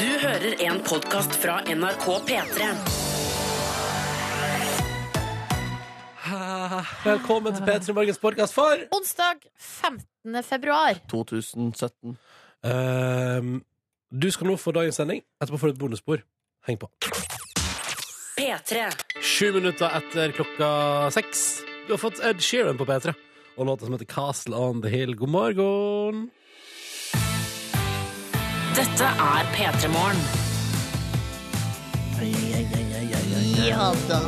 Du hører en podcast fra NRK P3. Velkommen til P3 Morgens podkast for Onsdag 15. februar. 2017. Ehm, Du skal nå få dagens sending. Etterpå får du et bonusspor. Heng på. P3. Sju minutter etter klokka seks. Du har fått Ed Sheeran på P3 og låta som heter Castle on the Hill. God morgen. Dette er P3 Morgen. Ja da.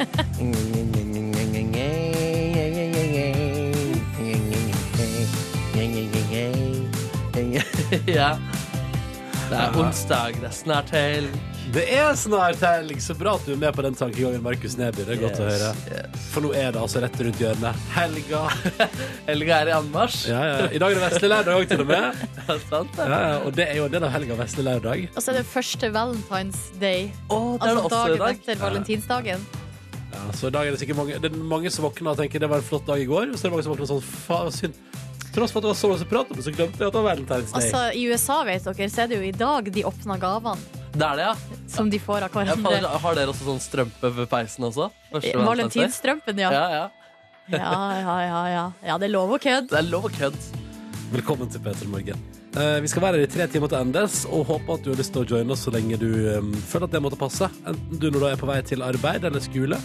Ja. Det er onsdag, det er snart helg. Det er snart helg. Så bra at du er med på den tankegangen, Markus Neby. Det er godt å høre. Yes. For nå er det altså rett rundt hjørnet. Helga. Helga er i anmarsj. Ja, ja. I dag er det vesle lørdag òg, til og med. Det er sant, det. Ja, ja. Og det er jo en del av helga, vesle lørdag. Og så er det første Valentine's Day. Å, det er det Altså også i dagen dag. etter valentinsdagen. Ja, så i dag er det sikkert mange, det er mange som våkner og tenker det var en flott dag i går. Og så er det mange som våkner sånn faen synd. Tross for at det var så mye prat om det, så glemte jeg at det var Valentine's Day. Altså, I USA vet dere, så er det jo i dag de åpner gavene Det er det, ja. som de får av Ja, fader, hverandre. har dere også sånn strømpe ved peisen også? Første valentinsdag? Valentinstrømpen, ja. sånn, Ja, ja. Ja, ja, ja. ja. ja det er lov å kødde. Det er lov å kødde. Velkommen til Peter Morgen. Eh, vi skal være her i tre timer til endes, og håper at du har lyst til å joine oss så lenge du eh, føler at det måtte passe. Enten du når du er på vei til arbeid eller skole,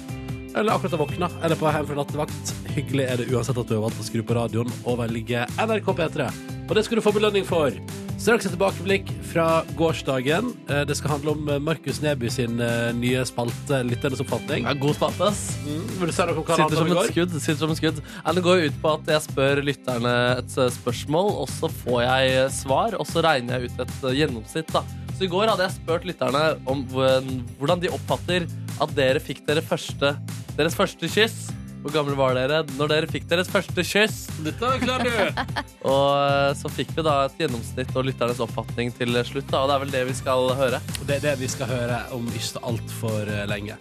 eller akkurat har våkna, eller på vei hjem fra nattevakt. Hyggelig er det uansett at du har valgt å skru på radioen og velge NRK P3. Og det skal du få belønning for. Straks et tilbakeblikk fra gårsdagen. Eh, det skal handle om eh, Markus Neby sin eh, nye spalte Lytternes oppfatning. Ja, god spalte, ass. Mm, vil du si noe om hva det Sitter handler som om i et går? skudd. Sitter som et skudd. Nei, Det går jo ut på at jeg spør lytterne et eh, spørsmål, og så får jeg eh, svar, og så regner jeg ut et eh, gjennomsnitt. da. Så i går hadde jeg spurt lytterne om hvor- hvordan de oppfatter at dere fikk dere første, deres første kyss. Hvor gamle var dere når dere fikk deres første kyss? Dette klarer du! Og eh, så fikk vi da et gjennomsnitt og lytternes oppfatning til slutt, da, og det er vel det vi skal høre. Det er det vi skal høre om ikke så altfor lenge.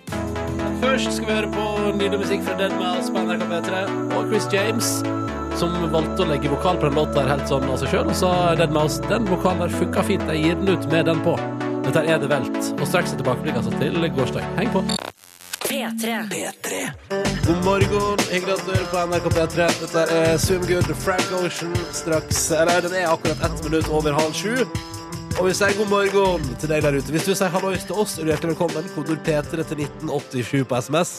Først skal vi høre på nydelig musikk fra Dead Mouse på NRK P3 og Chris James, som valgte å legge vokal på den låta her helt sånn av seg sjøl. Og sa Dead Mouse den vokalen der funka fint, jeg gir den ut med den på. Dette her er det velt. Og straks et tilbakeblikk altså til gårsdag. Heng på. P3. God morgen, hyggelig at du hører på NRK P3. Dette er Swimgood Frank Ocean straks Eller den er akkurat ett minutt over halv sju. Og vi sier god morgen til deg der ute. Hvis du sier hallois til oss, er du hjertelig velkommen. Kodord P3 til 1987 på SMS.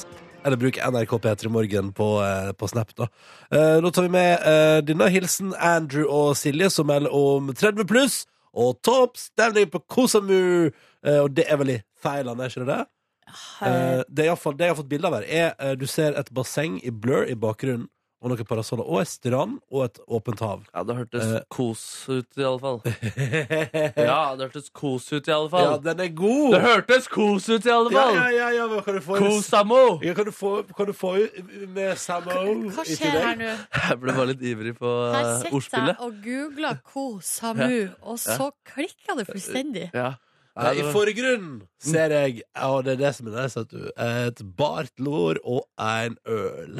Eller bruk NRK P3 Morgen på, eh, på Snap, da. Eh, nå tar vi med eh, denne hilsen Andrew og Silje, som melder om 30 pluss og topp stemning på Kosamu. Eh, og det er vel i Thailand, er ikke det det? Eh, det, er i hvert fall, det jeg har fått bilde av her, er eh, du ser et basseng i blur i bakgrunnen, og noen parasoller, og ei strand og et åpent hav. Ja, det hørtes Eh. kos ut i alle fall. ja, Ja, det hørtes kos ut i alle fall. den er god! det hørtes kos ut i alle ja, fall! ja, ja, ja, men kan du få Kosamo! ja, kan, du få, kan du få ut med Samo Hva skjer her nå? Jeg ble bare litt ivrig på Her eh, sitter jeg ordspillet. og googler Ko Samu, og så klikker det fullstendig. Ja. Nei, I forgrunnen ser jeg Ja, det er det som er nice, at du Et bart lår og en øl.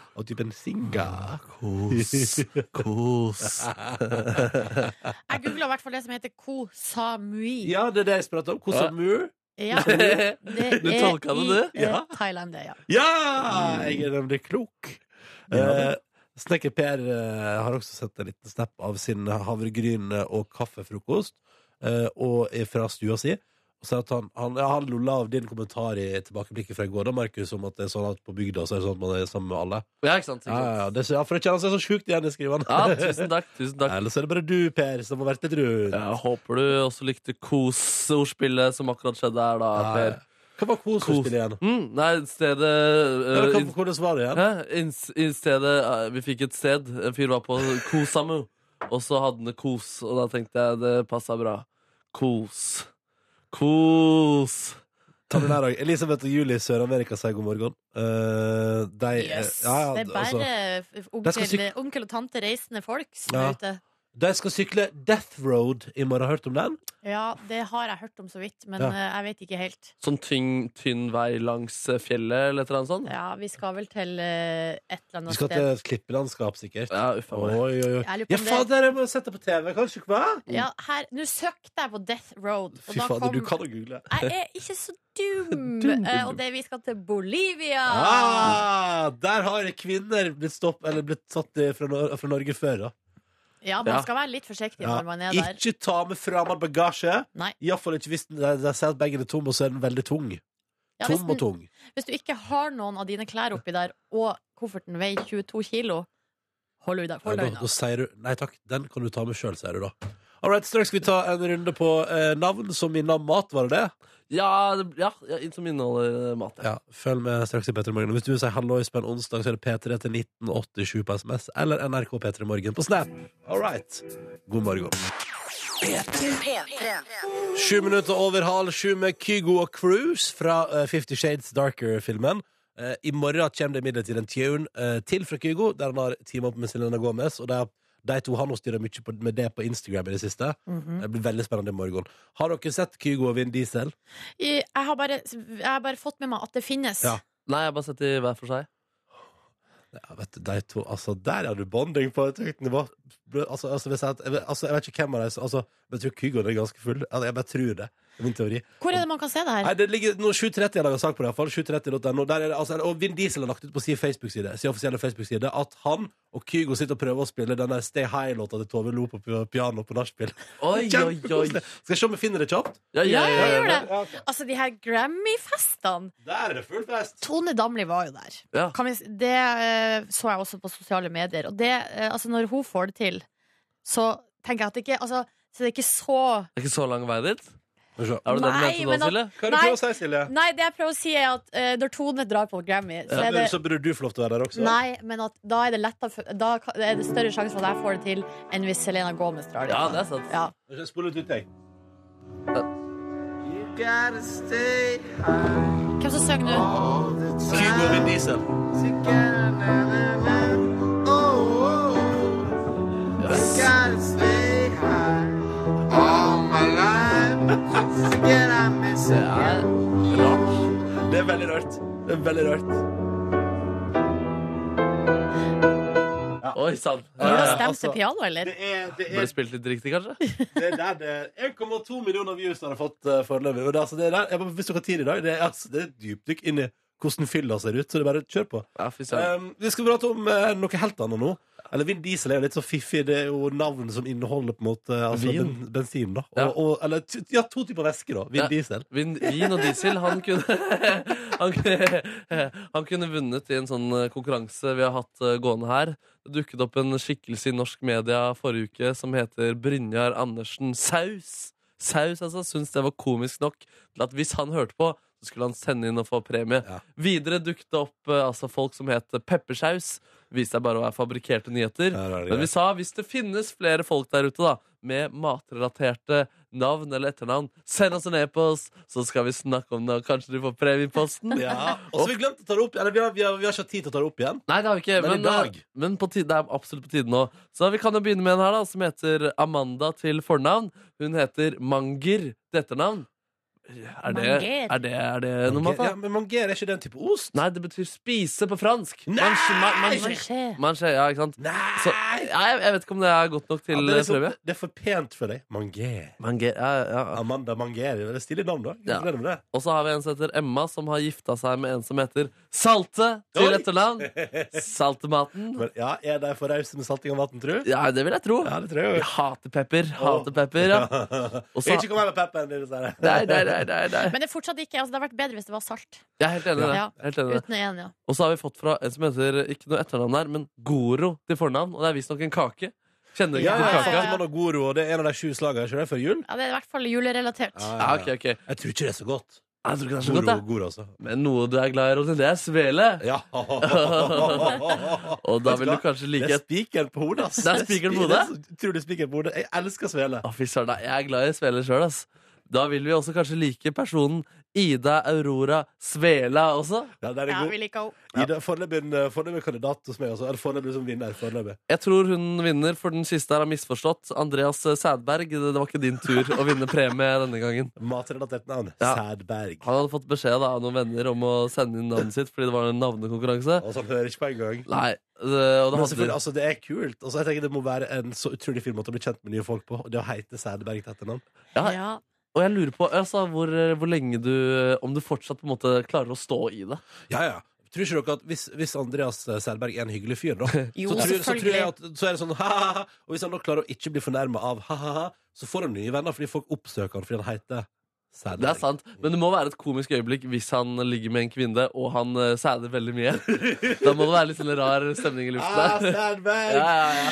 og typen singa. Kos, kos. Jeg googla i hvert fall det som heter Ko Samui. Ja, det er det jeg prater om. Kosamu. Ja, det Du er tolka det, i du? eh, Ja. Thailand, det, ja. Ja! Mm. Jeg er nemlig klok. Eh, Snekker Per eh, har også sendt en liten snap av sin havregryn og kaffefrokost eh, og er fra stua si. Og så at han, han, ja, han lolla av din kommentar i tilbakeblikket fra i går, da, Markus, om at det er sånn at på bygda så er det sånn at man er sammen med alle. Ja, ikke sant? Ikke Ja, sant? ja, ja, det, ja For det kjennes jeg så sjukt igjen i skrivene. Ja, tusen takk. tusen takk Ellers er det bare du, Per, som har vært litt rundt. Jeg håper du også likte kos-ordspillet som akkurat skjedde her, da, Ja, ja. Per. Hva var koseutspillet igjen? Mm, nei, stedet Eller eh, hva- Hvordan var det igjen? Hæ? Inns- I stedet eh, Vi fikk et sted. En fyr var på Kosamu. Og så hadde han kos, og da tenkte jeg det passa bra. Kos. Kos. Ta den her også. Elisabeth og Julie i Sør-Amerika sier god morgen. Eh, de, Yes. ja, ja, det er altså, bare Der skal onkel, onkel og tante reisende folk som Ja. er ute. De skal sykle Death Road i morgen. Hørt om den? Ja, det har jeg hørt om så vidt, men Ja. eh, jeg vet ikke helt. Sånn tynn, tynn vei langs eh, fjellet eller et eller annet sånt? Ja, vi skal vel til eh, et Vi eller annet skal sted. til et klippelandskap, sikkert. Ja, uffa meg. Oi, oi, oi. Jeg lurer på Ja, om det- fader, jeg må sette på TV, kanskje? Hva? Ja, her, Nå søkte jeg på Death Road, og Fy da fader, kom du kan jo google. Jeg er ikke så dum! Dum. Eh, og det vi skal til Bolivia! Ah, der har kvinner blitt stopp Eller blitt tatt i- fra, Nor fra Norge før, da. Ja, man Ja. skal være litt forsiktig Ja. når man er der. Ikke ta med fremmed bagasje. Nei. Iallfall ikke hvis den- de de sier at bagen er tom, og så er den veldig tung. Ja, hvis, tom og den, tung. hvis du ikke har noen av dine klær oppi der, og kofferten veier 22 kilo, hold unna. Ja, Hold da, unna. da sier du Nei takk, den kan du ta med sjøl, sier du da. All right, straks skal vi ta en runde på eh, navn, som i navn mat, var det det? Ja, det- ja, ja, inn- som inneholder eh, mat. Ja. Ja, Følg med straks i P3 Morgen. Og Hvis du vil si hallois på en onsdag, så er det P3 til 1987 på SMS eller NRK P3 Morgen på Snap. All right. God morgen. P3. Sju minutter over halv sju med Kygo og Cruise fra eh, Fifty Shades Darker-filmen. Eh, I morgen kommer det imidlertid en tune eh, til fra Kygo, der han har teamet opp med Selena Gomez. Og der, de to har nå styra mye på, med det på Instagram i det siste. Det blir veldig spennende i morgen. Har dere sett Kygo og Vin Diesel? I- Jeg, har bare, jeg har bare fått med meg at det finnes. Ja. Nei, jeg har bare sett de hver for seg. Ja, vet du, de to, altså Der har du bonding på et høyt nivå. Altså, altså, hvis jeg, jeg, vet- altså, jeg vet ikke hvem av dem som altså, men Jeg tror Kygoen er ganske full. Altså, jeg bare tror det. det er Min teori. Hvor er det man kan se det her? Nei, det ligger noe 730 jeg lager sak på det, i hvert fall. 730.no. Der er det, altså, og Vin Diesel har lagt ut på sin Facebook-side Sin offisielle Facebook-side at han og Kygo sitter og prøver å spille den der Stay High-låta til Tove Lo på pi- piano på nachspiel. Oi, oi, oi. Kjempekoselig. Skal jeg se om jeg finner det kjapt? Ja, ja, Ja, ja, ja, ja, gjør ja. det! Altså, de her Grammy-festene Der er det full fest! Tone Damli var jo der. Ja. Kan vi, s- det eh, så jeg også på sosiale medier. Og det, eh, altså, når hun får det til, så tenker jeg at det ikke altså, Så det er ikke så Det er ikke så lang vei dit? Skal vi se. Er det det du Nei, mente men nå, at- Silje? Hva er det du Nei. prøver å si, Silje? Nei, det jeg prøver å si er at eh, når Tone drar på Grammy, så Så burde- er det Så burde du få lov til å være der også. Nei, men at da er det lettere for- Da ka- er det større sjanse for at jeg får det til enn hvis Selena Gomez drar Ja, det er sant. Ja. Spol litt ut, jeg. Hvem som synger nå? Kygo og Vin Diesel. Det er rart. Det er veldig rørt. Det er veldig rørt. Oi sann. Ja, Har du ja, ja. stemt altså- til piano, eller? Det er, det Ble spilt litt riktig, kanskje? det er der det 1,2 millioner views har jeg fått uh, foreløpig. Og det, altså, det er der, jeg, bare- hvis dere har tid i dag, det er, altså, det er et dypdykk inn i hvordan fylla ser ut. Så det er bare kjør på. Ja, fy søren. Um, vi skal prate om eh, noe helt annet nå. Eller Vin Diesel er jo litt så fiffig. Det er jo navn som inneholder på en måte altså, Vin. ben, bensin. da og, Ja. og, Eller t- ja, to typer væske, da. Vin Ja. Diesel. Vin, vin og diesel, han kunne, han, kunne, han kunne vunnet i en sånn eh, konkurranse vi har hatt eh, gående her. Det dukket opp en skikkelse i norsk media forrige uke som heter Brynjar Andersen Saus. Saus, altså, syntes det var komisk nok til at hvis han hørte på, så skulle han sende inn og få premie. Ja. Videre dukket det opp eh, altså, folk som het Peppersaus. Viste seg bare å være fabrikkerte nyheter. Ja, det er det. Men vi sa hvis det finnes flere folk der ute da med matrelaterte navn eller etternavn, send oss en e-post, så skal vi snakke om det, og kanskje du får premie i posten. Ja. Og så har vi glemt å ta det opp Eller vi har, vi, har, vi har ikke hatt tid til å ta det opp igjen. Nei, det har vi ikke, Men i men, dag. eh, men på tide, det er absolutt på tide nå. Så vi kan jo begynne med en her, da, som heter Amanda til fornavn. Hun heter Manger til etternavn. Er det, Manger? er det, er det noe mat, da? ja, men Manger er ikke den type ost. Nei, det betyr spise på fransk. Nei! man, Hva skjer? man, ja, ikke sant? Nei! Så, nei, jeg vet ikke om det er godt nok til Ja, ja, det, er liksom, prøve. det er for pent for deg. Manger. Manger, ja, ja, ja. Amanda Manger. Det er et stilig navn, da. Ja. Gratulerer med det. Og så har vi en som heter Emma, som har gifta seg med en som heter Salte til Oi! etternavn. Saltematen. Men ja, Er de for rause med salting av maten, tru? Ja, det vil jeg tro. Ja, det tror jeg. Jeg hater pepper. Hater pepper, ja. Og så- Ikke kom her med pepperen din, Sara. Nei, nei, nei, nei, nei. Men det er fortsatt ikke altså, Det hadde vært bedre hvis det var salt. Jeg er helt enig i det. Ja. Helt enig i det. Uten en, ja. Og så har vi fått fra en som heter ikke noe etternavn her, men Goro til fornavn. Og det er visstnok en kake. Kjenner ikke Ja, ja, til ja, kaka. ja. og Goro, og det er en av de sju slagene. Ikke det før jul? Ah, ja. Det er i hvert fall julerelatert. Ja, ok, ok. Jeg Jeg tror ikke det er så godt. tror ikke det er så Goro godt, og jeg. Goro, altså. Men noe du er glad i, Ronny, det er svele. Ja. Og da vil du kanskje like Det er et spikeren på hodet, ass. Det er spikeren på Det er så Utrolig spikeren på hodet. Jeg elsker svele. Å, fy søren, nei, jeg er glad i sveler sjøl, ass. Da vil vi også kanskje like personen Ida Aurora Svela også. Ja, den er Ja, god. vi liker henne. Ida, foreløpig en eh, foreløpig kandidat hos meg. Altså. Eller foreløpig som vinner. foreløpig Jeg tror hun vinner, for den siste her har misforstått. Andreas Sædberg, det det var ikke din tur å vinne premie denne gangen. Matrelatert navn. Ja. Sædberg. Han hadde fått beskjed da, av noen venner om å sende inn navnet sitt fordi det var en navnekonkurranse. Altså, han hører ikke på engang. Nei, det, og det Men hadde selvfølgelig, altså, det er kult. Altså, jeg tenker Det må være en så utrolig fin måte å bli kjent med nye folk på. Og det å heite Sædberg til etternavn. Ja. Ja. Og jeg lurer på altså, hvor, hvor lenge du Om du fortsatt på en måte klarer å stå i det. Ja, ja. Tror ikke dere at hvis, hvis Andreas Sædberg er en hyggelig fyr, da, Jo, så, tror, så, tror selvfølgelig. jeg at, så er det sånn ha-ha-ha. Og hvis han da klarer å ikke bli fornærma av ha-ha-ha, så får han nye venner fordi folk oppsøker han fordi han heter Sædberg. Det er sant, Men det må være et komisk øyeblikk hvis han ligger med en kvinne og han eh, sæder veldig mye. Da må det være litt sånn rar stemning Ah, i luften der. Sædberg! Ja, ja, ja.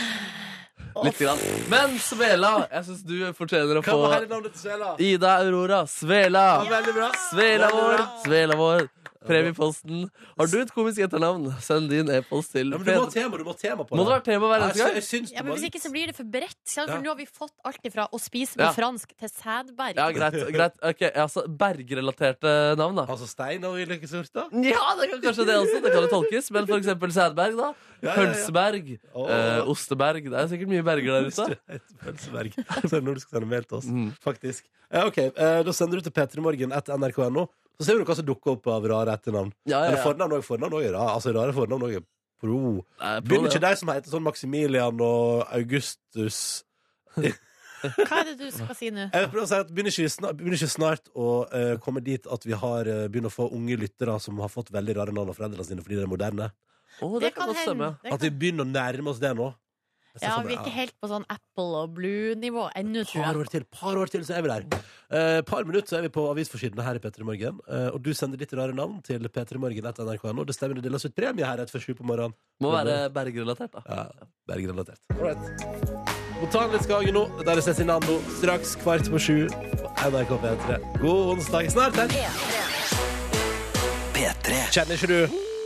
Litt grann. Men Svela, jeg syns du fortjener å Hva få var hele navnet til Svela? Ida Aurora Svela. Ja, veldig bra. Svela vår, Svela vår. Premieposten. Har du et komisk etternavn? Send din e-post til Ja, men du må ha P3. tema, du må ha tema på Må det være tema hver eneste Jeg sy- gang? Jeg syns Ja, det men var Hvis litt ikke så blir det for bredt. sant? Ja. For nå har vi fått alt ifra å spise med Ja. fransk til Sædberg. Ja, greit. greit. Ok, altså Berg-relaterte navn, da. Altså Stein og ulykkesort, da? Ja, det kan kanskje det også. Det kan jo tolkes. Men for eksempel Sædberg, da. Ja, ja, ja. Hønseberg. Åh. eh, Osteberg. Det er sikkert mye berger der ute. Pølseberg. Så er det når du skal sende mail til oss, Mm. faktisk. Ja, ok, eh, Da sender du til p3morgen etter nrk.no, så ser du hva som dukker opp av rare etternavn. Ja, ja, Eller ja. fornavn òg. Fornavn også er rare. Altså, rare fornavn også er pro. Nei, på Begynner det. ikke de som heter sånn Maximilian og Augustus Hva er det du skal si nå? Jeg vil prøve å si at Begynner ikke, snart, begynner ikke snart å eh, komme dit at vi har eh, begynner å få unge lyttere som har fått veldig rare navn av foreldrene sine fordi de er moderne? Åh, det kan godt stemme. Det At vi kan. begynner å nærme oss det nå? Jeg ser Ja, for meg- vi er ikke helt på sånn Apple og Blue-nivå ennå, tror Par jeg. år til, par år til, så er vi der. Eh, par minutter så er vi på avisforsidene her i P3 Morgen. Eh, og du sender ditt rare navn til p3morgen.nrk.no. Det stemmer, det deles ut premie her rett før sju på morgenen. Må være berg-relatert, da. Mm. Ja, Berg-relatert. Alright. Botanisk hage nå. Der er Cezinando. Straks kvart på sju på NRK P3. God onsdag snart. her. Kjenner ikke du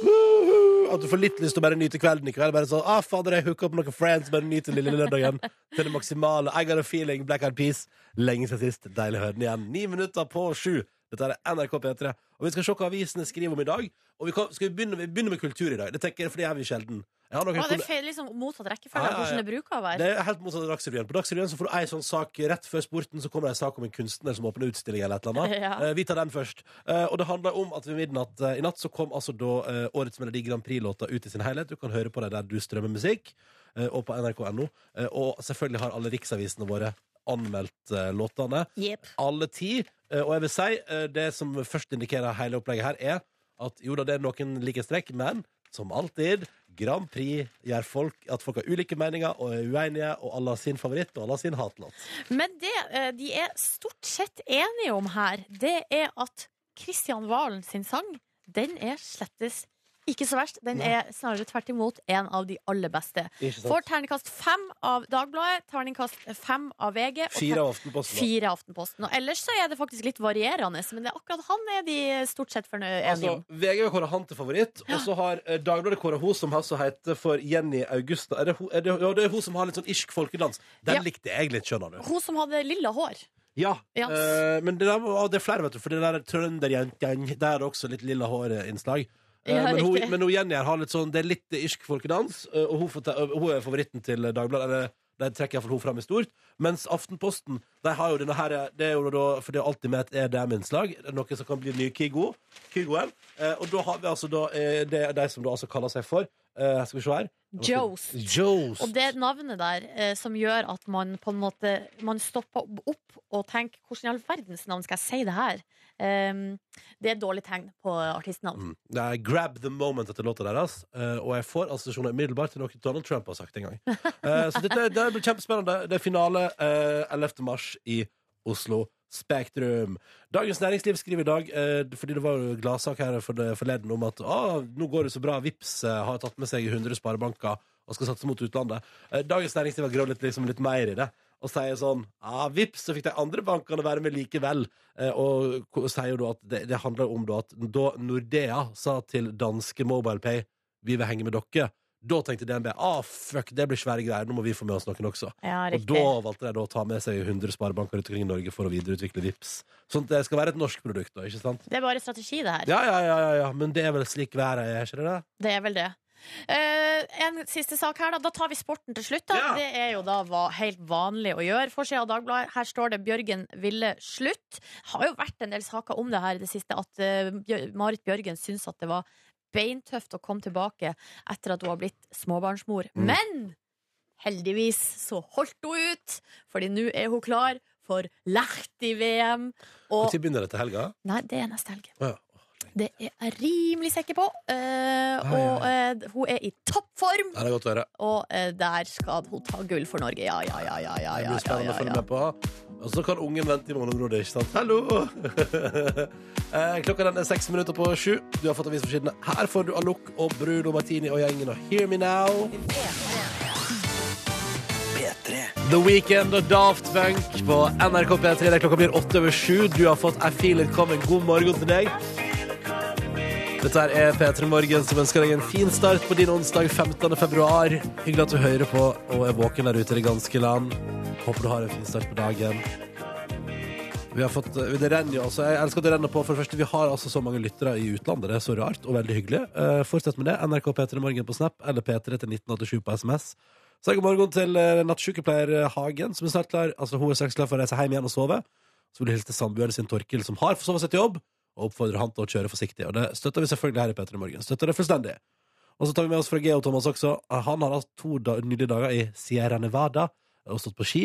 Woohoo! at du får litt lyst til å bare nyte kvelden i kveld? Bare sånn, ah, fader, jeg hooker opp noen friends, bare nyte lille lørdagen til det maksimale. I got a feeling, Black Eyed Peas. Lenge siden sist. Deilig å høre den igjen. Ni minutter på sju. Dette er NRK P3. Og vi skal se hva avisene skriver om i dag. Og vi, kan, skal vi, begynne, vi begynner med kultur i dag. Det tenker jeg, for det gjør vi sjelden. Jeg har noen Å, kol- det er fe- liksom motsatt Ja, rekkefølge av ja, ja. hvordan det bruker å være. det er helt motsatt av Dagsrevyen. På Dagsrevyen så får du ei sånn sak rett før sporten, så kommer det ei sak om en kunstner som åpner utstilling eller et eller annet. Ja. Eh, Vi tar den først. Eh, Og det handler om at ved midnatt eh, i natt så kom altså da eh, årets Melodi Grand Prix-låta ut i sin helhet. Du kan høre på det der du strømmer musikk, eh, og på nrk.no. Eh, Og selvfølgelig har alle riksavisene våre anmeldt eh, låtene. Jepp. Alle ti. Eh, Og jeg vil si, eh, det som først indikerer hele opplegget her, er at jo da, det er noen likhetstrekk, men som alltid, Grand Prix gjør folk, at folk har ulike meninger og er uenige, og alle har sin favoritt og alle har sin hatlåt. Men det eh, de er stort sett enige om her, det er at Kristian Valen sin sang, den er slettes ikke så verst. Den er snarere tvert imot en av de aller beste. Ikke sant? Får terningkast fem av Dagbladet, terningkast fem av VG og Fire av ter- Aftenposten. da. fire av Aftenposten. Og ellers så er det faktisk litt varierende, men det er akkurat han er de stort sett fornø- enige Altså, om. VG har kåra han til favoritt, og så har eh, Dagbladet kåra hun som altså heter for Jenny Augusta. Er det, hun- er det, ja, det er hun som har litt sånn irsk folkedans. Den Ja. likte jeg litt, skjønner du. Hun som hadde lilla hår. Ja. Ja. eh, men det, der, var- det er flere, vet du. For det der trønderjentgjeng, der er det også litt lilla hår-innslag. Eh, Ja, men, hun, riktig. men hun Jenny her har litt sånn Det er litt irsk folkedans, eh, og hun, får ta- og hun er favoritten til Dagbladet. Eller de trekker iallfall hun fram i stort. Mens Aftenposten de har jo denne her Det er jo da, for det er alltid med et EDM-innslag. Det er Noe som kan bli ny Kygo. Kygoen. Eh, og da har vi altså da eh, Det er de som da altså kaller seg for eh, Skal vi se her. Jost. Jost. Og det navnet der eh, som gjør at man på en måte Man stopper opp og tenker hvordan i all verdens navn skal jeg si det her? Ehm, det er et dårlig tegn på artistnavn. Mm. Det er Grab the moment etter låta deres. eh, og jeg får assosiasjoner umiddelbart til noe Donald Trump har sagt en gang. Eh, så dette det blir kjempespennende. Det er finale eh, 11. mars i Oslo Spektrum. Dagens Næringsliv skriver i dag, eh, fordi det var jo gladsak her for forleden om at ah, nå går det så bra, Vips eh, har tatt med seg 100 sparebanker og skal satse mot utlandet. Eh, Dagens Næringsliv har gravd litt, liksom, litt mer i det. Og sier sånn ah, Vips, så fikk de andre bankene være med likevel. Eh, og ko- sier jo da at det, det handler om da at da Nordea sa til danske MobilePay vi vil henge med dere, Da tenkte DNB ah, fuck, det blir svære greier, nå må vi få med oss noen også. Ja, Og riktig. da valgte de da å ta med seg 100 sparebanker rundt omkring i Norge for å videreutvikle Vips. Sånn at det skal være et norsk produkt, da, ikke sant? Det er bare strategi, det her. Ja, ja, ja, ja, ja. men det er vel slik været er, ikke det? det? Det er vel det. Eh, en siste sak her, da. Da tar vi sporten til slutt. Da. Ja. Det er jo da va helt vanlig å gjøre. Forsida av Dagbladet, her står det 'Bjørgen ville slutt'. Har jo vært en del saker om det her i det siste, at eh, Bjør- Marit Bjørgen syns at det var beintøft å komme tilbake etter at hun har blitt småbarnsmor. Mm. Men heldigvis så holdt hun ut, Fordi nå er hun klar for Lahti-VM. Og Når begynner det til helga? Nei, det er neste helg. Å, ja. Det er jeg rimelig sikker på. Eh, Ai, og eh, hun er i toppform, Ja, Det er godt å høre. og eh, der skal hun ta gull for Norge. Ja, ja, ja. ja, ja, Det ja, blir ja, spennende å ja, følge ja. med på. Og så kan ungen vente i morgenområdet, ikke sant? Hallo! Eh, Klokka den er seks minutter på sju. Du har fått avis for siden. Her får du Alok og Bruno Martini og gjengen og Hear Me Now. The Weekend og Daft Punk på NRK P3. Det er Klokka blir åtte over sju. Du har fått I Feel It Coming. God morgen til deg. Dette her er P3 Morgen som ønsker deg en fin start på din onsdag 15. februar. Hyggelig at du hører på og er våken der ute i det ganske land. Håper du har en fin start på dagen. Vi har fått, det renner jo altså, Jeg elsker at det renner på. For det første, Vi har altså så mange lyttere i utlandet. Det er så rart og veldig hyggelig. Eh, fortsett med det. NRK P3 Morgen på Snap eller P3 til 1987 på SMS. Så god morgen til eh, nattsykepleier eh, Hagen, som er snart klar. Altså, hun er straks klar for å reise hjem igjen og sove. Så vil jeg hilse til samboeren sin Torkil, som har forsovet seg til jobb og oppfordrer han til å kjøre forsiktig. Og det støtter vi selvfølgelig her i Petter i morgen. Støtter det fullstendig. Og så tar vi med oss fra Geo Thomas også. Han har hatt to da nydelige dager i Sierra Nevada og stått på ski.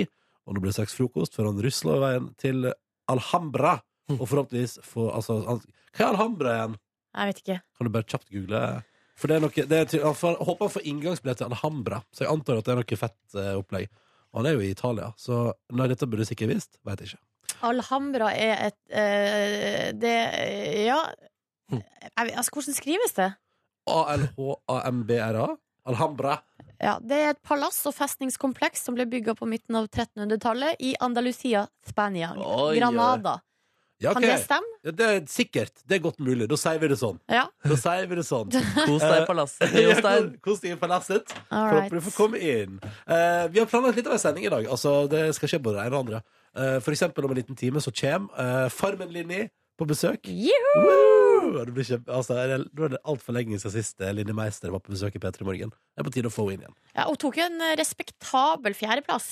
Og nå blir det straks frokost før han rusler over veien til Alhambra. Og forhåpentligvis få altså, han, Hva er Alhambra igjen? Jeg vet ikke. Kan du bare kjapt google? For det er noe, det er, til- han får, håper han får inngangsbillett til Alhambra, så jeg antar at det er noe fett eh, opplegg. Og han er jo i Italia, så nei, dette burde du sikkert visst. Veit ikke. Alhambra er et eh, Det Ja. Hm. Jeg vet- Altså, hvordan skrives det? A-L-H-A-M-B-R-A. Alhambra. Ja, det er et palass og festningskompleks som ble bygga på midten av 1300-tallet i Andalusia, Spania. Oi, oi. Granada. Ja, Kan ok. det stemme? Ja, det er sikkert. Det er godt mulig. Da sier vi det sånn. Ja. Da sier vi det sånn. Kos deg i palasset, Ja, Jostein. Kos deg i palasset. All Håper du right. får komme inn. Eh, vi har planlagt litt av en sending i dag. Altså, det skal skje både det ene og det andre. Eh, for eksempel om en liten time så kommer eh, Farmen Linni på besøk. Juhu! Woo! Det blir kjempe... altså, det er- nå er det altfor lenge siden sist eh, Linni Meister var på besøk i P3 Morgen. Det er på tide å få henne inn igjen. Ja, hun tok jo en respektabel fjerdeplass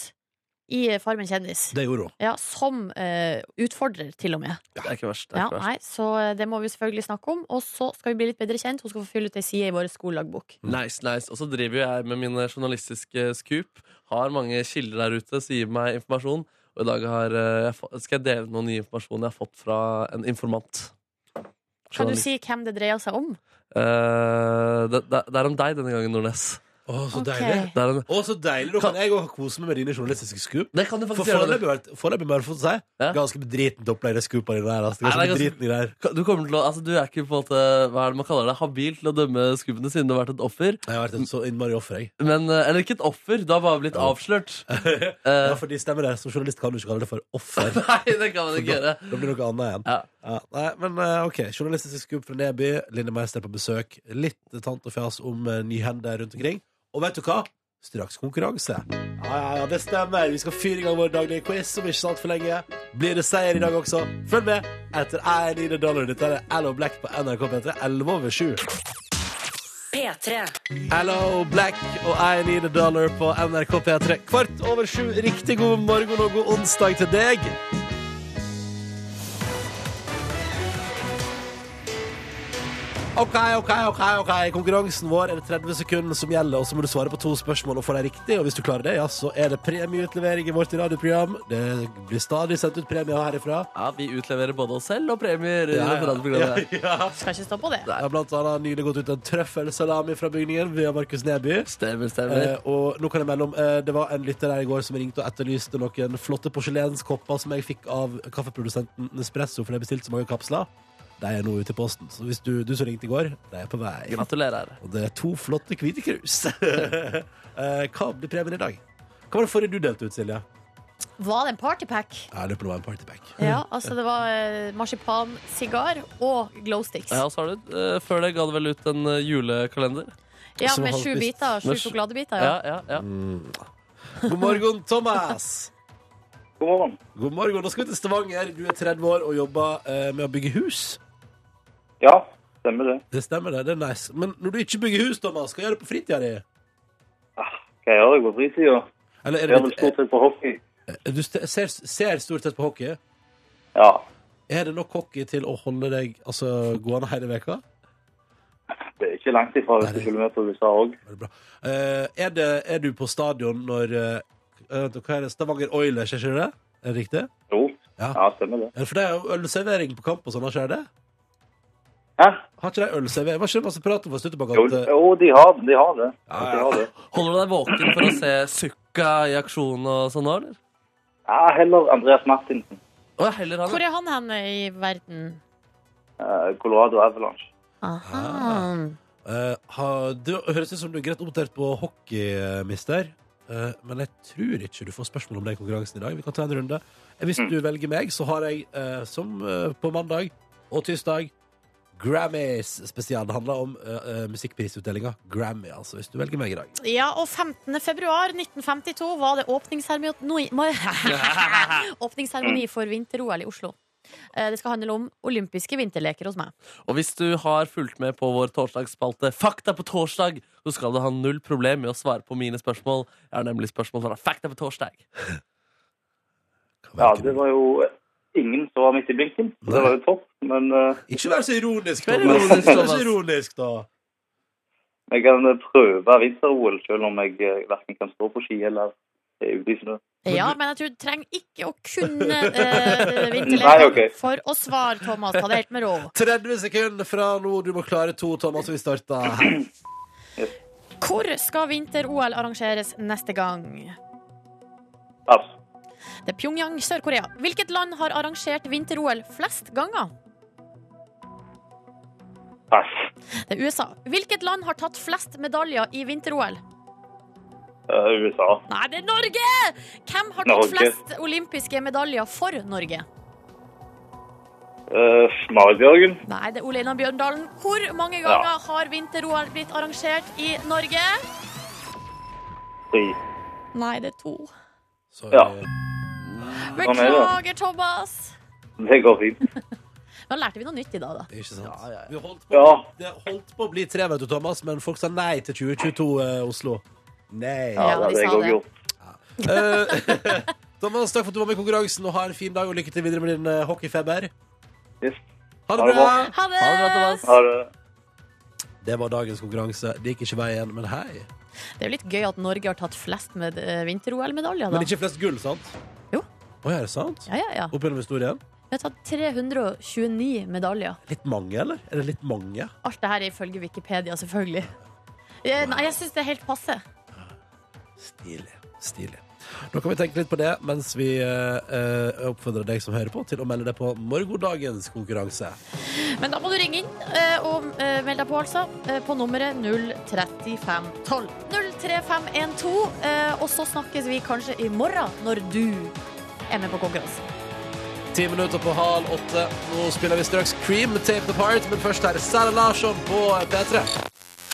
i Farmen kjendis. Det gjorde hun. Ja, som eh, utfordrer, til og med. Det er ikke verst. Det er Ja, ikke verst. nei, så eh, det må vi selvfølgelig snakke om. Og så skal vi bli litt bedre kjent. Hun skal få fylle ut ei side i vår skoledagbok. Nice, nice. Og så driver jo jeg med mine journalistiske scoop. Har mange kilder der ute som gir meg informasjon. Og i dag har, eh, jeg få- skal jeg dele noe ny informasjon jeg har fått fra en informant. Kan du Journalist. si hvem det dreier seg om? Eh, det, det, det er om deg denne gangen, Nordnes. Å, så Ok. deilig. Det, er en, Å, så deilig. Da kan jeg òg kose meg med dine journalistiske skup. det kan du For faktisk gjøre. foreløpig har det- foreløpig må jeg få si Ja. ganske bedritent opplegg det skupet i det der. Altså. Det er ganske Nei, det er ganske- bedritent i det der. Ka- Du, kommer til å, altså, du er ikke på en måte, hva er det man kaller det, habil til å dømme skubbene siden du har vært et offer. Jeg har vært et så innmari offer, jeg. Men, eh, eller ikke et offer, du har bare blitt Ja. avslørt. Eh. Ja, for de stemmer det. Som journalist kan du ikke kalle det for offer. Nei, det kan man For ikke da, gjøre. da blir det noe annet igjen. Ja. Ja, nei, men eh, ok, Journalistisk skup fra Neby, Linne Meister på besøk. Litt tant og fjas om eh, nyhender rundt omkring. Og vet du hva? Straks konkurranse. Ja, ja, ja, det stemmer. Vi skal fyre i gang vår daglige quiz om ikke så altfor lenge. Blir det seier i dag også? Følg med etter I Need a Dollar. Dette er Allo Black på NRK P3, 11 over 7. P3. Hello Black og I Need a Dollar på NRK P3 Kvart over sju, riktig god morgen og god onsdag til deg Ok, ok, ok, ok Konkurransen vår er det 30 sekunder som gjelder Og så må du svare på to spørsmål og få deg riktig Og hvis du klarer det, ja, så er det premieutlevering i vårt radioprogram Det blir stadig sendt ut premier herifra Ja, vi utleverer både oss selv og premier. i Ja, ja. dette radioprogrammet. Skal ikke stå på det. Jeg har blant annet nylig gått ut en trøffelsalami fra bygningen Via Markus Neby Stemmer, stemmer. Eh, og nå kan jeg melde om eh, Det var en lytter her i går som ringte og etterlyste noen flotte porselenskopper som jeg fikk av kaffeprodusenten Nespresso, for jeg bestilte så mange kapsler. De er nå ute i posten. Så hvis du, du som ringte i går, de er på vei. Gratulerer. Og det er to flotte hvite krus. eh, hva blir premien i dag? Hva var det forrige du delte ut, Silje? Var det en partypack? Jeg lurer på om det var en partypack. Ja, altså det var eh, marsipan, sigar og glow sticks. Ja, og så har du, eh, før det ga du vel ut en eh, julekalender. Ja, Som med han sju spiste. biter. Sju Med sju- sjokoladebiter, ja. Ja, ja, ja. God morgen, Thomas. God morgen. God morgen. Nå skal vi til Stavanger. Du er 30 år og jobber eh, med å bygge hus. Ja, stemmer det. Det stemmer, det. Det er nice. Men når du ikke bygger hus, Thomas, hva gjør du på fritida di? Ah, Hva gjør jeg på fritida? Eller Jeg er er vel det, stort sett på hockey. er, Eh, du st- ser, ser stort sett på hockey. Ja. Er det nok hockey til å holde deg altså, gående hele veka? Det er ikke langt ifra Nei, hvis du det- følger med på USA òg. Er det bra? Eh, er, det, er du på stadion når eh, vent, Hva er det? Stavanger Oilers, er ikke det? Er det riktig? Jo. Ja. Ja, stemmer det. Er det For det er jo ølservering på kamp og sånn, har ikke det? Hæ? Har ikke de ølservering? Var ikke det masse prat om for en stund tilbake Jo, at eh, jo de, har, de har det. Ja, ja. De har det. Holder du deg våken for å se Sukka i aksjon og sånn nå, eller? Ja, heller Andreas Martinsen. Å, ja, heller han. Hvor ja. er han hen i verden? eh, Colorado Avalanche. Aha. Eh, har, det høres ut som du er greit oppdatert på hockey, eh, mister. Eh, men jeg tror ikke du får spørsmål om den konkurransen i dag. Vi kan ta en runde. Eh, Mm. Hvis du velger meg, så har jeg, eh, som eh, på mandag og tirsdag, Grammys spesial. Det handler om uh, musikkprisutdelinga. Grammy, altså. Hvis du velger meg i dag. Ja, og 15. februar 1952 var det åpningsseremoni Åpningsseremoni for vinter-OL i Oslo. Eh, Det skal handle om olympiske vinterleker hos meg. Og hvis du har fulgt med på vår torsdagsspalte Fakta på torsdag, så skal du ha null problem med å svare på mine spørsmål. Jeg har nemlig spørsmål fra Fakta på torsdag. Ja, det var jo eh, ingen som var midt i blinken. så Det var jo topp. Men eh, Ikke vær så ironisk, Vær Thomas. ironisk, Ikke vær så Thomas. ironisk, da. jeg kan eh, prøve vinter-OL, selv om jeg eh, verken kan stå på ski eller er ute i snø. Ja, men jeg tror du trenger ikke å kunne eh, Nei, vinterleker ok. for å svare, Thomas. Ta det helt med ro. 30 sekunder fra nå. Du må klare to, Thomas. og Vi starter her. Hvor skal vinter-OL arrangeres neste gang? Altså, Det er Pyongyang, Sør-Korea. Hvilket land har arrangert vinter-OL flest ganger? pass. Det er USA. Hvilket land har tatt flest medaljer i vinter-OL? Eh, USA. Nei, det er Norge! Hvem har tatt Norge. flest olympiske medaljer for Norge? Uh, Marit Bjørgen. Nei, det er Ole Einar Bjørndalen. Hvor mange Ja. ganger har vinter-OL blitt arrangert i Norge? Fri. Nei, det er to. Så, Ja. eh, er det. Beklager, Thomas. Det går fint. Nå lærte vi noe nytt i dag, da. Det er ikke sant. Vi holdt på, Ja. Det holdt på å bli tre, vet du, Thomas, men folk sa nei til 2022 eh, Oslo. Nei. Ja, Ja, det de hadde sa jeg òg det. gjort. Eh, Thomas, takk for at du var med i konkurransen, og ha en fin dag, og lykke til videre med din eh, hockeyfeber. Yes. Ha Ha det det bra! Ha det! Ha det bra, Thomas. Ha det. Det var dagens konkurranse. Det gikk ikke veien, men hei. Det er jo litt gøy at Norge har tatt flest med eh, vinter-OL-medaljer, Men da. ikke flest gull, sant? Jo. Å, er det sant? Ja, ja, ja. Opp gjennom historien? Vi har tatt 329 medaljer. Litt mange, eller? Er det litt mange? Alt det her er ifølge Wikipedia, selvfølgelig. Eh, Nei, jeg syns det er helt passe. Stilig. Stilig. Nå kan vi tenke litt på det mens vi eh, eh, oppfordrer deg som hører på, til å melde deg på morgendagens konkurranse. Men da må du ringe inn eh, og eh, melde deg på, altså. eh, På nummeret 03512. 03512. eh, Og så snakkes vi kanskje i morgen, når du er med på konkurransen. Ti minutter på halv åtte. Nå spiller vi straks Cream Taped Apart, men først her er Sara Larsson på P3.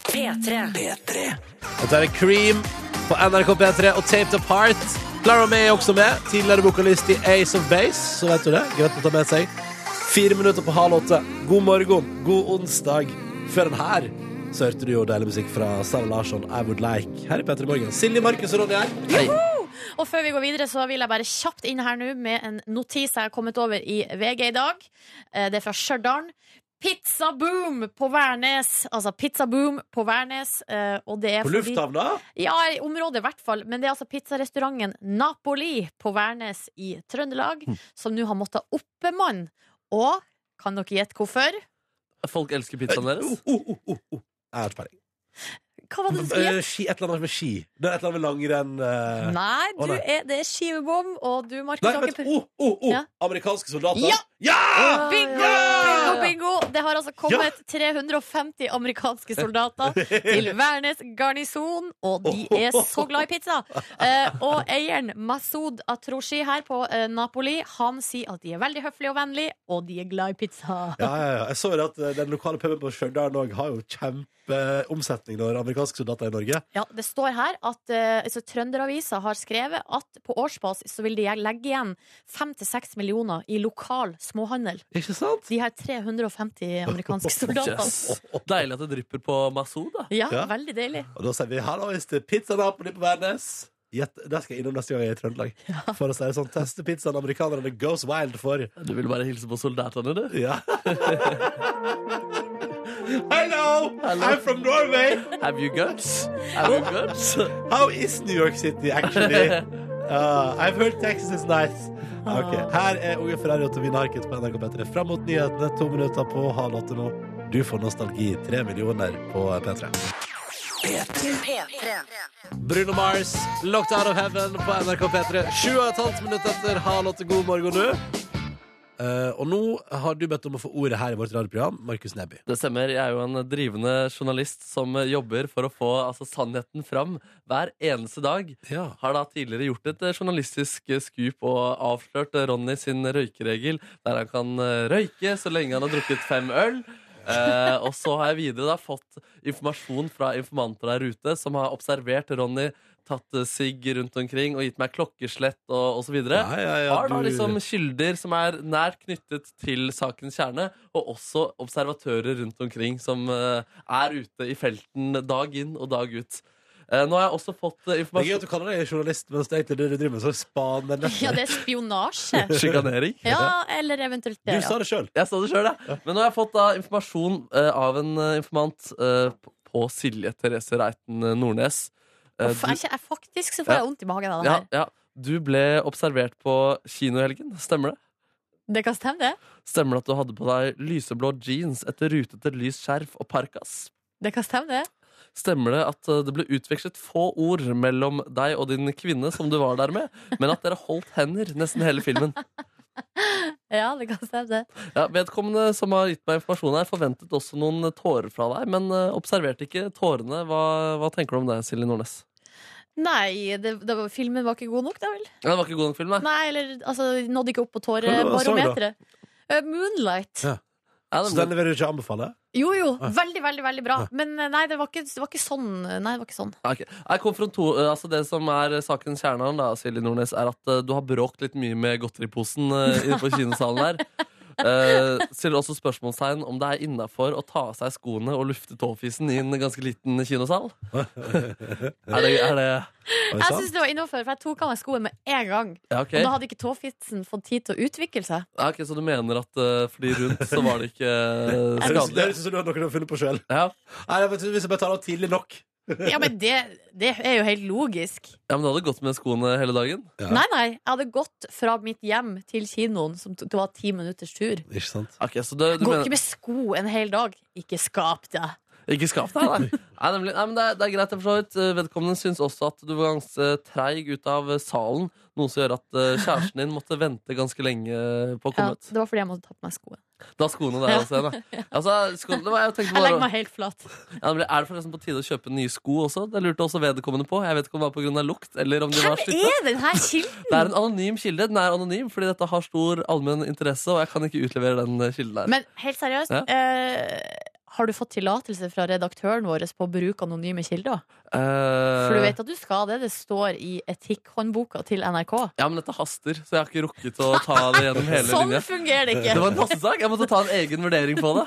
P3. Dette er Cream på NRK P3 og Taped Apart. Clara May er også med. Tidligere vokalist i Ace of Base, så vet du det. Greit å ta med seg. Fire minutter på halv åtte. God morgen, god onsdag. Før den her så hørte du jo deilig musikk fra Sara Larsson, I Would Like, her i P3 Morgen. Silje, Markus og Ronny her. Hei. Og før vi går videre, så vil jeg bare kjapt inn her nå med en notis jeg har kommet over i VG i dag. Eh, Det er fra Stjørdal. Pizza boom på Værnes. Altså pizza boom på Værnes. eh, Og det er På fordi- lufthavna. Ja, i området i hvert fall. Men det er altså pizzarestauranten Napoli på Værnes i Trøndelag Hm. som nå har måttet oppbemanne. Og kan dere gjette hvorfor? Folk elsker pizzaen sånn deres. Oh, oh, oh, oh. Jeg har ikke peiling. Hva var det du skulle Eh, gjette? Ski, et eller annet med ski. Det er et eller annet med langrenn. eh, Nei, å, du nei. er, det er skivebom, og du, Markus, Nei, har vent. ikke pr- Oh, oh, oh. Ja. Amerikanske soldater Ja. Ah, Ja! Bingo! Bingo, bingo! Det har altså kommet 350 amerikanske soldater til Værnes garnison, og de er så glad i pizza! Eh, og eieren Masoud Atroshi her på eh, Napoli, han sier at de er veldig høflige og vennlige, og de er glad i pizza. Ja, ja, ja. Jeg så jo at eh, den lokale puben på Stjørdal òg har jo kjempeomsetning når amerikanske soldater er i Norge. Ja, det står her at eh, altså, Trønderavisa har skrevet at på årsbasis så vil de legge igjen 5-6 millioner i lokal småhandel. Ikke sant? De her 350 amerikanske soldatene. Yes. Deilig at det drypper på Masud, da. Ja, Ja. veldig deilig. Og da sier vi hallois til Pizza Napoli på Værnes. Gjett- Der skal jeg innom neste gang jeg er i Trøndelag. For å si det sånn, teste pizzaen amerikanerne goes wild for. Du vil bare hilse på soldatene, du. Ja. Hello! I'm from Norway! Have you guts? Have you guts? How is New York City actually? Uh, I've heard Texas is nice. Ok, Her er Unge Ferrari og Tobine Harket på NRK P3. Fram mot nyhetene, to minutter på halv åtte nå. Du får nostalgi. Tre millioner på P3. P3. Bruno Mars, 'Locked Out of Heaven' på NRK P3. Sju og et halvt minutt etter halv åtte. God morgen, du. Eh, og nå har du bedt om å få ordet her i vårt radioprogram, Markus Neby. Det stemmer. Jeg er jo en drivende journalist som eh, jobber for å få altså, sannheten fram hver eneste dag. Ja. Har da tidligere gjort et eh, journalistisk eh, skup og avslørt eh, Ronny sin røykeregel, der han kan eh, røyke så lenge han har drukket fem øl. Eh, og så har jeg videre da fått informasjon fra informanter der ute som har observert Ronny tatt eh, sigg rundt omkring og gitt meg klokkeslett og osv. Ja, ja, ja, har da du- liksom kilder som er nært knyttet til sakens kjerne, og også observatører rundt omkring som eh, er ute i felten dag inn og dag ut. Eh, nå har jeg også fått eh, Det er gøy informasjon at du kaller deg journalist, mens det er egentlig det du driver med, så spaner Ja, det er spionasje. Sjikanering. Ja, eller eventuelt Du det. Ja. sa det sjøl. Jeg sa det sjøl, jeg. Men nå har jeg fått da informasjon eh, av en eh, informant eh, p- på Silje Therese Reiten eh, Nordnes. Eh, Uff, jeg, kje- jeg, faktisk så får jeg vondt i magen av du, det ja, her. ja, du ble observert på kino i helgen. Stemmer det? Det kan stemme, det. Stemmer det at du hadde på deg lyseblå jeans, et rutete lyst skjerf og parkas? Det kan stemme, det. Stemmer det at eh, det ble utvekslet få ord mellom deg og din kvinne som du var der med, men at dere holdt hender nesten hele filmen? Ja, det kan stemme, det. Ja, vedkommende som har gitt meg informasjon her, forventet også noen tårer fra deg, men eh, observerte ikke tårene. Hva, hva tenker du om det, Silje Nordnes? Nei, det, det var, filmen var ikke god nok, da vel? Ja, det var ikke god nok film, nei. Nei, eller altså, de nådde ikke opp på Hva var det du sa tårebarometeret. Eh, Moonlight. Ja. Ja, Så det, den vil du ikke anbefale? Jo, jo. Veldig, veldig veldig bra. Men eh, nei, det var ikke, det var ikke sånn. Nei, det var ikke sånn. ja, Ah, ok. Nei, konfronto, eh, altså det som er sakens kjerne, her da, Silje Nordnes, er at eh, du har bråkt litt mye med godteriposen eh, inne på kinosalen der. Uh, stiller også spørsmålstegn om det er innafor å ta av seg skoene og lufte tåfisen i en ganske liten kinosal. er det, er det Oi, Jeg sant? syns det var innafor, for jeg tok av meg skoen med en gang. ja, ok. Og da hadde ikke tåfitsen fått tid til å utvikle seg. Ja, ok, Så du mener at uh, fordi rundt så var det ikke eh, Det høres- det skadelig? høres ut som du har noe du har funnet på sjøl. Ja. Hvis jeg bare tar av tidlig nok. Ja, men det, det er jo helt logisk. ja, Men du hadde gått med skoene hele dagen? Ja. Nei, nei. Jeg hadde gått fra mitt hjem til kinoen, som t- det var ti minutters tur. Ikke sant? Ok, så du, du Gå mener, ikke med sko en hel dag. Ikke skap deg. Ikke skaff deg, nei. nei, nemlig, nei men det, er, det er greit, jeg forstår. Eh, Vedkommende syns også at du var ganske treig ut av eh, salen. Noe som gjør at eh, kjæresten din måtte vente ganske lenge på å Ja, komme ut. det var fordi jeg måtte ta på meg skoen. Da skoene der også igjen, da. Altså, skoene, det var, jeg tenkte Jeg legger bare, meg helt flat. ja, nemlig, er det forresten på tide å kjøpe nye sko også? Det lurte også vedkommende på. Jeg vet ikke om det var pga. lukt, eller om de var Hvem slitne. er den her kilden? Det er en anonym kilde. Den er anonym fordi dette har stor allmenn interesse, og jeg kan ikke utlevere den eh, kilden der. Men helt seriøst, Ja. eh, har du fått tillatelse fra redaktøren vår på å bruke anonyme kilder? Eh, For du vet at du skal det. Det står i etikkhåndboka til NRK. Ja, men dette haster, så jeg har ikke rukket å ta det gjennom hele Sånn linja. fungerer det Det ikke! var en hastesak. Jeg måtte ta en egen vurdering på det.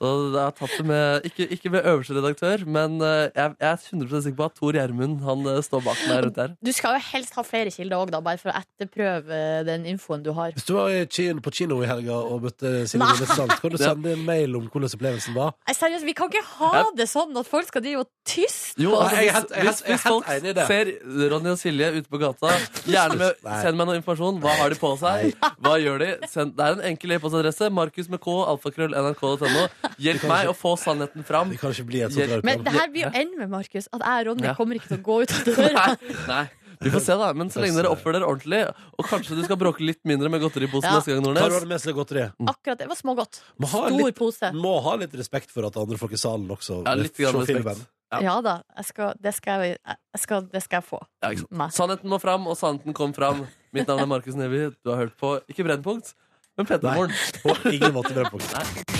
Så jeg har tatt det med Ikke, ikke med øverste redaktør, men eh, jeg, jeg er 100 sikker på at Tor Gjermund han eh, står bak meg rundt der. Du skal jo helst ha flere kilder òg, bare for å etterprøve den infoen du har. Hvis du var i Kino, på kino i helga og møtte Silje Nei. Nordnes Sant, kan du sende en mail om hvordan opplevelsen var? Nei, seriøst, vi kan ikke ha det sånn at folk skal drive og tyste! Jo, Nei, jeg er altså, helt- jeg er hvis, helt- jeg er hvis helt folk enig i det. ser Ronny og Silje ute på gata, gjerne med, Nei. send meg noe informasjon. Hva har de på seg? Hva gjør de? Send, det er en enkel e-postadresse. Markus med K, alfakrøll, nrk.no. Hjelp meg å få sannheten fram. Det kan ikke bli et sånt Men rart Men program. det her blir jo enden med, Markus. At jeg og Ronny Ja. kommer ikke til å gå ut av døra. Nei, nei. Vi får se, da. Men så lenge dere oppfører dere ordentlig, og kanskje du skal bråke litt mindre med godteriposen Ja. neste gang, Hva var Nordnes. det med seg godteri? Akkurat det var smågodt. Må ha, Stor litt, pose. må ha litt respekt for at andre folk i salen også Ja, litt grann se respekt. Ja. Ja da, jeg skal, det, skal jeg, jeg skal, det skal jeg få. Ja, ikke sant. Nei. Sannheten må fram, og sannheten kom fram. Mitt navn er Markus Neby. Du har hørt på ikke Brennpunkt, men Petter Nei. Morgen. På ingen måte brennpunkt.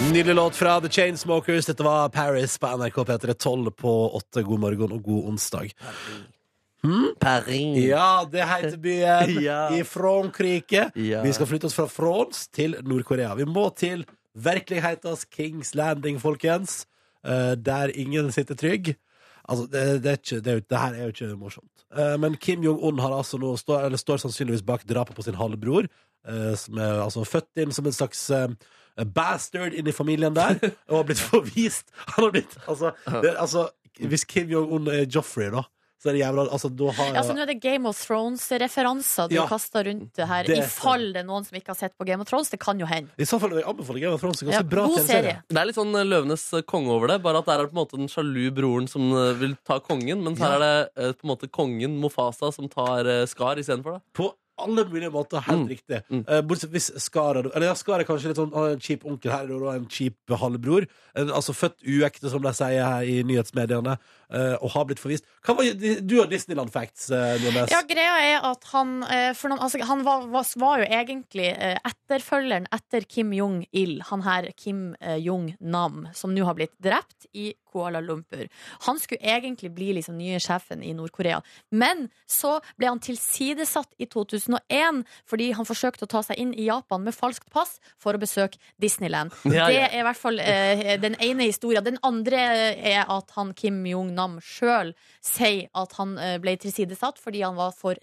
Nydelig låt fra The Chainsmokers. Dette var Paris på NRK P3 12 på 8. God morgen og god onsdag. Paris. Ja, det heter byen Ja. i Frankrike. Ja. Vi skal flytte oss fra France til Nord-Korea. Vi må til virkelighetens Kings Landing, folkens. Eh, der ingen sitter trygg. Altså, det, det, er ikke, det, er jo, det her er jo ikke morsomt. Eh, men Kim Jong-un har altså nå står, eller står sannsynligvis bak drapet på sin halvbror, eh, som er altså født inn som en slags eh, bastard inni familien der, og har blitt forvist. Han har blitt, altså, det, er- altså Hvis Kim Jong-un er Joffrey, da, så er det jævla altså, da har, Ja, så Nå er det Game of Thrones-referanser du Ja. kaster rundt det her. Det I er fall det er noen som ikke har sett på Game of Thrones. Det kan jo hende. I så fall vil jeg anbefale Game of Thrones. Ganske Ja, bra god TV-serie. serie. Det er litt sånn eh, Løvenes eh, konge over det, bare at der er det på en måte den sjalu broren som eh, vil ta kongen, mens her er det eh, på en måte kongen Mofasa som tar eh, Skar istedenfor. da. På alle mulige måter. Helt Mm. riktig. Mm. Eh, bortsett hvis Skar hadde- Eller ja, Skar er kanskje litt sånn ah, en kjip onkel her og da en kjip halvbror. En, altså født uekte, som de sier her i nyhetsmediene, eh, og har blitt forvist. Hva var di- Du har Disneyland facts, eh, Nordnes. Ja, greia er at han eh, for noen, altså, Han var, var, var jo egentlig eh, etterfølgeren etter Kim Jong-il. Han her Kim eh, Jong-nam, som nå har blitt drept i Kuala Lumpur. Han skulle egentlig bli liksom nye sjefen i Nord-Korea. Men så ble han tilsidesatt i 2001 fordi han forsøkte å ta seg inn i Japan med falskt pass for å besøke Disneyland. Ja, Det ja. er i hvert fall eh, den ene historien. Den andre er at han Kim Jong-nam sjøl sier at han eh, ble tilsidesatt fordi han var for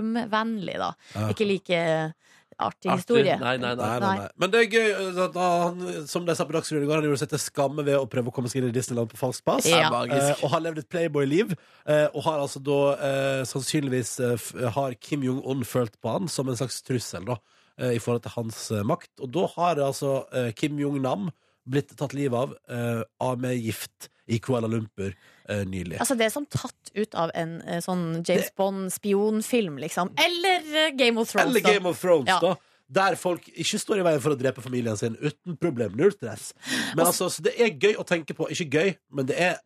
reformvennlig, da. Ja. Ikke like eh, artig Artig. historie. Nei, nei, Nei, nei, nei. Men det er gøy eh, at han, som de sa på Dagsrevyen i går, han gjorde seg til skamme ved å prøve å komme seg inn i Disneyland på falskt pass. Ja. Det er magisk. Eh, og har levd et playboy-liv. eh, og har altså da eh, sannsynligvis eh, f har Kim Jong-un følt på han som en slags trussel da, eh, i forhold til hans eh, makt. Og da har altså eh, Kim Jong-nam blitt tatt livet av eh, av med gift i Kuala Lumpur eh, nylig. Altså Det er som tatt ut av en eh, sånn James Bond-spionfilm, liksom. Eller eh, Game of Thrones. Eller da. Game of Thrones, Ja. da. Der folk ikke står i veien for å drepe familien sin uten problem. Null stress. Men altså, så det er gøy å tenke på. Ikke gøy, men det er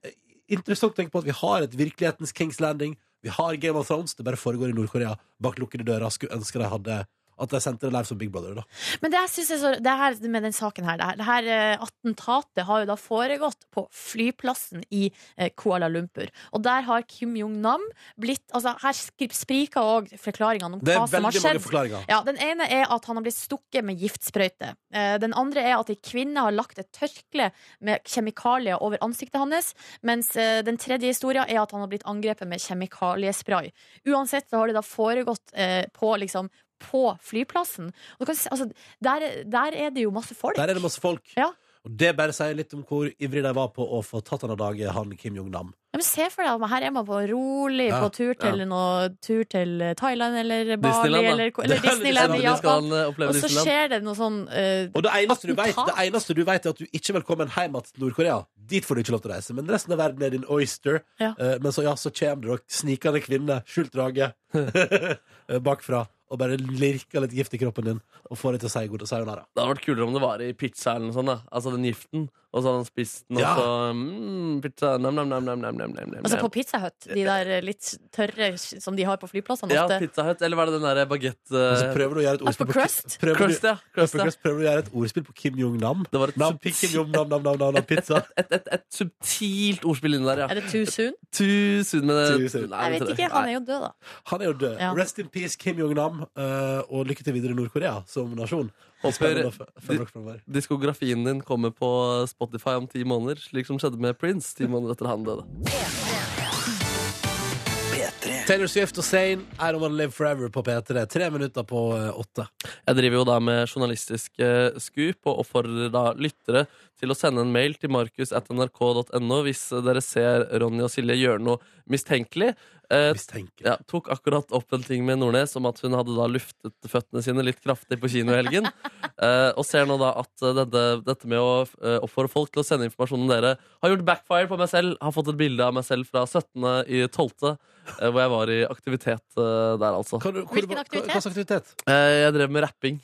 interessant å tenke på at vi har et virkelighetens Kings Landing. Vi har Game of Thrones. Det bare foregår i Nord-Korea bak lukkede dører. Skulle ønske de hadde at de sendte det live som Big Brother. da Men det her synes jeg så, det her med den saken her, det her, det her eh, attentatet har jo da foregått på flyplassen i eh, Kuala Lumpur. Og der har Kim Jong-nam blitt altså Her skri- spriker òg forklaringene om Det er hva som veldig har mange skjedd. forklaringer. Ja, Den ene er at han har blitt stukket med giftsprøyte. Eh, Den andre er at ei kvinne har lagt et tørkle med kjemikalier over ansiktet hans. Mens eh, den tredje historien er at han har blitt angrepet med kjemikaliespray. Uansett så har det da foregått eh, på liksom på flyplassen. Og du kan, se- altså, der, der er det jo masse folk. Der er det masse folk. Ja. Og det bare sier litt om hvor ivrig de var på å få tatt han av dage, han Kim Jong-nam. Ja, men se for deg at her er man på rolig Ja, på tur til, noe, tur til Thailand eller Bali Disneyland, da. eller, eller Disneyland i Endelig skal Japan. han eh, Og oppleve så Disneyland. skjer det noe sånn eh, Og det eneste, du vet, Attentat? det eneste du vet, er at du ikke er velkommen hjem igjen til Nord-Korea. Dit får du ikke lov til å reise. Men resten av verden er din oyster. Ja. Eh, men så, ja, så kommer det nok snikende kvinner, skjult drage, eh, bakfra. Og bare lirker litt gift i kroppen din og får deg til å si god og sayonara. Det hadde vært kulere om det var i pizza eller noe sånt. da Altså den giften. Og så hadde han spist den, Ja. og så mm, pizza nam, nam, nam, nam, nam, nam, nam, nam. Altså på Pizza Hut, de der eh, litt tørre som de har på flyplassene Ja, ofte. Pizza Hut. Eller var det den derre bagett... Og så prøver du å gjøre et Altså, ordspill på crust? prøver du- Eh, Crust, ja. Crust, På ja. crust prøver du å gjøre et ordspill på Kim Jong-nam. Det var et, Nam, subtilt- Kim Jong-nam, nam, nam, nam, nam, pizza. et, et, et subtilt ordspill inni der, ja. Er det too soon? Too soon, men eh, Too soon. Nei, Jeg det vet tror jeg ikke, han er jo død, da. Han er jo død. Ja. Rest in peace, Kim Jong-nam. eh, og lykke til videre i Nord-Korea som nasjon. Spennende å Håper f- følge dere fremover. diskografien din kommer på Spotify om ti måneder, slik som skjedde med Prince ti måneder etter han døde. Taylor Swift og Zayn I Don't Wanna Live Forever på P3. Tre minutter på eh, åtte. Jeg driver jo da med journalistisk eh, skup og oppfordrer da lyttere til å sende en mail til markus.nrk.no hvis eh, dere ser Ronny og Silje gjøre noe mistenkelig. Eh, Mistenker. ja, tok akkurat opp en ting med Nordnes om at hun hadde da luftet føttene sine litt kraftig på kino i helgen. Eh, og ser nå da at eh, dette, dette med å eh, oppfordre folk til å sende informasjon om dere har gjort backfire på meg selv. Har fått et bilde av meg selv fra 17. i 12., eh, hvor jeg var i aktivitet eh, der, altså. Kan du- hvor- Hvilken hva- aktivitet? Hva slags aktivitet? Eh, jeg drev med rapping.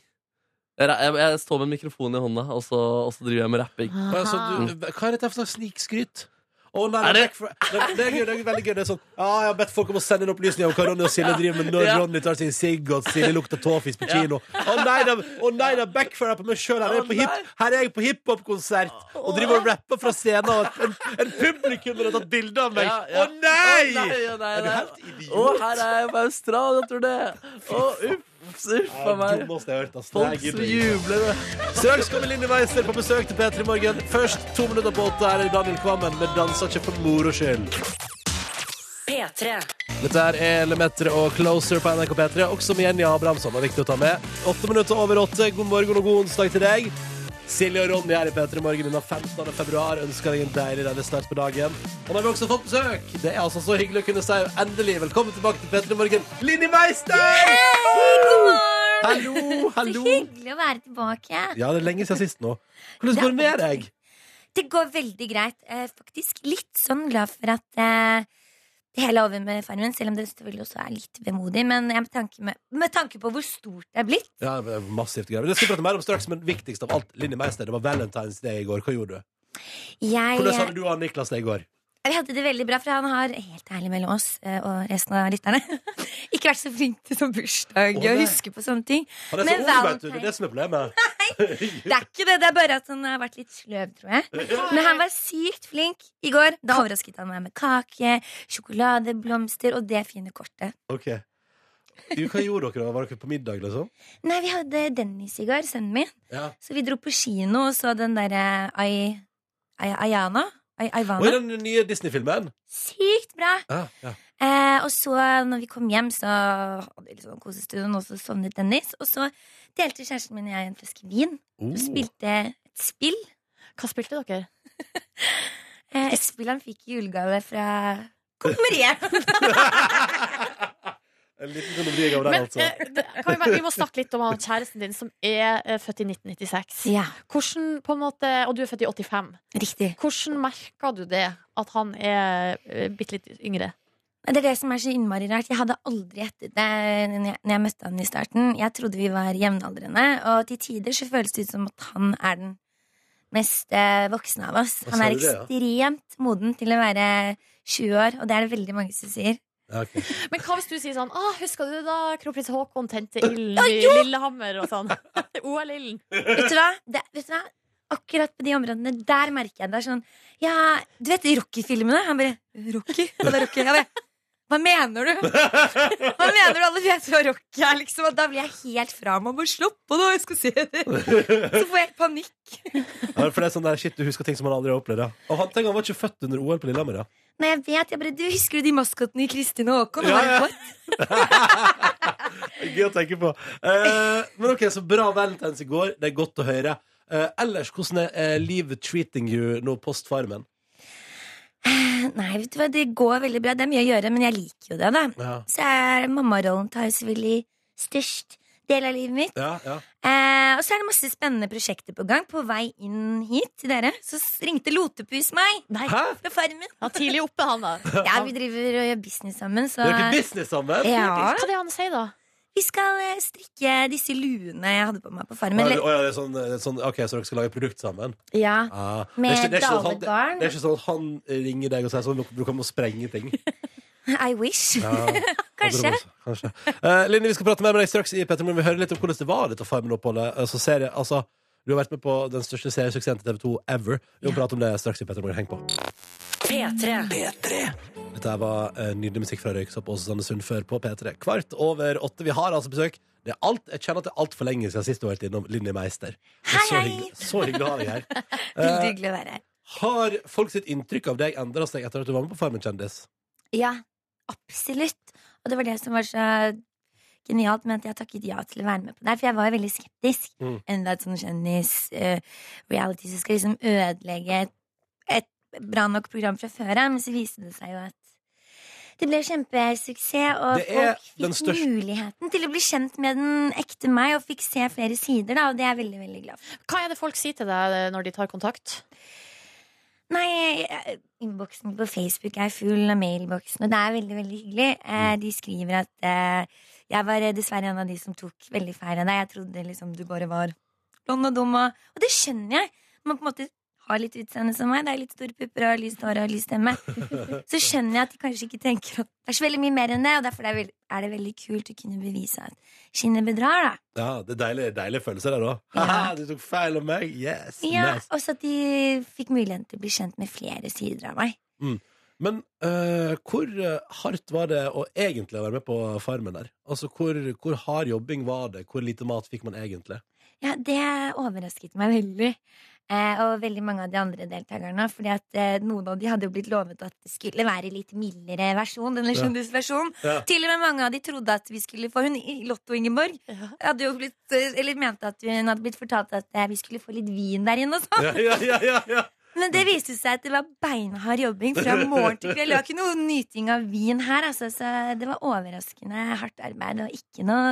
Jeg, ra- jeg, jeg står med en mikrofon i hånda, og så, og så driver jeg med rapping. Hva er, så Aha. du, hva er dette for slags snikskryt? Å, nei, Er det, det- det, det, er gøy, det er veldig gøy. Det er sånn Ja, jeg har bedt folk om å sende inn opplysninger om hva Ronny og Silje driver med når Ja. Ronny tar sin sigg og Silje lukter tåfis på kino. Å nei, det er- å nei, det er backfire på meg sjøl. Her er jeg på Å, hip- nei. her er jeg på hiphop-konsert og driver og rapper fra scenen, og en, en publikummer har tatt bilde av meg. Ja, ja. Å nei! Å, nei, å, nei, Er du nei. helt Å, idiot? her er jeg på Australia, tror du det? Å, uff, uff Det a er det meg. dummeste jeg har hørt. ass. Nei, Folk gud, som det er- jubler. Straks kommer Linni Weiser på besøk til P3 Morgen. Først to minutter på åtte her er Daniel Kvammen med 'Danser ikke for moro skyld'. P3. Dette her er Lemetre og Closer på NRK P3, også med Jenny Abrahamsson. Det er viktig å ta med. Åtte minutter over åtte. God morgen og god onsdag til deg. Silje og Ronny her i P3 Morgen innen 15. februar. Ønsker deg en deilig deilig start på dagen. Og nå har vi også fått besøk. Det er altså så hyggelig å kunne si endelig velkommen tilbake til P3 Morgen, Linni Meister! Hallo, hallo. Hyggelig å være tilbake. Ja, det er lenge siden sist nå. Hvordan går det med deg? Det går veldig greit. Jeg er faktisk litt sånn glad for at eh, det hele er over med Farmen, selv om det selvfølgelig også er litt vemodig. Men jeg med tanke, med, med tanke på hvor stort det er blitt Ja, det er massivt greier. Det skal vi prate mer om straks, men viktigst av alt, Linni Meister, det var Valentine's Day i går. Hva gjorde du? jeg, Hvordan hadde du og Niklas det i går? jeg hadde det veldig bra, for han har, helt ærlig mellom oss eh, og resten av lytterne, ikke vært så flink til sånn bursdag Å, og nei. huske på sånne ting. Han er så Men ung, vet du. Det er det som er problemet. Det er ikke det, det er bare at han har vært litt sløv, tror jeg. Men han var sykt flink i går. Da overrasket han meg med kake, sjokolade, blomster og det fine kortet. Ok. Du, hva gjorde dere da? Var dere på middag, liksom? Nei, vi hadde Dennis i går, sønnen min. Ja. Så vi dro på kino og så den derre Ay... Ay... Ayana? Ay... Og i Ayvana? den nye Disney-filmen? Sykt bra! Ja, ja. Eh, og så, når vi kom hjem, så hadde vi litt sånn kosestund, og så sovnet Dennis. Og så delte kjæresten min og jeg en flaske vin Oh. og spilte et spill. Hva spilte dere? Eh, et spill han fikk i julegave fra Kong Marie. En liten kondomeri av den, Men, altså. eh, det, kan vi, bare, vi må snakke litt om han kjæresten din, som er eh, født i 1996. ja, Hvordan, på en måte, og du er født i 85. riktig. Hvordan merka du det, at han er eh, bitte litt yngre? Nei, Det er det som er så innmari rart. Jeg hadde aldri gjettet det når jeg- når jeg møtte han i starten. Jeg trodde vi var jevnaldrende, og til tider så føles det ut som at han er den mest eh, voksne av oss. Hva Han sa er du det, ekstremt moden til å være 20 år, og det er det veldig mange som sier. Ja, ok. Men hva hvis du sier sånn ah, 'Husker du da kronprins Haakon tente ilden i Lillehammer?' og sånn. OL-ilden. Vet du hva? Det, vet du hva? Akkurat på de områdene der merker jeg det er sånn Ja, du vet Rocky-filmene? Han bare Rocky? Hva er Rocky? Jeg bare, hva mener du? Hva mener du? Alle vet hva Rocky er, liksom. Og da blir jeg helt fra meg. Bare slapp av, da. Jeg skal se det. Så får jeg panikk. Ja, for det er sånn der, shit, du husker ting som han aldri har opplevd. Ja. Og han tenker han var ikke født under OL på Lillehammer, ja. Nei, jeg vet, jeg bare, du Husker du de maskotene i Kristin og Håkon? Ja, Ja, ja. Gøy å tenke på. Eh, men ok, så bra Valentine's i går. Det er godt å høre. Eh, ellers, hvordan er eh, livet treating you nå post Farmen? Nei, vet du hva, det går veldig bra. Det er mye å gjøre, men jeg liker jo det, da. Ja. Så er mammarollen tar jo selvfølgelig størst del av livet mitt. Ja, ja. Eh, og så er det masse spennende prosjekter på gang. På vei inn hit til dere så s- ringte Lotepus meg Nei. Hæ? fra Farmen. Ja, tidlig oppe, han da. Ja, vi driver og gjør business sammen, så Gjør dere business sammen? ja. Hva er det han sier, da? Vi skal eh, strikke disse luene jeg hadde på meg på Farmen. Å Eller, ja, det er sånn, det er sånn, ok, så dere skal lage produkt sammen? ja. Ah, Med det er ikke- det er ikke sånn at han- dalegarn. Det er ikke sånn at han ringer deg og sier sånn, du kommer og sprenge ting. I wish. Ja, Kanskje. Kanskje. Eh, Linni, vi skal prate mer med deg straks i Petter Morgen. Vi hører litt om hvordan det var dette Farmen-oppholdet. Altså, serie, altså, du har vært med på den største seriesuksessen til TV 2 ever. Vi må prate om det straks i Petter Morgen. Heng på. P3. Dette her var eh, nydelig musikk fra Røyksopp og Susanne Sund før på P3. Kvart over åtte. Vi har altså besøk. Det er alt, jeg kjenner at det er altfor lenge siden sist du har vært innom Linni Meister. Det er Så Hei, hei. hyggelig, så hyggelig å ha deg her. Eh, Veldig hyggelig å være her. Har folk sitt inntrykk av deg endra seg etter at du var med på Farmen kjendis? Ja, Absolutt. Og det var det som var så genialt med at jeg takket ja til å være med på det her, for jeg var jo veldig skeptisk. Mm. Enda et sånn kjendis-reality som skal liksom ødelegge et, et bra nok program fra før av, men så viste det seg jo at det ble kjempesuksess, og Det er folk den fikk største- muligheten til å bli kjent med den ekte meg, og fikk se flere sider, da, og det er jeg veldig, veldig glad for. Hva er det folk sier til deg eh, når de tar kontakt? Nei, eh, innboksen på Facebook er full av mailboksen, og det er veldig, veldig hyggelig. Eh, De skriver at eh, jeg var eh, dessverre en av de som tok veldig feil av deg. Jeg trodde liksom du bare var blond og dum, og, og det skjønner jeg. Man på en måte har litt utseende som meg. Det er litt store pupper og lyst hår og lys stemme. Så skjønner jeg at de kanskje ikke tenker at det er så veldig mye mer enn det, og derfor er det veld- er det veldig kult å kunne bevise at skinnet bedrar, da. Ja, det er deilige, deilige følelser der, da. Haha, du tok feil om meg! Yes! Ja, Nice. også at de fikk muligheten til å bli kjent med flere sider av meg. Men eh, hvor eh, hardt var det å egentlig være med på Farmen der? Altså, hvor, hvor hard jobbing var det? Hvor lite mat fikk man egentlig? Ja, det overrasket meg veldig. Eh, og veldig mange av de andre deltakerne. Fordi at eh, noen av de hadde jo blitt lovet at det skulle være litt mildere versjon. Denne Ja. kjendisversjonen. Ja. Til og med mange av de trodde at vi skulle få hun i Lotto-Ingeborg. Hadde jo blitt, eh, eller mente at hun hadde blitt fortalt at eh, vi skulle få litt vin der inne og sånn. Ja, ja, ja, ja, ja. Men det viste seg at det var beinhard jobbing fra morgen til kveld. Det var ikke noe nyting av vin her, altså. Så det var overraskende hardt arbeid og ikke noe,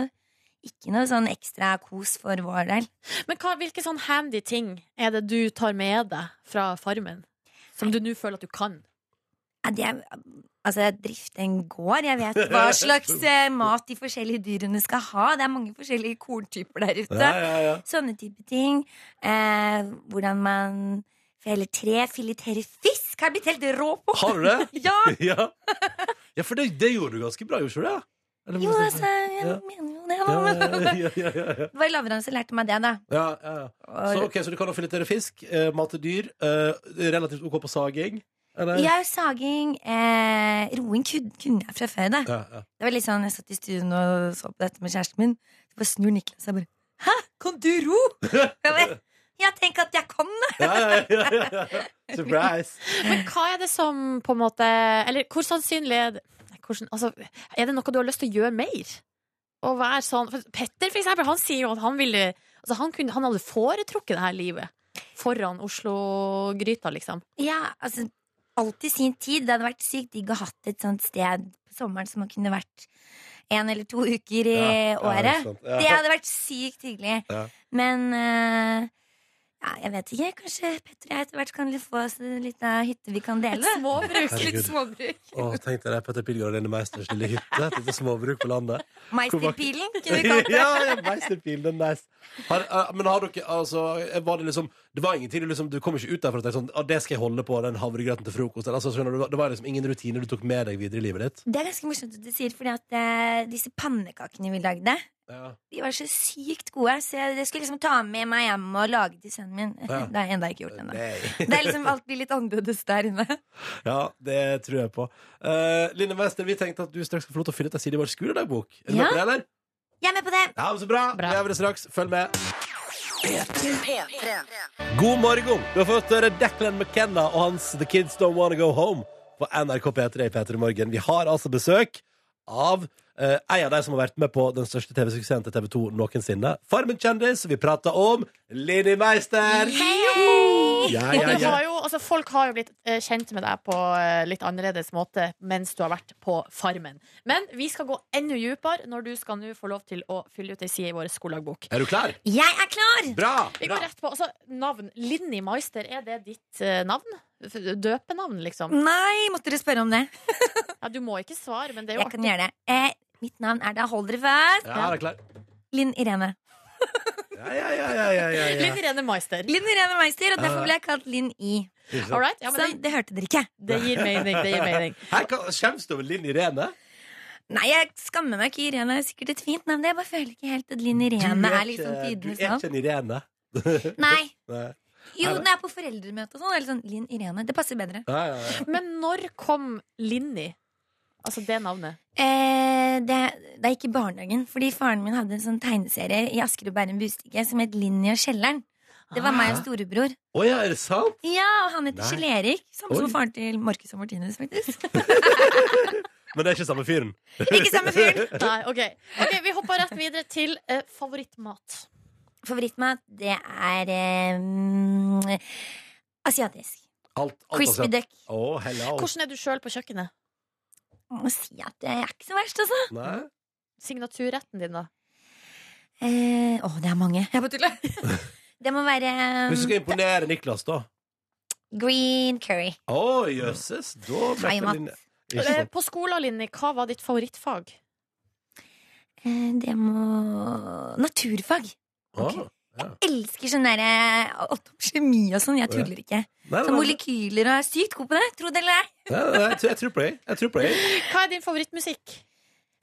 ikke noe sånn ekstra kos for vår del. Men hva, hvilke sånn handy ting er det du tar med deg fra Farmen? Som du nå føler at du kan? Ja, det er, altså, jeg drifter en gård. Jeg vet hva slags eh, mat de forskjellige dyrene skal ha. Det er mange forskjellige korntyper der ute. ja, ja, ja. Sånne type ting. Eh, hvordan man feller tre, fileterer fisk. Har jeg blitt helt rå på! Har du det? Ja! ja. ja, for det, det gjorde du ganske bra, gjorde du ikke det? Eller- Jo, altså, jeg Ja. mener jo det, Ja, ja, da. ja, ja, ja, ja. Det var Lavran som lærte meg det, da. ja, ja, ja. Og- Så, ok, så du kan filetere fisk, eh, mate dyr, eh, relativt ok på saging? Eller? Ja, saging, eh, roing kun- kunne jeg fra før, da. Ja, ja. Det var litt sånn, Jeg satt i studio og så på dette med kjæresten min. Så bare snur Niklas og bare 'Hæ, kan du ro?' Jeg bare, ja, tenk at jeg kan det! Ja, ja, ja, ja, ja. Surprise! Men hva er det som på en måte Eller hvor sannsynlig er det nei, hvordan, altså, Er det noe du har lyst til å gjøre mer? Å være sånn for Petter, for eksempel, han sier jo at han ville altså, han, kunne, han hadde foretrukket det her livet foran Oslo-gryta, liksom. Ja, altså, Alt i sin tid. Det hadde vært sykt digg å hatt et sånt sted på sommeren som man kunne vært en eller to uker Ja, ja, i det er året. sant. det, Ja. hadde vært sykt hyggelig. Ja. Men eh, ja, jeg vet ikke. Kanskje Petter og jeg etter hvert kan få oss en liten hytte vi kan dele. Småbruk. Herregud. Litt småbruk. Å, tenk deg det, Petter Pilgaard og Lene Meisters lille hytte. Et lite småbruk på landet. Maisterpilen, kunne vi ja, kalt det. ja, Meisterpil, den er nice. Har, eh, men har dere altså, var det, liksom, det var ingenting du liksom, Du kom ikke ut derfra og tenkte sånn ah, Det skal jeg holde på, den havregrøten til frokost. eller, Altså, skjønner du, det var liksom ingen rutiner du tok med deg videre i livet ditt? Det er ganske morsomt at du sier, fordi at eh, disse pannekakene vi lagde, Ja. de var så sykt gode, så jeg, jeg skulle liksom ta med meg hjem og lage til sønnen min. Ja. Det har jeg enda ikke gjort ennå. Nei. Det er liksom alt blir litt annerledes der inne. ja, det tror jeg på. Eh, Line Meister, vi tenkte at du straks skal få lov til å fylle ut ei side i vår skoledagbok. Er du Ja. med på det, eller? Jeg er med på det! Ja, men så bra. Bra. Vi gjør det straks. Følg med. P3. God morgen! Du har fått høre Declan McKenna og hans The Kids Don't Wanna Go Home på NRK P3 i P3 Morgen. Vi har altså besøk av eh, en av de som har vært med på den største TV-suksessen til TV 2 noensinne. Farmen kjendis. Vi prater om Linni Meister! Ja, Og ja, det ja. var jo, altså, folk har jo blitt eh, kjent med deg på eh, litt annerledes måte mens du har vært på Farmen. Men vi skal gå enda dypere når du skal nå få lov til å fylle ut ei side i vår skoledagbok. Er du klar? Jeg er klar! Bra! Vi bra. går rett på altså, navn. Linni Meister, er det ditt eh, navn? F- Døpenavn, Mm. liksom? Nei, måtte dere spørre om det? Ja, du må ikke svare, men det er jo Jeg kan artig. gjøre det. Eh, mitt navn er da, hold dere fast, Ja, er du klar? Linn Irene. Ja, ja, ja, ja, ja, ja, ja. Linn Irene Meister. Linn Irene Meister, og Ja. derfor ble jeg kalt Linn I. Ikke All sant? right? Ja, Så men det, det hørte dere ikke. det gir mening. Det gir mening. Her kan- Skjemmes du over Linn Irene? Nei, jeg skammer meg ikke. Irene er sikkert et fint navn. men Jeg bare føler ikke helt at Linn Du Irene er ikke- liksom Du er tidenes ikke navn. en Irene. Nei. Nei. Jo, Er det? når jeg er på foreldremøte og sånn, eller sånn Linn Irene. Det passer bedre. Ja, ja, ja. Men når kom Linni? Altså det navnet. Eh, det, det er ikke barnehagen, fordi faren min hadde en sånn tegneserie i Asker og Bærum Bustikke som het Linni og kjelleren. Det var meg og storebror. Å ja, er det sant? Ja, og han heter Ah. Nei. Kjell Erik. Samme Oi. som faren til Marcus og Martinus, faktisk. Men det er ikke samme fyren. Ikke samme fyren. Nei, ok. Ok, Vi hopper rett videre til eh, favorittmat. Favorittmat, det er eh, mm, asiatisk. Alt, alt Crispy altså. duck. Å, hello. Hvordan er du sjøl på kjøkkenet? Jeg Må si at det er ikke så verst, altså. Nei? Signaturretten din, da? Eh, Å, det er mange. Jeg bare tuller. Det må være Hvis du eh, skal imponere Niklas, da. green curry. Å, jøsses. Da ble Thaimat. det linje. Ikke Eh, sant? På skolen, Linni, hva var ditt favorittfag? Eh, Det må Naturfag. Ah, Elsker sånn derre åttom kjemi og sånn. Jeg Å, ja. tuller ikke. Nei, Så nei, nei. molekyler og er sykt god på det. Tro det eller ei. Nei, nei, nei, jeg tror- jeg tror på deg. Jeg tror på deg. Hva er din favorittmusikk?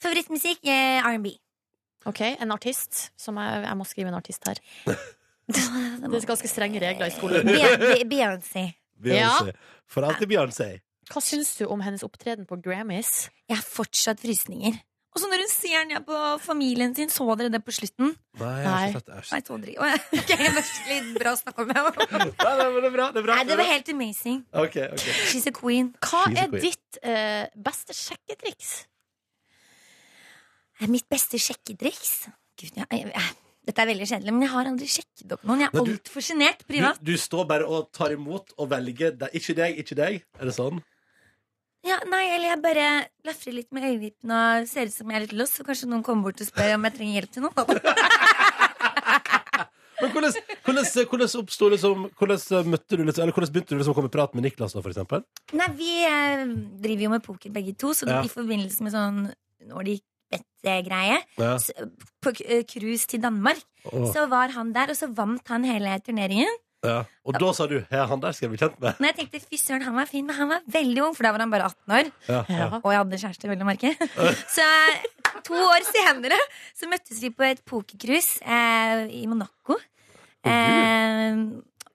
Favorittmusikk? Eh, R&B. Ok, En artist? Som jeg, jeg må skrive en artist her. Det Det er ganske strenge regler i skolen. Be- Be- Beyoncé. Beyoncé. For alltid Beyoncé. Hva syns du om hennes opptreden på Grammys? Jeg har fortsatt frysninger. Og så når hun ser ned på familien sin, så dere det på slutten? Nei, jeg har Nei. ikke sett det. Jeg har ikke Nei, sett det. så dere ikke. Å, ja. Ok, det var litt bra å snakke om. ja. Nei, nei, men det er bra. Det er bra. Nei, det det er var bra. helt amazing. Ok, ok. She's a queen. Hva She's a er queen. ditt eh, beste sjekketriks? Er Mitt beste sjekketriks Gud, jeg, jeg, jeg, Dette er veldig kjedelig, men jeg har aldri sjekket opp noen. Jeg Men er du- altfor sjenert privat. Du, du står bare og tar imot og velger deg. Ikke deg, ikke deg. Er det sånn? Ja, nei, eller jeg bare lafrer litt med øyevippene og ser ut som jeg er litt lost, så kanskje noen kommer bort og spør om jeg trenger hjelp til noe. Men hvordan, hvordan, hvordan oppsto liksom Hvordan møtte du liksom, Eller hvordan begynte du liksom å komme i prat med Niklas, da, for eksempel? Nei, vi eh, driver jo med poker begge to, så det Ja. blir i forbindelse med sånn når de bet-greie. Ja. s- På k- eh, cruise til Danmark. Å, Så var han der, og så vant han hele turneringen. ja. Og da sa du Ja, han der skal jeg bli kjent med. Og jeg tenkte fy søren, han var fin, men han var veldig ung, for da var han bare 18 år. Ja, ja. Ja. Og jeg hadde kjæreste, vel å merke. Så to år senere så møttes vi på et pokercruise eh, i Monaco. Eh,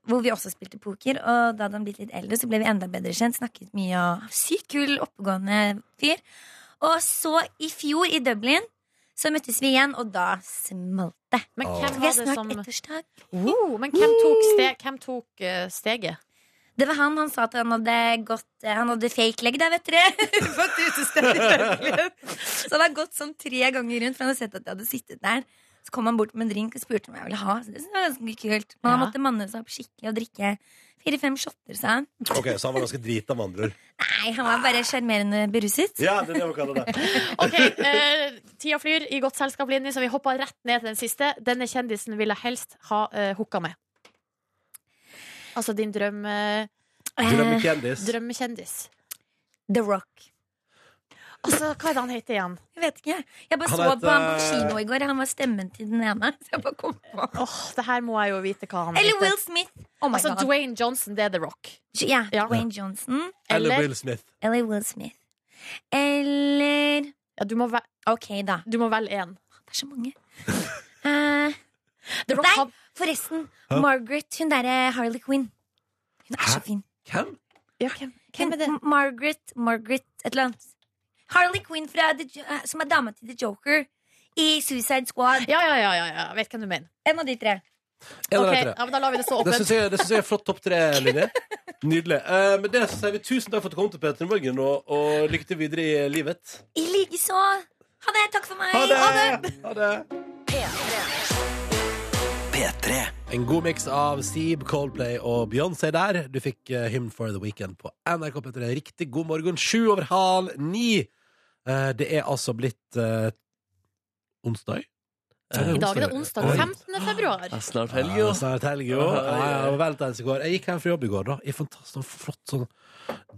hvor vi også spilte poker. Og da hadde han blitt litt eldre, så ble vi enda bedre kjent. Snakket mye og Sykt kul, oppegående fyr. Og så i fjor, i Dublin, så møttes vi igjen, og da smalt det. Men Åh. hvem Vi har var det snart som ettårsdag. oh, Men hvem tok, ste hvem tok eh, steget? Det var han han sa at han hadde gått eh, Han hadde fake leg der, vet dere. På et utested i Berlin. Så han hadde gått sånn tre ganger rundt, for han hadde sett at jeg hadde sittet der. Så kom han bort med en drink og spurte om jeg ville ha. Så det synes jeg var ganske kult Men han Ja. måtte manne seg opp skikkelig og drikke fire-fem shotter, sa han. Ok, Så han var ganske drita, med andre ord. Nei, han var bare sjarmerende beruset. Ja, det er det man kaller det. Ok, eh, Tida flyr i godt selskap, Linni, så vi hopper rett ned til den siste. Denne kjendisen vil jeg helst ha eh, hooka med. Altså din drøm, eh, Eh, Drømmekjendis. drømmekjendis. The Rock. Altså, hva er det han heter igjen? Jeg vet ikke. Jeg bare Han så heter- på ham på kino i går. Han var stemmen til den ene. Så jeg bare kom på. Åh, Det her må jeg jo vite hva han Eller heter. Will Smith. Oh my Altså God. Dwayne Johnson, det er The Rock. Ja, Ja. Dwayne Johnson. Eller Eller- Will Smith. Eller Will Smith. Eller Ja, du, må vel, Ok, da. du må velge én. Det er så mange. Eh, The Rock nei, han- forresten. Hæ? Margaret, hun derre Harley Quinn. Hun er så Hæ? fin. Hvem? ja, hvem, hvem er det? M- Margaret, Margaret et eller annet. Harley Quinn fra The Jo- eh, som er dama til The Joker i Suicide Squad. Ja, ja, ja, ja, ja. jeg vet hvem du mener. En av de tre. En av Ok, de tre. ja, men Da lar vi det stå Det åpent. syns jeg, det synes jeg er flott topp tre-linje. Nydelig. Eh, med det så sier vi tusen takk for at du kom til Peter Morgen, og, og lykke til videre i livet. I likeså. Ha det. Takk for meg. Ha det! Ha det. En god miks av Seeb, Coldplay og Beyoncé der. Du fikk eh, Hymn for the Weekend på NRK P3. Riktig god morgen. Sju over halv ni. Eh, det er altså blitt eh, onsdag. Eh, I dag er det onsdag Oi. 15. februar. Det er snart Ja, helg, jo. Snart helg, jo. Ja, ja, Ja, ja. ja, og veldig i går. Jeg gikk hjem fra jobb i går, da. I fantastisk flott, sånn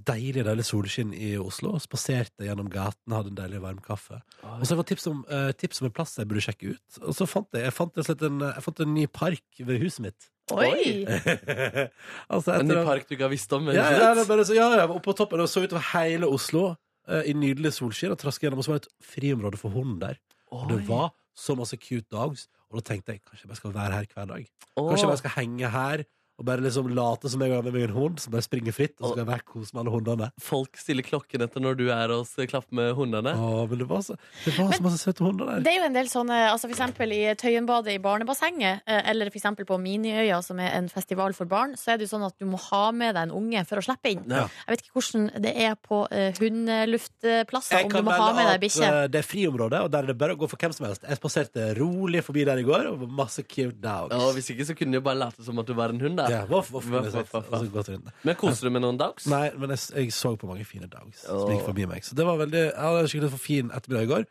deilig, deilig solskinn i Oslo. Spaserte gjennom gaten, hadde en deilig varm kaffe. Og så var det tips om, eh, tips om en plass jeg burde sjekke ut. Og så fant jeg, jeg fant, rett og slett en, jeg fant en ny park ved huset mitt. Oi! altså, En etter ny at- park du ikke har visst om. men ja, ikke ja, det sant? er bare så, ja, ja, jeg var oppe på toppen og så utover hele Oslo eh, i nydelig solskinn og traska gjennom. Og så var det et friområde for hunden der. Og det Oi. var så masse cute dogs. Og da tenkte jeg kanskje jeg bare skal være her hver dag. Åh. Kanskje jeg bare skal henge her Og bare liksom late som jeg har med meg en hund, som bare springer fritt. Og så skal jeg være kos med alle hundene. Folk stiller klokken etter når du er hos Klapp med hundene. Å, men det var så, det var så masse søte hunder der. Det er jo en del sånne, altså for eksempel i Tøyenbadet i barnebassenget, eh, eller for eksempel på Miniøya, som er en festival for barn, så er det jo sånn at du må ha med deg en unge for å slippe inn. Ja. Jeg vet ikke hvordan det er på eh, hundeluftplasser, Jeg om kan du må melde ha med deg at bikkje. eh, det er friområde, og der er det bare å gå for hvem som helst. Jeg spaserte rolig forbi der i går, og masse cute dogs. Ja, og hvis ikke så kunne de jo bare late som at du var en hund. Da. Ja, voff, voff, Voff, voff, voff, voff, Og så gått rundt. Men koser du med noen dags? Nei, men jeg, jeg så på mange fine dogs som Åh. gikk forbi meg. Så det var veldig, jeg hadde en skikkelig for fin ettermiddag i går.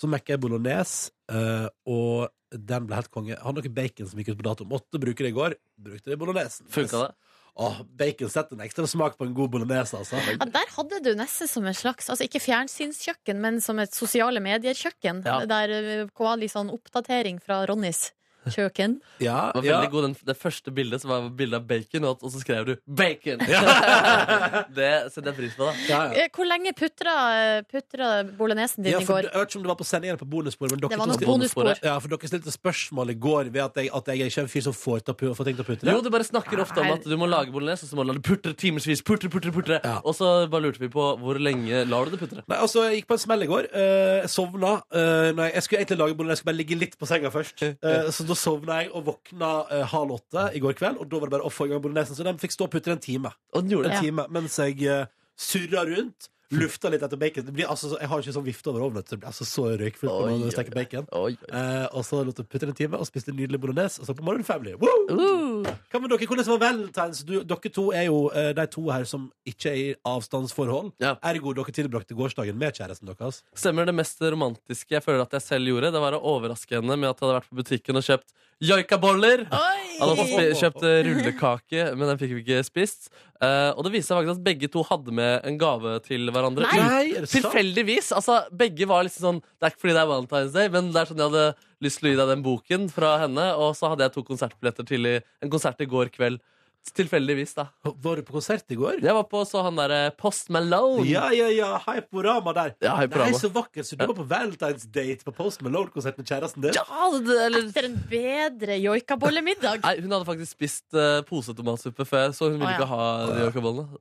Så mekka jeg bolognese, eh, og den ble helt konge. Jeg hadde noe bacon som gikk ut på dato. Måtte bruke det i går. Brukte det i bolognesen. Funka det? Åh, bacon setter en ekstra smak på en god bolognese, altså. Ja, der hadde du nesten som en slags, altså ikke fjernsynskjøkken, men som et sosiale medier-kjøkken, Ja. der eh, var litt sånn oppdatering fra Ronnys kjøkken. Ja, Det var ja. veldig god, den, Det første bildet så var bildet av bacon, og, og så skrev du 'bacon'! det setter jeg pris på, da. Ja, ja. Eh, Hvor lenge putra, putra bolognesen din Ja, i for, går? jeg vet ikke om det sånn. var på sendingen eller på bonussporet, men dere Det var to noe stilte- bonusspor. Ja, for dere stilte spørsmål i går ved at jeg, at jeg er ikke er en fyr som får, til å pu- får tenkt å putte det. Jo, du bare snakker ofte om Nei. at du må lage bolognese, og så må du la det putre timevis. Putre, putre, putre. Ja. Og så bare lurte vi på hvor lenge lar du det putre. Nei, altså, Jeg gikk på en smell i går. eh, Jeg sovna. eh, nei, jeg skulle egentlig lage bolognese, jeg skulle bare ligge litt på senga først. Eh, så da sovna jeg og våkna eh, halv åtte i går kveld, og da var det bare å få i gang bolognesen. Så den fikk stå og putte i en time. Og den gjorde En det. Ja. time mens jeg uh, surra rundt, lufta litt etter bacon. Det blir, altså, så- jeg har ikke sånn vifte over ovnen, vet du. det blir altså så røykfullt Oi, når oi, du steker bacon. Oi, oi. Eh, og så lot jeg putte den en time og spiste en nydelig bolognese. Og så på morgenen family. Woo! Uh. Hva med dere? Hvordan var valentines? Du, dere to er jo eh, de to her som ikke er i avstandsforhold. Ja. Ergo dere tilbrakte gårsdagen med kjæresten deres. Stemmer det mest romantiske jeg føler at jeg selv gjorde, det var å overraske henne med at jeg hadde vært på butikken og kjøpt joikaboller. Jeg hadde også spi- kjøpt eh, rullekake, men den fikk vi ikke spist. Eh, og det viste seg faktisk at begge to hadde med en gave til hverandre. Nei. er det sant? Tilfeldigvis. Altså, begge var liksom sånn Det er ikke fordi det er Valentine's Day, men det er sånn jeg hadde lyst til å gi deg den boken fra henne, og så hadde jeg to konsertbilletter til i, en konsert i går kveld. Tilfeldigvis, da. Var du på konsert i går? Jeg var på så han derre Post Malone. Ja, ja, ja. Hyporama der. Ja, Hyporama. Nei, så vakkert. Så du var på valentinsdate på Post Malone-konsert med kjæresten din? Ja, det, eller Etter en bedre joikabollemiddag. Nei, hun hadde faktisk spist eh, posetomatsuppe før, så hun ville Å, ja. ikke ha de joikabollene.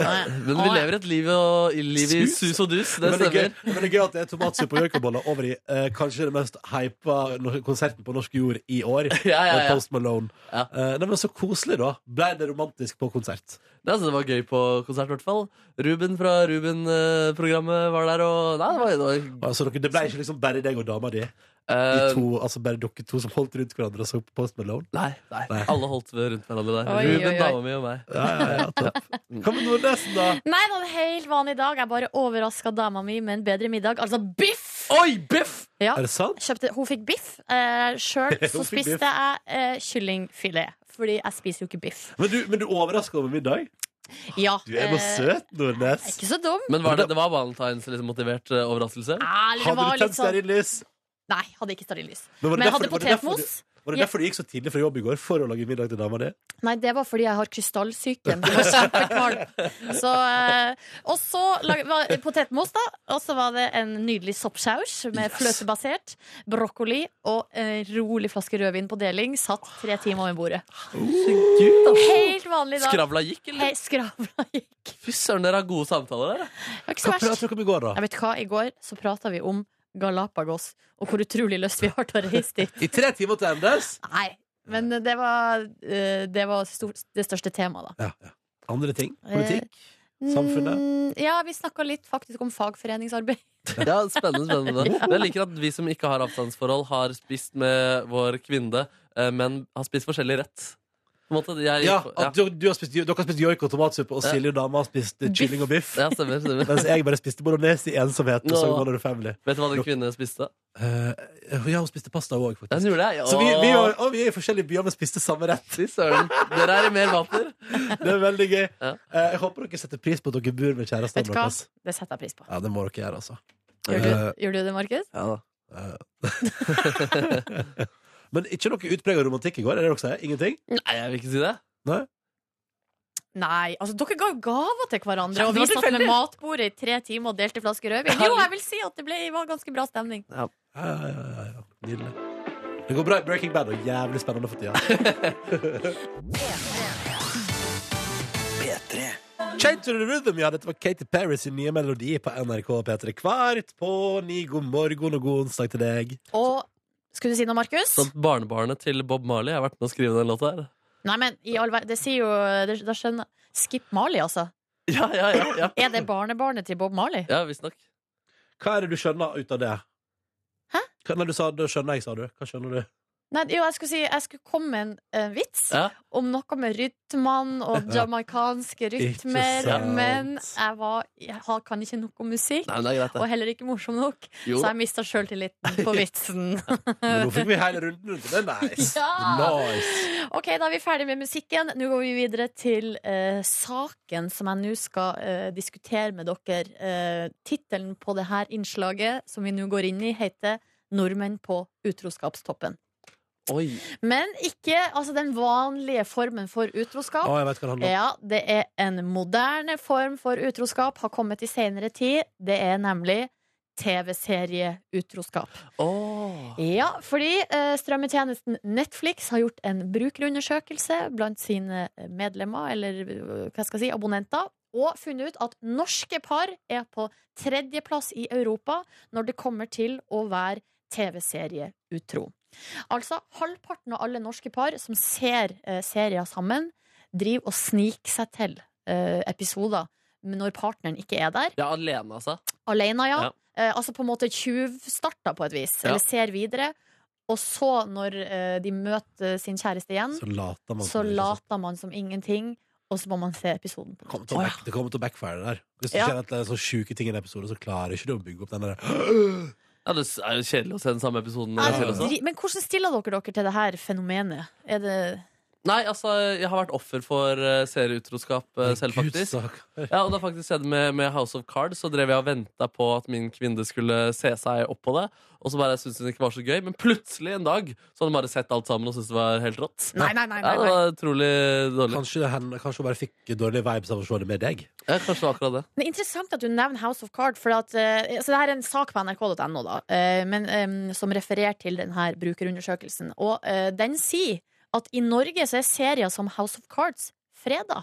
Nei. Men vi Å, ja. lever et liv, og, i liv i Sus. sus og dus. Det Men det, er gøy, stemmer. men det er gøy at det er tomatsuppe og gjørkeboller over i eh, kanskje det mest hypa no- konserten på norsk jord i år. Ja, ja, eh, ja. Post Malone. Ja. Eh, nei, men Så koselig, da. Ble det romantisk på konsert? Det, altså, det var gøy på konsert, i hvert fall. Ruben fra Ruben-programmet var der, og Nei, det var, det var Altså, dere, det ble ikke liksom bare deg og dama di? De eh, to, altså bare dere to som holdt rundt hverandre og så på Post Malone? Nei, nei, Nei. alle holdt ved rundt hverandre der. Oi, Ruben, oi, oi. dama mi og meg. Ja, ja, ja, topp. Hva med Nordnesen, da? Nei, det var en helt vanlig dag. Jeg bare overraska dama mi med en bedre middag. Altså biff! Oi, biff! Ja. Er det sant? Kjøpte, hun fikk biff. Eh, Sjøl Hun fikk så biff. spiste jeg eh, kyllingfilet. Fordi jeg spiser jo ikke biff. Men du, men du overrasker over middag? Ja, Du er bare eh, søt, jeg er Nordnes. Ikke så dum. Men var det, det var valentines-motivert eh, overraskelse? Ja, eller det Hadde du var litt tent sånn stearinlys? Nei, hadde ikke stearinlys. Men var det Men jeg derfor- hadde var det derfor potetmos. Var det Ja. derfor du gikk så tidlig fra jobb i går? For å lage middag til dama di? Nei, det var fordi jeg har krystallsyken. Jeg var kjempekvalm. Så, eh, og så lag- var det potetmos, da. Og så var det en nydelig soppsaus med fløtebasert. Brokkoli og en rolig flaske rødvin på deling. Satt tre timer ved bordet. Helt vanlig dag. Skravla gikk, eller? Hei, skravla gikk. Fy søren, dere har gode samtaler der. da. Det var ikke Hva så verst. prater dere om i går, da? Jeg vet hva, I går så prata vi om Galapagos og hvor utrolig lyst vi har til å reise dit. I tre timer til endes? Nei, men det var, eh, det, var stor, det største temaet, da. Ja, ja. Andre ting? Politikk? Eh, Samfunnet? Mm, ja, vi snakka litt faktisk om fagforeningsarbeid. Ja, Spennende. spennende Men Jeg liker at vi som ikke har avstandsforhold, har spist med vår kvinne, eh, men har spist forskjellig rett. På en måte, jeg, Ja, at du, du har spist, dere har spist joik og tomatsuppe, og Ja. Silje og dama har spist eh, kylling og biff. ja, stemmer, stemmer. Mens jeg bare spiste bolognese i ensomhet. Og sang Nå. One of the Family. Vet du hva den kvinnen spiste? Eh, ja, hun spiste pasta òg, faktisk. Den gjorde jeg. Så vi, vi, Åh, var, og vi er i forskjellige byer, men spiste samme rett. Fy søren. Dere er i mer vater. Det er veldig gøy. Ja. Eh, jeg håper dere setter pris på at dere bor med kjæresten Vet du hva? deres. Det setter jeg pris på. Ja, det må dere gjøre, altså. Gjør du, Eh, gjør du det, Markus? Men ikke noe utprega romantikk i går? Er det dere sier? Ingenting? Nei, jeg vil ikke si det. Nei, altså dere ga jo gaver til hverandre, Ja, og det vi var satt med matbordet i tre timer og delte flasker rødvin. Jo, jeg vil si at det ble, var ganske bra stemning. Ja, ja, ja, ja, ja. Nydelig. Det går bra i Breaking Bad, og jævlig spennende for tida. P3. Change to the rhythm, ja. Dette var Katy Perry sin nye melodi på NRK P3 Kvart på ni. God morgen og god onsdag til deg. Og skulle du si noe, Markus? Sånn barnebarnet til Bob Marley Jeg har vært med å skrive den låta her. Nei, men i all verden, det sier jo det, Da skjønner jeg. Skip Marley, altså. Ja, ja, ja. ja. Er det barnebarnet til Bob Marley? Ja, visstnok. Hva er det du skjønner ut av det? Hæ? Hva, nei, du sa, det skjønner jeg, sa du. Hva skjønner du? Nei, jo, jeg skulle si Jeg skulle komme med en eh, vits Ja. om noe med rytmene og jamaicanske rytmer, sant. men jeg, var, jeg har- kan ikke nok om musikk. Nei, men det er greit, Og det. heller ikke morsom nok, Jo så da. jeg mista sjøltilliten på vitsen. Men nå fikk vi hele runden rundt. Det er nice. Ah. Ja! nice. Ok, da er vi ferdig med musikken. Nå går vi videre til eh, saken som jeg nå skal eh, diskutere med dere. Uh, Tittelen på det her innslaget som vi nå går inn i, heter 'Nordmenn på utroskapstoppen'. Oi. Men ikke altså, den vanlige formen for utroskap. Å, jeg vet hva det handler om. Ja, det er en moderne form for utroskap, har kommet i senere tid. Det er nemlig TV-serieutroskap. Åh. Ja, fordi eh, strømmetjenesten Netflix har gjort en brukerundersøkelse blant sine eh, medlemmer, eller eh, hva skal jeg si, abonnenter, og funnet ut at norske par er på tredjeplass i Europa når det kommer til å være TV-serieutro. Altså, halvparten av alle norske par som ser eh, serier sammen, driver og sniker seg til eh, episoder når partneren ikke er der. Ja, alene, altså. Alene, ja. Ja. Eh, altså på en måte tjuvstarta på et vis, Ja. eller ser videre. Og så, når eh, de møter sin kjæreste igjen, Så later man. så, som det ikke er sånn. later man som ingenting, og så må man se episoden på Kom nytt. til å back, det kommer til å backfire det der. Hvis du Ja. kjenner at det er så sjuke ting i en episode, så klarer ikke du å bygge opp den der. Ja, det er jo kjedelig å se den samme episoden. Nei, til også. dri- Men hvordan stiller dere dere til det her fenomenet? Er det Nei, altså, jeg har vært offer for eh, serieutroskap eh, selv, Gud, faktisk. sak. Ja, og det har faktisk skjedd med, med House of Cards. Så drev jeg og venta på at min kvinne skulle se seg opp på det. Og så bare syntes hun det ikke var så gøy. Men plutselig en dag så hadde hun bare sett alt sammen og syntes det var helt rått. Nei, nei, nei. Ja, nei, det nei. var utrolig dårlig. Kanskje, hen, kanskje hun bare fikk dårlige vibes av å se det med deg. Ja, kanskje det var akkurat det. Det er interessant at du nevner House of Card. For at, eh, altså det her er en sak på nrk.no da, eh, men, eh, som refererer til denne brukerundersøkelsen. Og eh, den sier at i Norge så er serier som House of Cards freda.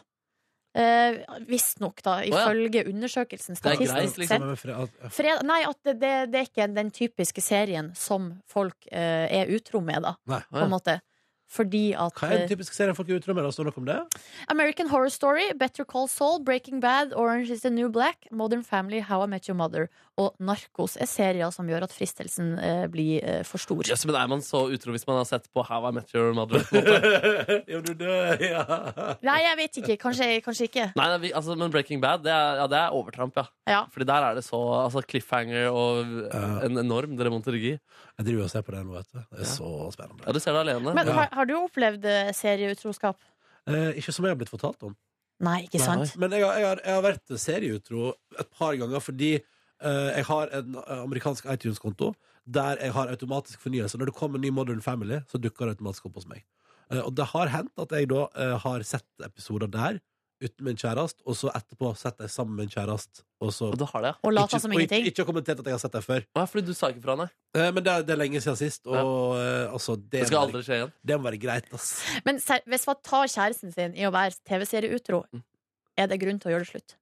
Eh, Visstnok, da, ja. ifølge undersøkelsen. Det er Statistisk greit, liksom. sett. Sammen med Fre- at- Fred, nei, at det, det, det er ikke den typiske serien som folk eh, er utro med, da, Nei. på en måte. Fordi at Hva er eh, den typiske serien folk er utro med? da? Står det noe om det? American Horror Story, Better Call Saul, Breaking Bad, Orange is the New Black, Modern Family, How I Met Your Mother og Narkos er serier som gjør at fristelsen eh, blir eh, for stor. Jøss, men er man så utro hvis man har sett på How I Met Your Mother? på en måte? ja, du dør, ja. Nei, jeg vet ikke. Kanskje, kanskje ikke. Nei, nei vi, altså, men Breaking Bad, det er, ja, det er overtramp, ja. Ja. Fordi der er det så altså, cliffhanger og en enorm dramaturgi. Jeg driver og ser på det nå, vet du. Det er Ja. så spennende. Ja, du ser det alene. Men Ja. har, har du opplevd eh, serieutroskap? Eh, ikke som jeg har blitt fortalt om. Nei, ikke Nei. sant? Men jeg har, jeg har, jeg har vært serieutro et par ganger fordi eh, jeg har en eh, amerikansk iTunes-konto der jeg har automatisk fornyelse. Når det kommer en ny Modern Family, så dukker det automatisk opp hos meg. Eh, og det har hendt at jeg da eh, har sett episoder der uten min kjæreste, og så etterpå sett jeg sammen med min kjæreste, og så Og du har det, ja. Og lata som og ikke, ingenting? ikke har kommentert at jeg har sett det før. Å, ja, Fordi du sa ikke fra, nei. Eh, men det er, det er lenge siden sist, og eh, altså det, Det skal må være, aldri skje igjen. det må være greit, ass. Men ser, hvis man tar kjæresten sin i å være TV-serieutro, er det grunn til å gjøre det slutt?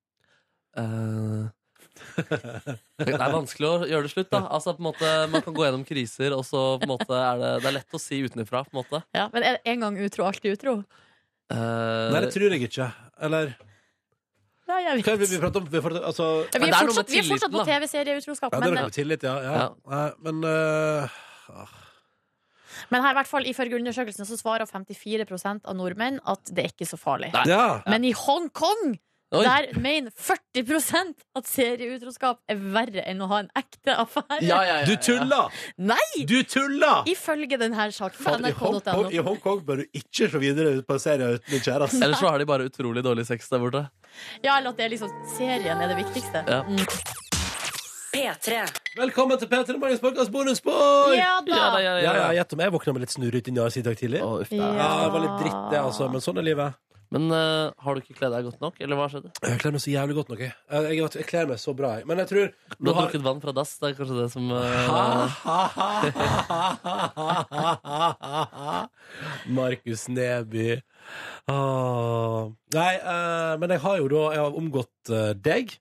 Eh, det er vanskelig å gjøre det slutt, da. Altså, på en måte, man kan gå gjennom kriser, og så på en måte, er det, det er lett å si utenfra. På en måte. Ja, men er det en gang utro, alltid utro? Eh, Nei, det tror jeg ikke. Eller Nei, jeg hva er det vet vi prater om? Vi prater- altså, Vi er Men det er noe med fortsatt, vi er fortsatt på tilliten, da. TV-serieutroskap, Ja, det men eh, er noe med tillit, ja. ja. Ja. Nei, men øh, ah, Men her, i hvert fall ifølge undersøkelsen så svarer 54 av nordmenn at det er ikke så farlig. Nei. Ja! Men i Hongkong Oi, der mener 40 at serieutroskap er verre enn å ha en ekte affære. ja, ja, ja, ja. Du tuller! Nei! Du tuller! Ifølge denne saken fra I Hongkong, I nrk.no. Hongkong bør du ikke se videre ut på en serie uten din kjæreste. Eller så har de bare utrolig dårlig sex der borte. Ja, eller at det er liksom serien er det viktigste. Ja. P3. Velkommen til P3 Morgens podkast bonusspor! Ja da! Ja, da, Ja, ja, ja, ja, ja. gjett om jeg våkna med litt altså. snurrete i nesa i dag tidlig. Å, uff, da. Ja, det var litt dritt, det, altså. Men sånn er livet. Men eh, har du ikke kledd deg godt nok, eller hva skjedde? Jeg kler meg så jævlig godt nok, jeg. Jeg, jeg, jeg kler meg så bra, jeg. Men jeg tror Du har drukket vann fra dass, det er kanskje det som eh, Markus Neby. Ah. Nei, eh, men jeg har jo da Jeg har omgått eh, deg,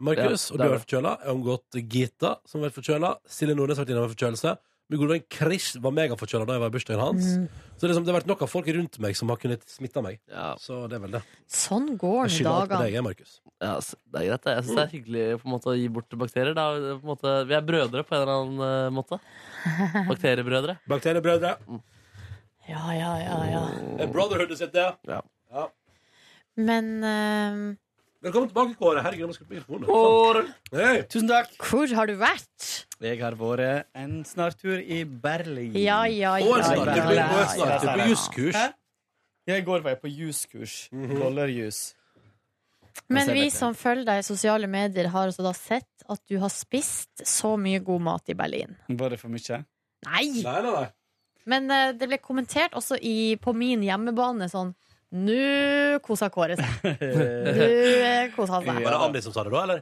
Markus, Ja, og du det er har det. vært forkjøla. Jeg har omgått Gita, som har vært forkjøla. Silje Nordnes har vært innom en forkjølelse. Min gode venn Chris var megaforkjøla da jeg var i bursdagen hans. Mm. Så liksom, det har vært nok av folk rundt meg som har kunnet smitte meg. ja, Så det er vel det. Sånn går Jeg det i skylder alt på dagene. deg, jeg, Markus. ja, s- det er greit, det. Jeg syns det er hyggelig på en måte, å gi bort bakterier. Da. Det er På en måte, vi er brødre på en eller annen eh, måte. Bakteriebrødre. Bakteriebrødre. Eh, Ja, ja, ja, ja. A Brotherhood is it, ja. Men eh, Velkommen tilbake, Kåre. Herregud, jeg må skru på mikrofonen. Hei. Tusen takk. hvor har du vært? Jeg har vært en snartur i Berlin. Ja, ja, ja. Og en snart. snartur. Du ja, blir ja, på et ja. snart. Du blir jusskurs. Hæ? Ja, I går var jeg på juskurs. Dollarjus. Men Jeg ser vi dette. som følger deg i sosiale medier, har altså da sett at du har spist så mye god mat i Berlin. Var det for mye? Nei! Nei, nei, nei. Men eh, det ble kommentert også i, på min hjemmebane sånn Nå koser Kåre seg. Nå eh, koser han seg. Var det Anni som sa det da, eller?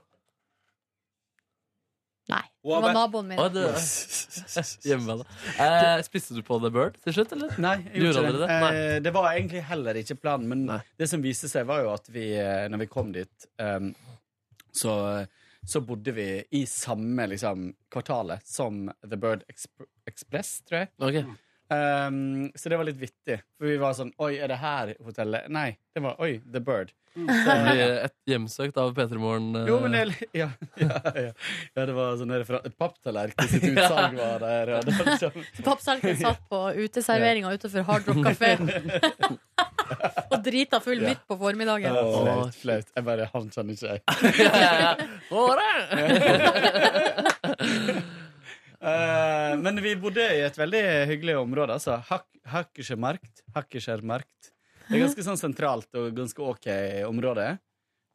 Nei. Det Hun var har naboen min. Å, det, hjemme, da. Eh, spiste du på The Bird til slutt, eller? Nei, jeg gjorde Gjorde ikke det. dere det? Eh, Det var egentlig heller ikke planen, men Nei. det som viste seg, var jo at vi, eh, når vi kom dit, em, så, eh, så bodde vi i samme liksom, kvartalet som The Bird Exp Express, tror jeg. Ok. Em, så det var litt vittig. For vi var sånn Oi, er det her hotellet? Nei, det var Oi, The Bird. Det blir et hjemsøkt av P3 Morgen. eh, Jo, men det, ja, ja, ja. ja, det var sånn der fra et papptallerken sitt utsalg var der. Og det var liksom, Pappsalken satt på uteserveringa utenfor Hard Rock kafé. Og drita full midt på formiddagen. Å, flaut, flaut. Jeg bare Han kjenner ikke jeg. Åre! Eh, men vi bodde i et veldig hyggelig område, altså. Hak- Hakkerschermarkt. Hakkerschermarkt. Det er ganske sånn sentralt og ganske ok område.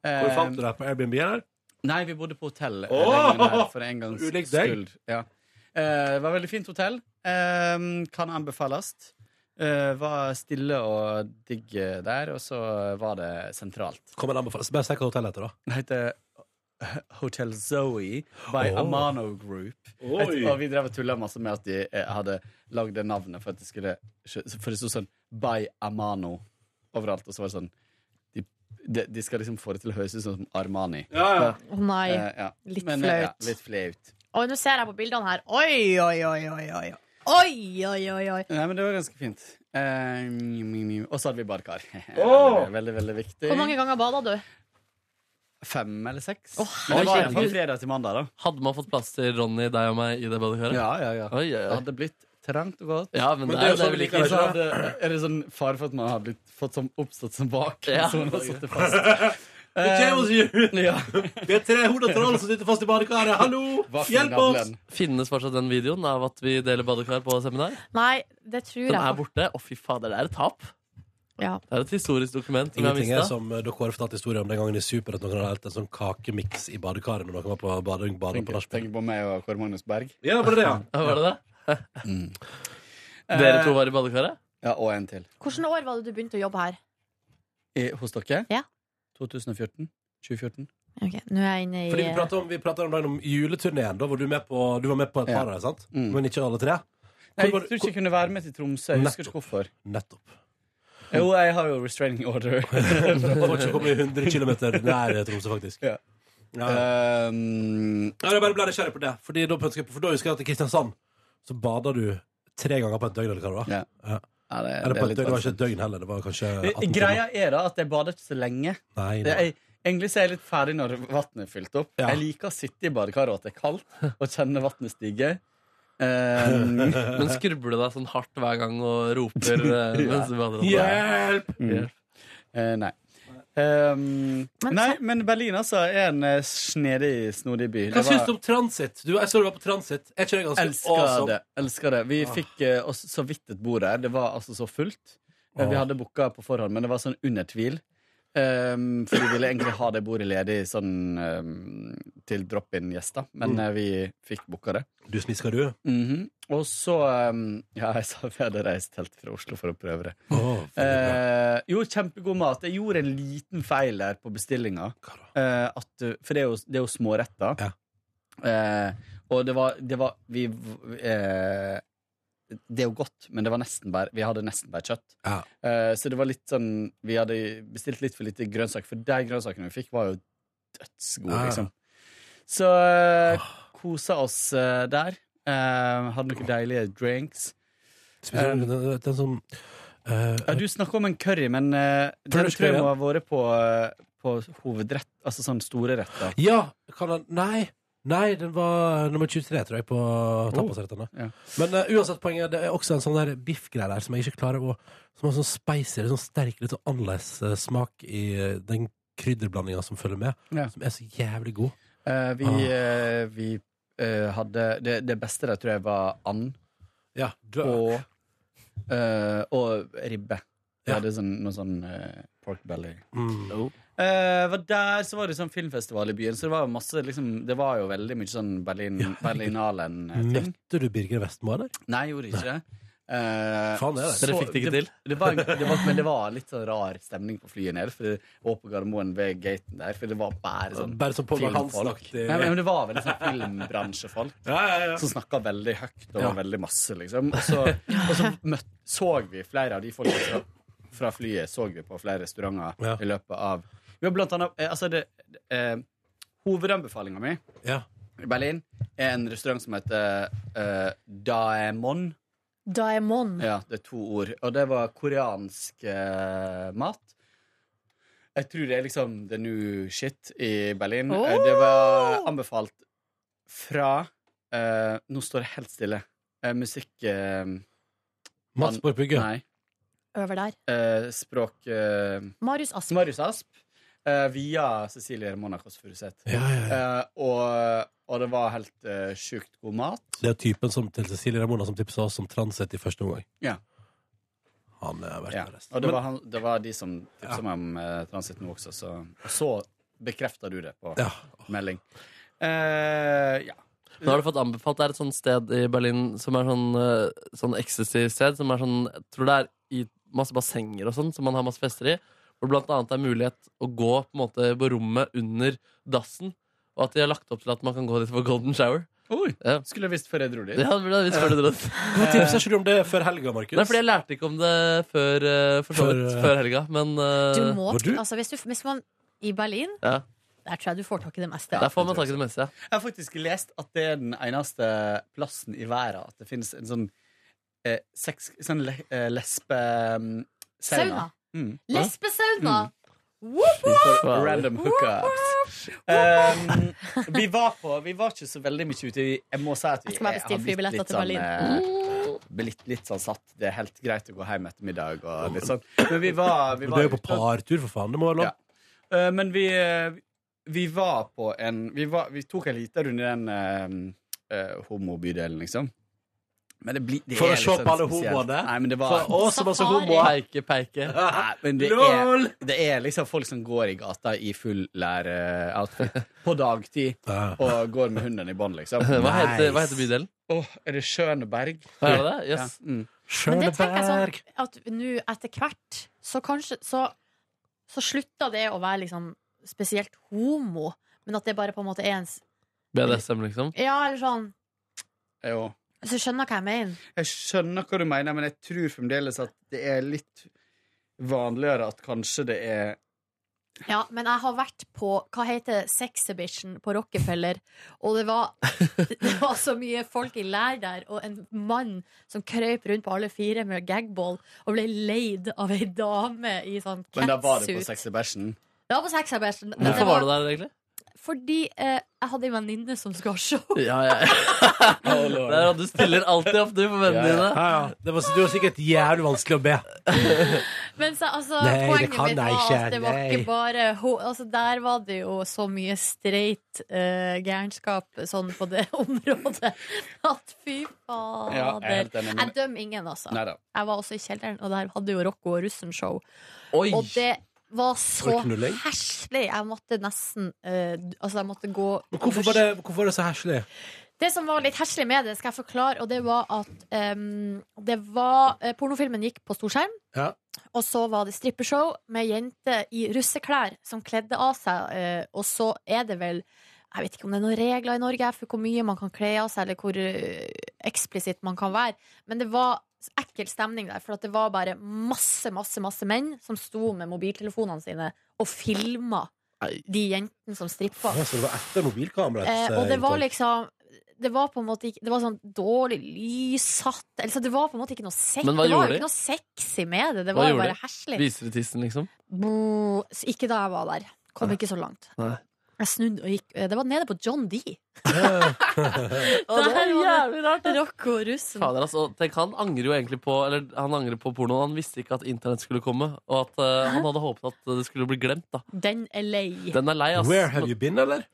Eh, Hvor fant du det? På Airbnb, eller? Nei, vi bodde på hotell eh, Åh! den gangen her, for en gangs Ulikt deg. skyld. Ja. Eh, det var et veldig fint hotell. Eh, kan anbefales. Eh, var stille og digg eh, der, og så var det sentralt. Kom en anbefaling. Bare sjekk hotellet etter, da. Det heter Hotel Zoe by Åh. Amano Group. Et, og vi drev og tulla masse med at de eh, hadde lagd det navnet for at det skulle For det sto sånn By Amano overalt, og så var det sånn De, de, de skal liksom få det til å høres ut sånn som Armani. Ja, ja. Å nei. Eh, ja. litt Men, eh, flaut. Ja, litt flaut. Og nå ser jeg på bildene her. Oi, oi, oi, oi, oi. Oi, oi, oi, oi. Nei, men det var ganske fint. Eh, mjau, mjau, mjau. og så hadde vi badekar. Åh! Veldig, veldig, veldig viktig. Hvor mange ganger bada du? Fem eller seks. Åh, men det var i hvert herregud. fall fredag til mandag, da. Hadde man fått plass til Ronny, deg og meg i det badekaret? Ja, ja, ja. Oi, oi, Det oi. hadde blitt trangt og godt. ja men, Men det er jo sånn det vi vi liker. liksom. liker Så hadde, er det sånn fare for at man har blitt, fått sånn oppstått som bak? Ja. Så man har satt det fast. Eh, Vi Ja. er tre hoder troll som sitter fast i badekaret. Hallo! Bak med Hjelp oss! navlen. Finnes fortsatt den videoen av at vi deler badekar på seminar? Nei, det tror Den jeg er faktisk. borte. Å, fy fader, det er et tap. Ja. Det er et historisk dokument. Som jeg Ingenting er mistet. som eh, dere har fortalt historier om den gangen i Super at noen hadde helt en sånn kakemiks i badekaret når noen var på bading, bading på Tenker nachspiel. tenker på meg og Kåre Magnus Berg. Ja, bare det, ja. Ja, var det det? Eh. Dere to var i badekaret? Ja, og en til. Hvilket år var det du begynte å jobbe her? I, hos dere? Ja. 2014? 2014? Ok, nå er jeg inne i Fordi vi pratet om, vi pratet om, dagen om juleturneen. Da var du med på, du var med på et Ja. par av dem, sant? Mm. Men ikke alle tre? Hvor Nei, jeg var- tror ikke jeg kunne være med til Tromsø. Jeg husker ikke hvorfor. Nettopp. Jo, jeg har jo restraining order. Man får ikke komme 100 km nær Tromsø, faktisk. Ja. Eh, Ja. um, Ja, jeg bare ble nysgjerrig på det. Fordi da ønsker jeg på, for da husker jeg at i Kristiansand så bader du tre ganger på et døgn. Eller hva det var. ja. Ja. Ja, det, Eller på et døgn, det litt var ikke vanskelig. et døgn heller. Det var kanskje 18 Greia er da at jeg badet ikke så lenge. timer. Nei, Det, nei. jeg, egentlig så er jeg litt ferdig når vannet er fylt opp. Ja. Jeg liker å sitte i badekaret og at det er kaldt, og kjenne vannet stige. Um, Men skrubber du deg sånn hardt hver gang og roper eh, mens du bader? Hjelp! Mm. Eh, nei. Ehm, Men nei, men Berlin altså er en eh, snedig, snodig by. Hva Det syns du var- om transit? Du, jeg så du var på transit. Er ikke det Ah. ganske Elsker det. elsker det Vi fikk eh, oss så vidt et bord der. Det var altså så fullt. Eh, Vi Åh. hadde booka på forhånd, men det var sånn under tvil. Um, for vi ville egentlig ha det bordet ledig sånn, ehm, til drop-in-gjester, Mm. men eh, vi fikk booka det. Du smisker, du. Mhm. Og så ehm, Ja, jeg sa vi hadde reist helt fra Oslo for å prøve det. Å, veldig bra. Eh, jo, kjempegod mat. Jeg gjorde en liten feil der på bestillinga. Hva da? Eh, at, du- for det er jo, det er jo småretter. Ja. Eh, og det var, det var Vi eh, Det er jo godt, men det var nesten bare, vi hadde nesten bare kjøtt. Ja. Eh, så det var litt sånn Vi hadde bestilt litt for lite grønnsaker, for de grønnsakene vi fikk, var jo dødsgode, Ja. liksom. Så eh, Ah. kosa oss eh, der. Eh, hadde noen deilige drinks. Spiser du den, den sånn eh, Ja, du snakker om en curry, men uh, den Flørskurry, tror jeg må ha vært på, eh, på hovedrett, altså sånn store retter. Ja! Kan han Nei! Nei, den var nummer 23, tror jeg, på tapasrettene. ja. Men eh, uansett, poenget det er også en sånn der biffgreie der som jeg ikke klarer å Som har sånn spicy, litt sånn sterk, litt sånn annerledes eh, smak i eh, den krydderblandinga som følger med, Ja. som er så jævlig god. Eh, vi Ah. eh, vi eh, hadde det, det beste der tror jeg var and Ja, du, og, eh, og ribbe. Vi Ja. hadde sånn, noe sånn eh, pork belly. mm. Eh, var der så var det sånn filmfestival i byen, så det var jo masse liksom, Det var jo veldig mye sånn Berlin, Ja. Mm. Berlinalen-ting. Møtte du Birger Vestmo, eller? Nei, jeg gjorde ikke det. Eh, Faen, det er det. så- Dere fikk det ikke til? Det var, det var, men det var litt sånn rar stemning på flyet ned. For det, og på Gardermoen ved gaten der. For det var bare sånn Bare sånn på filmfolk. vakansenaktig Nei, men det var veldig sånn filmbransjefolk som snakka veldig høyt og Ja. veldig masse, liksom. Og så, og så møtt, så vi flere av de folka fra, fra flyet så vi på flere restauranter Ja. i løpet av Vi har blant annet eh, Altså, det, eh, hovedanbefalinga mi Ja. i Berlin er en restaurant som heter eh, Daemon. eh, Daemon. Ja, det er to ord. Og det var koreansk eh, mat. Jeg tror det er liksom the new shit i Berlin. Oh! Eh, Det var anbefalt fra eh, Nå står det helt stille. Eh, musikk eh, Mats Borg Bugge. Nei. Over der. Eh, språk eh, Marius Asp. Marius Asp. Eh, via Cecilie Ramona Kåss Furuseth. Ja, ja, ja. Eh, og, og det var helt eh, sjukt god mat. Det er typen som, til Cecilie Ramona som tipsa oss om Transit i første omgang. Ja. Han er verdt Ja. det resten. Og det Men- var, han, det var de som tipsa Ja. meg om eh, Transit nå også, så, og så bekrefta du det på ja. melding. Eh, ja. Nå har du fått anbefalt det er et sånt sted i Berlin som er sånn, eh, sånn ecstasy-sted. Som er sånn, jeg tror det er i masse bassenger og sånn, som man har masse fester i. Hvor det blant annet er mulighet å gå på, en måte, på rommet under dassen. Og at de har lagt opp til at man kan gå dit for golden shower. Oi, Ja. Skulle jeg visst før jeg dro dit. Det hadde blitt visst før du dro dit. Hva tipser ikke du om det før helga, Markus? Nei, fordi jeg lærte ikke om det før, eh, for så Før, vidt, eh, før helga. Men eh, Du må, Var du? altså, hvis, du, hvis man i Berlin Ja. Der tror jeg du får tak i det meste. der får det man tror tak i det meste. Ja. Jeg har faktisk lest at det er den eneste plassen i verden at det finnes en sånn eh, sex, sånn le, eh, lesbe mm, Sauna. sauna. Mm. Lesbesauna! For Wow. Random hookups. Um, vi, var på, vi var ikke så veldig mye ute. i- Jeg må si at vi Jeg skal bare er- bestille har blitt flybilletter litt til Berlin. Sånn, eh, blitt litt sånn satt. Det er helt greit å gå hjem etter middag og litt sånn. Men vi var, vi Men var Du er jo på ute og- partur, for faen. Det må være lov. Ja. Eh, Men vi, eh, vi var på en Vi, var, vi tok en liten runde i den eh, eh, homobydelen, liksom. Men det blir det For å er se liksom på alle spesielt. homoene? Nei, men det var For Å, så masse Safari. homoer! Peike, peike. Nei, men det er, Lol! det er liksom folk som går i gata i full læreoutfit på dagtid Ja. og går med hunden i bånd, liksom. Hva heter, hva heter bydelen? Åh, er det Skjøneberg? Hva er det? Yes. Ja. Men det Mm. tenker jeg Skjøneberg! sånn at nå etter hvert så kanskje så, så slutta det å være liksom spesielt homo, men at det bare på en måte er ens BDSM, liksom. Ja, eller sånn Jo. Så skjønner jeg hva jeg mener. Jeg skjønner hva du mener, men jeg tror fremdeles at det er litt vanligere at kanskje det er Ja, men jeg har vært på hva heter Sexhibition på Rockefeller, og det var, det var så mye folk i lær der, og en mann som krøp rundt på alle fire med gagball og ble leid av ei dame i sånn catsuit. Men da var det på sexy bæsjen. Det var på Sexhibition. men Hvorfor var du der, egentlig? Fordi eh, jeg hadde en venninne som skulle ha show. Ja, ja. Det er at du stiller alltid opp, du, for vennene Ja, ja. dine. Ja, ja. Det var, det var sikkert jævlig vanskelig å be. Men så, altså, Nei, det poenget kan mitt var jeg ikke, at det var nei. ikke bare ho- altså, Der var det jo så mye streit eh, gærenskap sånn på det området at fy Ja, jeg er fader. helt enig. Jeg Men... dømmer ingen, altså. Nei da. Jeg var også i kjelleren, og der hadde jo Rocco og Russen show. Oi! Og det var så Var det knulling? herselig. Jeg måtte nesten eh, Altså, jeg måtte gå Men hvorfor var det, hvorfor var det så herselig? Det som var litt herselig med det, skal jeg forklare, og det var at em, det var, eh, pornofilmen gikk på storskjerm, Ja. og så var det strippeshow med jenter i russeklær som kledde av seg, eh, og så er det vel jeg vet ikke om det er noen regler i Norge for hvor mye man kan kle av seg, eller hvor eh, eksplisitt man kan være, men det var ekkel stemning der, for at det var bare masse, masse, masse menn som sto med mobiltelefonene sine og filma de jentene som strippa. Ah, Så det var etter mobilkameraet? Eh, og det var liksom det var på en måte ikke Det var sånn dårlig lyssatt altså, Det var på en måte ikke noe sex Men hva Det var gjorde jo de? ikke noe sexy med det. Det Hva var jo gjorde bare de? herselig. Viser de tissen, liksom? Bo- Så Ikke da jeg var der. Kom ikke så langt. Nei. Jeg snudde og gikk eh, Det var nede på John D. det er jævlig rart! Rock og russen. Fader, altså, tenk, han angrer jo egentlig på Eller han angrer på pornoen. Han visste ikke at internett skulle komme, og at eh, han hadde håpet at det skulle bli glemt. da Den er lei. Den er lei, ass. Where have you been, eller?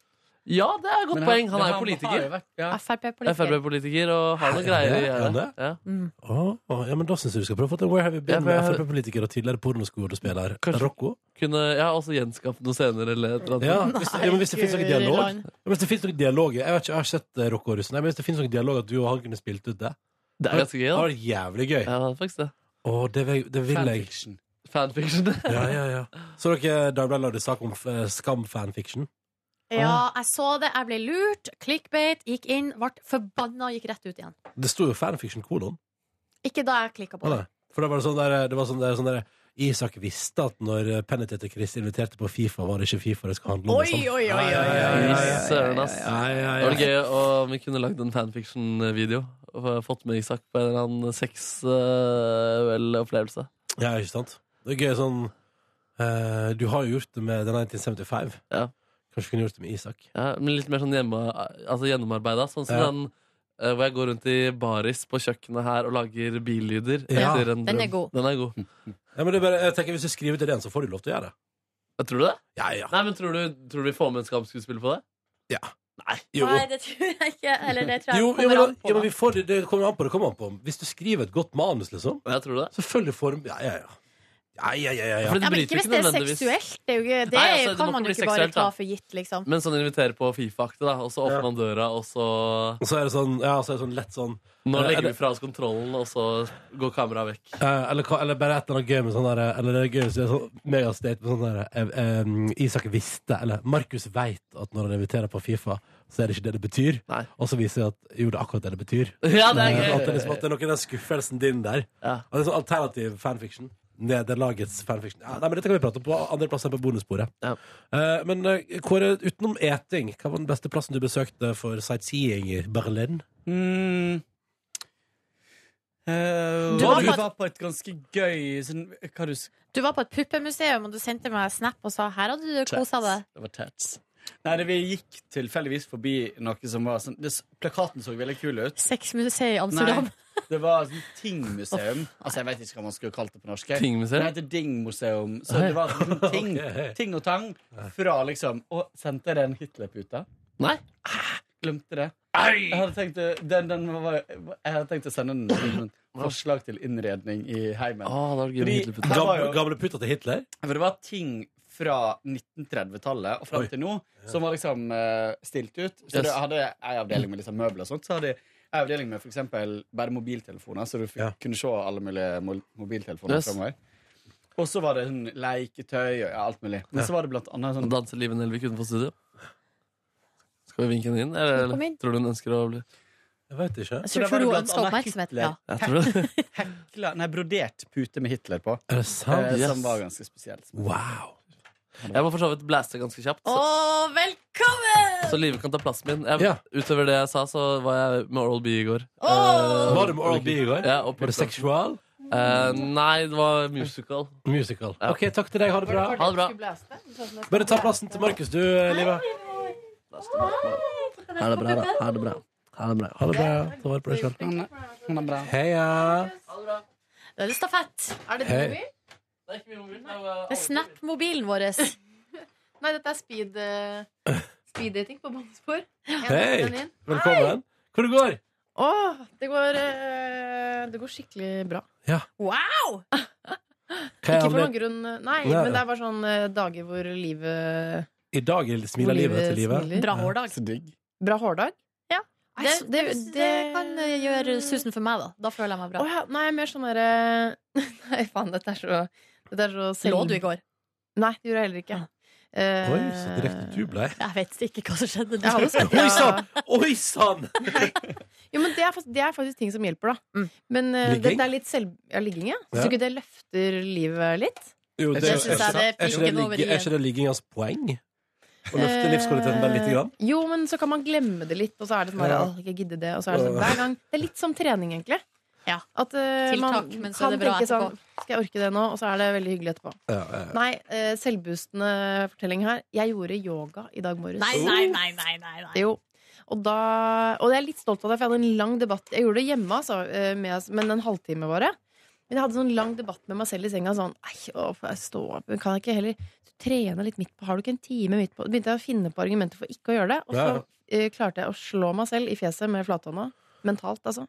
Ja, det er et godt Men poeng. Han men er jo har jo politiker. vært- ja. Frp-politiker. Frp-politiker og har noen greier i Ja, er han gjerdet. det? Ja. Mm. Å, å, ja, men Da syns jeg du skal prøve å få til Where Have You Been Ja, med men jeg- Frp-politiker og tidligere pornoskuespiller Kanskje- Rocco. Kunne jeg har også gjenskapt noe senere eller et eller annet. Ja, hvis, ja, men hvis det fins noe Guri dialog ja, land. men Hvis det finnes noe dialog Jeg vet ikke, jeg har ikke sett eh, Rocco og russen, Nei, men hvis det fins noe dialog at du og han kunne spilt ut det, Det er ganske gøy, det da. var jævlig gøy. Ja, faktisk det. Å, det, vil- det vil jeg. Fanfiction. Fanfiction. Ja, ja, ja. Så dere Dagbladet lagde sak om eh, Skam-fanfiction? Ja, jeg så det. Jeg ble lurt. Clickbait. Gikk inn, ble forbanna og gikk rett ut igjen. Det sto jo fanfiction-kolon. Ikke da jeg klikka på det. Nei. For det var sånn der, det var sånn der, sånn der Isak visste at når Pennetet til Chris inviterte på Fifa, var det ikke Fifa det skulle handle om. liksom. oi, oi, Ja, ja, ja, ja, ja. Fy Søren, ass. Ja, ja, Det ja. var gøy om vi kunne lagd en fanfiction-video og fått med Isak på en eller annen eh, sex-opplevelse. Ja, ikke sant? Det er gøy sånn eh, Du har jo gjort det med den 1975. Ja. Kanskje du kunne gjort det med Isak. Ja, men litt mer sånn hjemme, altså gjennomarbeida. Sånn som Ja. den eh, hvor jeg går rundt i baris på kjøkkenet her og lager billyder. Ja. Hm. etter en Den er drøm. god. Den er god. Ja, men det er bare, jeg tenker Hvis du skriver til den, så får du lov til å gjøre det. Ja, Tror du det? Ja, ja. Nei, men tror du, tror du vi får med en skamskuespiller på det? Jo. Nei, det tror jeg ikke. Eller det tror jeg Jo, jo, kommer men, an ja, på. men vi får, det- det kommer an på det kommer an på. Hvis du skriver et godt manus, liksom, Jeg tror det. selvfølgelig får du Ja, ja, ja. ja, ja, ja, ja, ja. Fordi ja, men bryter ikke hvis det er nødvendigvis- seksuelt. Det, er jo ikke, det Nei, altså, det må kan ikke man jo bli ikke bare seksuelt, ta da. for gitt, liksom. Men sånn inviterer på Fifa-aktig, da. Og så åpner Ja. man døra, og så Og så er det sånn, ja, så er det sånn lett sånn Nå Er legger det- vi fra oss kontrollen, og så går kameraet vekk. eh, eller, hva- eller bare et eller annet gøy med sånn der Eller det er gøy hvis det er sånn megastate med sånn der eh, eh, Isak visste, eller Markus veit at når han inviterer på Fifa, så er det ikke det det betyr. Nei. Og så viser det at jo, det er akkurat det det betyr. Ja, det Eh, At er det, gøy! liksom, at det er noe i den skuffelsen din der. Ja. Og det er sånn alternativ fanfiction. Nederlagets fanfiction. Ja, nei, men Dette kan vi prate om på andre plasser på bonussporet. Ja. Eh, men eh, Kåre, utenom eting, hva var den beste plassen du besøkte for sightseeing i Berlin? Mm. Eh, Du var vi på et- var på et ganske gøy sånn, Hva du s- Du var på et puppemuseum, og du sendte meg snap og sa 'her hadde du kosa deg'. Det var tats. Nei, det, vi gikk tilfeldigvis forbi noe som var sånn det, s- Plakaten så veldig kul ut. Sexmuseet i Nei, Amsterdam. det var sånn tingmuseum. Altså, jeg vet ikke hva man skulle kalt det på norsk. jeg. Det Tingmuseet? heter Dingmuseum. Så det var sånn ting, ting og tang fra liksom Og sendte jeg den Hitler-puta? Nei. Glemte det. Jeg hadde tenkt, å- den, den var, jeg hadde tenkt å sende den som et forslag til innredning i heimen. Å, det var gøy med Fordi- Hitlerputter. Det var Gamle, jo- gamle puta til Hitler? For det var ting fra 1930-tallet og Oi. fram til nå som var liksom eh, stilt ut. Så Yes. det hadde jeg en avdeling med liksom møbler og sånt. Så hadde jeg en avdeling med for eksempel bare mobiltelefoner, så du fikk, Ja. kunne se alle mulige mo- mobiltelefoner Yes. fremover. Og så var det sånn leketøy og ja, alt mulig. Men så var det blant annet sånn Danser Live Nelvik utenfor studio? Skal vi vinke henne inn, eller, Kom inn. tror du hun ønsker å bli Jeg veit ikke. Jeg så tror- tror det var du blant ønska annet oppmerksomhet. Hitler. Ja. Jeg tror det. Hekla, nei, brodert pute med Hitler på, Er det sant? eh, yes. som var ganske spesielt. Wow. Jeg må for så vidt blaste ganske kjapt. Å, Så, velkommen! så Live kan ta plassen min. Jeg, Ja. Utover det jeg sa, så var jeg med Oral B i går. Åh! Eh, Var det med Oral B i går? Ja, og Var det seksual? Eh, nei, det var musical. Musical. Ja. OK, takk til deg. Ha det bra. Ha det bra. sånn- Bare ta plassen til Markus, du, Liva. Ha det bra, da. Ha det bra. Ha det bra. Ha det bra. Ta vare på deg sjøl. Han er, han er bra. Heia. Da er det stafett. Er det Hei. mobil? Det er Snap-mobilen vår. Nei, dette er speed eh, speed-dating på bannespor. Hei. Velkommen. Hvor det går? Eh, Åh, det går eh, Det går skikkelig bra. Ja. Wow! Hva er Ikke for anled- noen grunn, eh, nei, Nei. men det er bare sånn eh, dager hvor livet eh, I dag smiler Hvor livet livet til livet. smiler. Bra hårdag. Så digg. Bra hårdag? Det, Nei, det, så- det kan eh, gjøre susen for meg, da. Da føler jeg meg Å bra. ja, nei, mer sånn derre Nei, faen, dette er så Dette er så selv- Lå du i går? Nei, det gjorde jeg heller ikke. Eh, Oi, så direkte du blei. Jeg vet ikke hva som skjedde. Jeg hadde sagt Oi ja. sann! Oi sann! Jo, men det er, faktisk, det er faktisk ting som hjelper, da. Mm. Men eh, det, Ligging? det er litt selv... Ja, ligging, ja. Syns Ja. du ikke det løfter livet litt? Jo, Jeg det, er, synes jeg er, det er ikke- er, ikke det pinken over ligge- er i- ikke det liggingas poeng? Å løfte livskvaliteten bare lite grann? Eh, Jo, men så kan man glemme det litt, og så er det sånn bare, Ja. «Åh, ikke gidde det. Og så er det sånn hver gang. Det er litt som trening, egentlig. Ja. At eh, Tiltak, man men så er kan det bra tenke sånn etterpå. Skal jeg orke det nå? Og så er det veldig hyggelig etterpå. Ja, ja, ja. Nei, eh, selvboostende fortelling her. Jeg gjorde yoga i dag morges. Nei, nei, nei, nei, nei, nei. Jo. Og, da, og jeg er litt stolt av det, for jeg hadde en lang debatt. Jeg gjorde det hjemme, altså, eh, med, men en halvtime bare. Men jeg hadde sånn lang debatt med meg selv i senga. Sånn, Ei, å, får jeg stå opp? Kan jeg ikke heller trene litt midt på? Har du ikke en time midt på? Begynte jeg å finne på argumenter for ikke å gjøre det. Og så Ja, ja. eh, klarte jeg å slå meg selv i fjeset med flathånda. Mentalt, altså.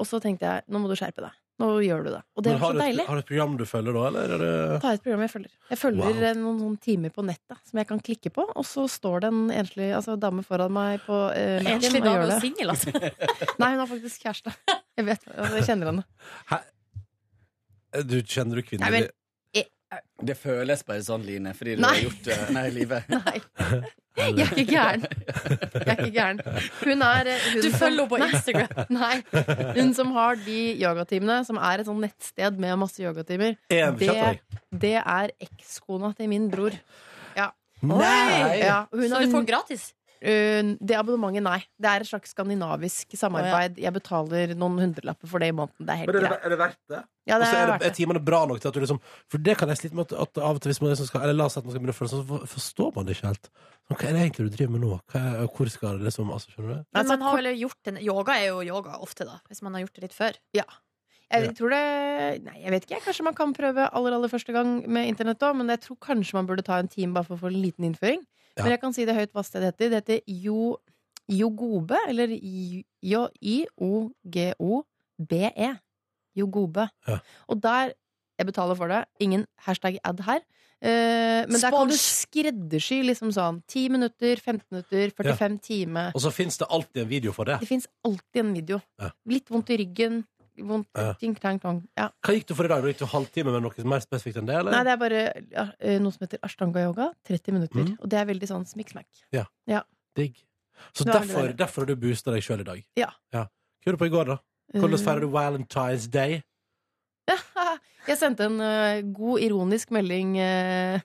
Og så tenkte jeg nå må du skjerpe deg. Nå gjør du det. Og Men det er har, så du et, deilig. har du et program du følger da, eller? Er det... Ta et program jeg følger. Jeg følger Wow. eh, noen sånne timer på nettet som jeg kan klikke på, og så står det en enslig altså, dame foran meg på eh, Mac-en Enslig og dame gjør og det. singel, altså. Nei, hun har faktisk kjæreste. Jeg vet, altså, jeg kjenner henne. Eh, Du kjenner du kvinner Nei, men- Det føles bare sånn, Line, fordi du Nei. har gjort det Nei, livet. Nei, jeg er ikke gæren. Jeg er ikke gæren. Hun er eh, hun Du som- følger henne på Nei, Instagram. Nei. Hun som har de yogatimene, som er et sånn nettsted med masse yogatimer, En det- kjapt, oi. det er ekskona til min bror. Nei! Ja, hun Så har- du får gratis? Uh, det abonnementet, nei. Det er et slags skandinavisk samarbeid. Jeg betaler noen hundrelapper for det i måneden. Det er helt Men er det, greit. er det verdt det? Ja, Og så er, det er det- er verdt det. timene bra nok til at du liksom For det kan jeg slite med at, at av og til hvis man liksom skal Eller la oss si at man skal begynne å føle sånn, så for- forstår man det ikke helt. Sånn, Hva er det egentlig du driver med nå? Hva, er- hvor skal det liksom altså, Skjønner du? Men Altså, man har vel gjort en, yoga er jo yoga ofte, da. Hvis man har gjort det litt før. Jeg tror det Nei, jeg vet ikke. Kanskje man kan prøve aller aller første gang med internett òg, men jeg tror kanskje man burde ta en time bare for å få en liten innføring. Ja. Men jeg kan si det høyt hva stedet heter. Det heter Jo Jogobe, eller J-I-O-G-O-B-E. E. Jogobe. Ja. Og der Jeg betaler for det. Ingen hashtag ad her. Eh, men der kan du skreddersy liksom sånn 10 minutter, 15 minutter, 45 timer. Og så fins det alltid en video for det. Det fins alltid en video. Ja. Litt vondt i ryggen. Vondt, Ja. ting, tang, tang. Ja. Hva gikk du for i dag? Gikk du halvtime med noe mer spesifikt enn det? Eller? Nei, det er bare ja, eh, noe som heter ashtanga-yoga. 30 minutter. Mhm. Og det er veldig sånn smikk-smakk. Digg. Så Det var derfor, veldig deilig. derfor derfor har du boosta deg sjøl i dag? Ja. Eh. Hva gjorde du på i går, da? Hvordan feirer du Valentine's Day? Jeg sendte en eh, god ironisk melding eh,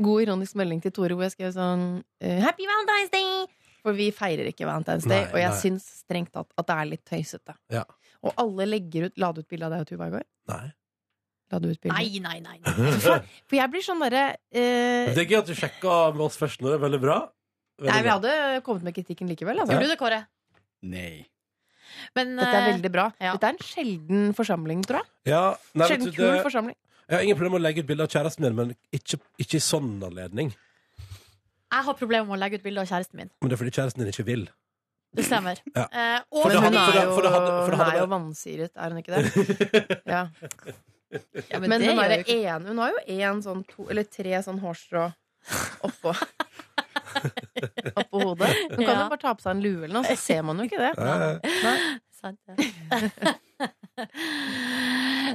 God ironisk melding til Tore hvor jeg skrev sånn eh, Happy Valentine's Day! For vi feirer ikke Valentine's Day, Nei, og jeg nei. syns strengt tatt at det er litt tøysete. Ja. Og alle legger ut La du ut bilde av deg og Tuva i går? Nei. La du ut bilde? Nei, nei, nei. nei. For jeg blir sånn derre eh, Det er gøy at du sjekka med oss først nå. Det er veldig bra. Veldig Nei, vi bra. hadde kommet med kritikken likevel, altså. Gjorde du det, Kåre? Nei. Men Dette er eh, veldig bra. ja. Dette er en sjelden forsamling, tror jeg. Ja, nei, vet Sjelden du, kul det- forsamling. Jeg har ingen problemer med å legge ut bilde av kjæresten min, men ikke, ikke i sånn anledning. jeg har problemer med å legge ut bilde av kjæresten min. Men det er fordi kjæresten din ikke vil. Det stemmer. Ja. Eh, og For det Men hun hadde- for det- er jo, for det hadde- for det hun hadde er jo vært- vansyret, er hun ikke det? Ja. Ja, Men det hun, gjør er jo ikke- en, hun har jo én sånn to, eller tre sånn hårstrå oppå. Oppå hodet. Hun kan jo Ja. bare ta på seg en lue eller noe, så ser man jo ikke det. Eh, Sant det.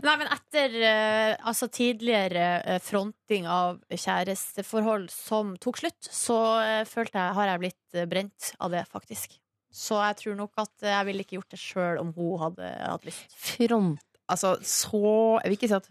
Nei, men etter eh, altså tidligere eh, fronting av kjæresteforhold som tok slutt, så eh, følte jeg har jeg blitt eh, brent av det, faktisk. Så jeg tror nok at eh, jeg ville ikke gjort det sjøl om hun hadde hatt lyst. Front Altså så Jeg vil ikke si at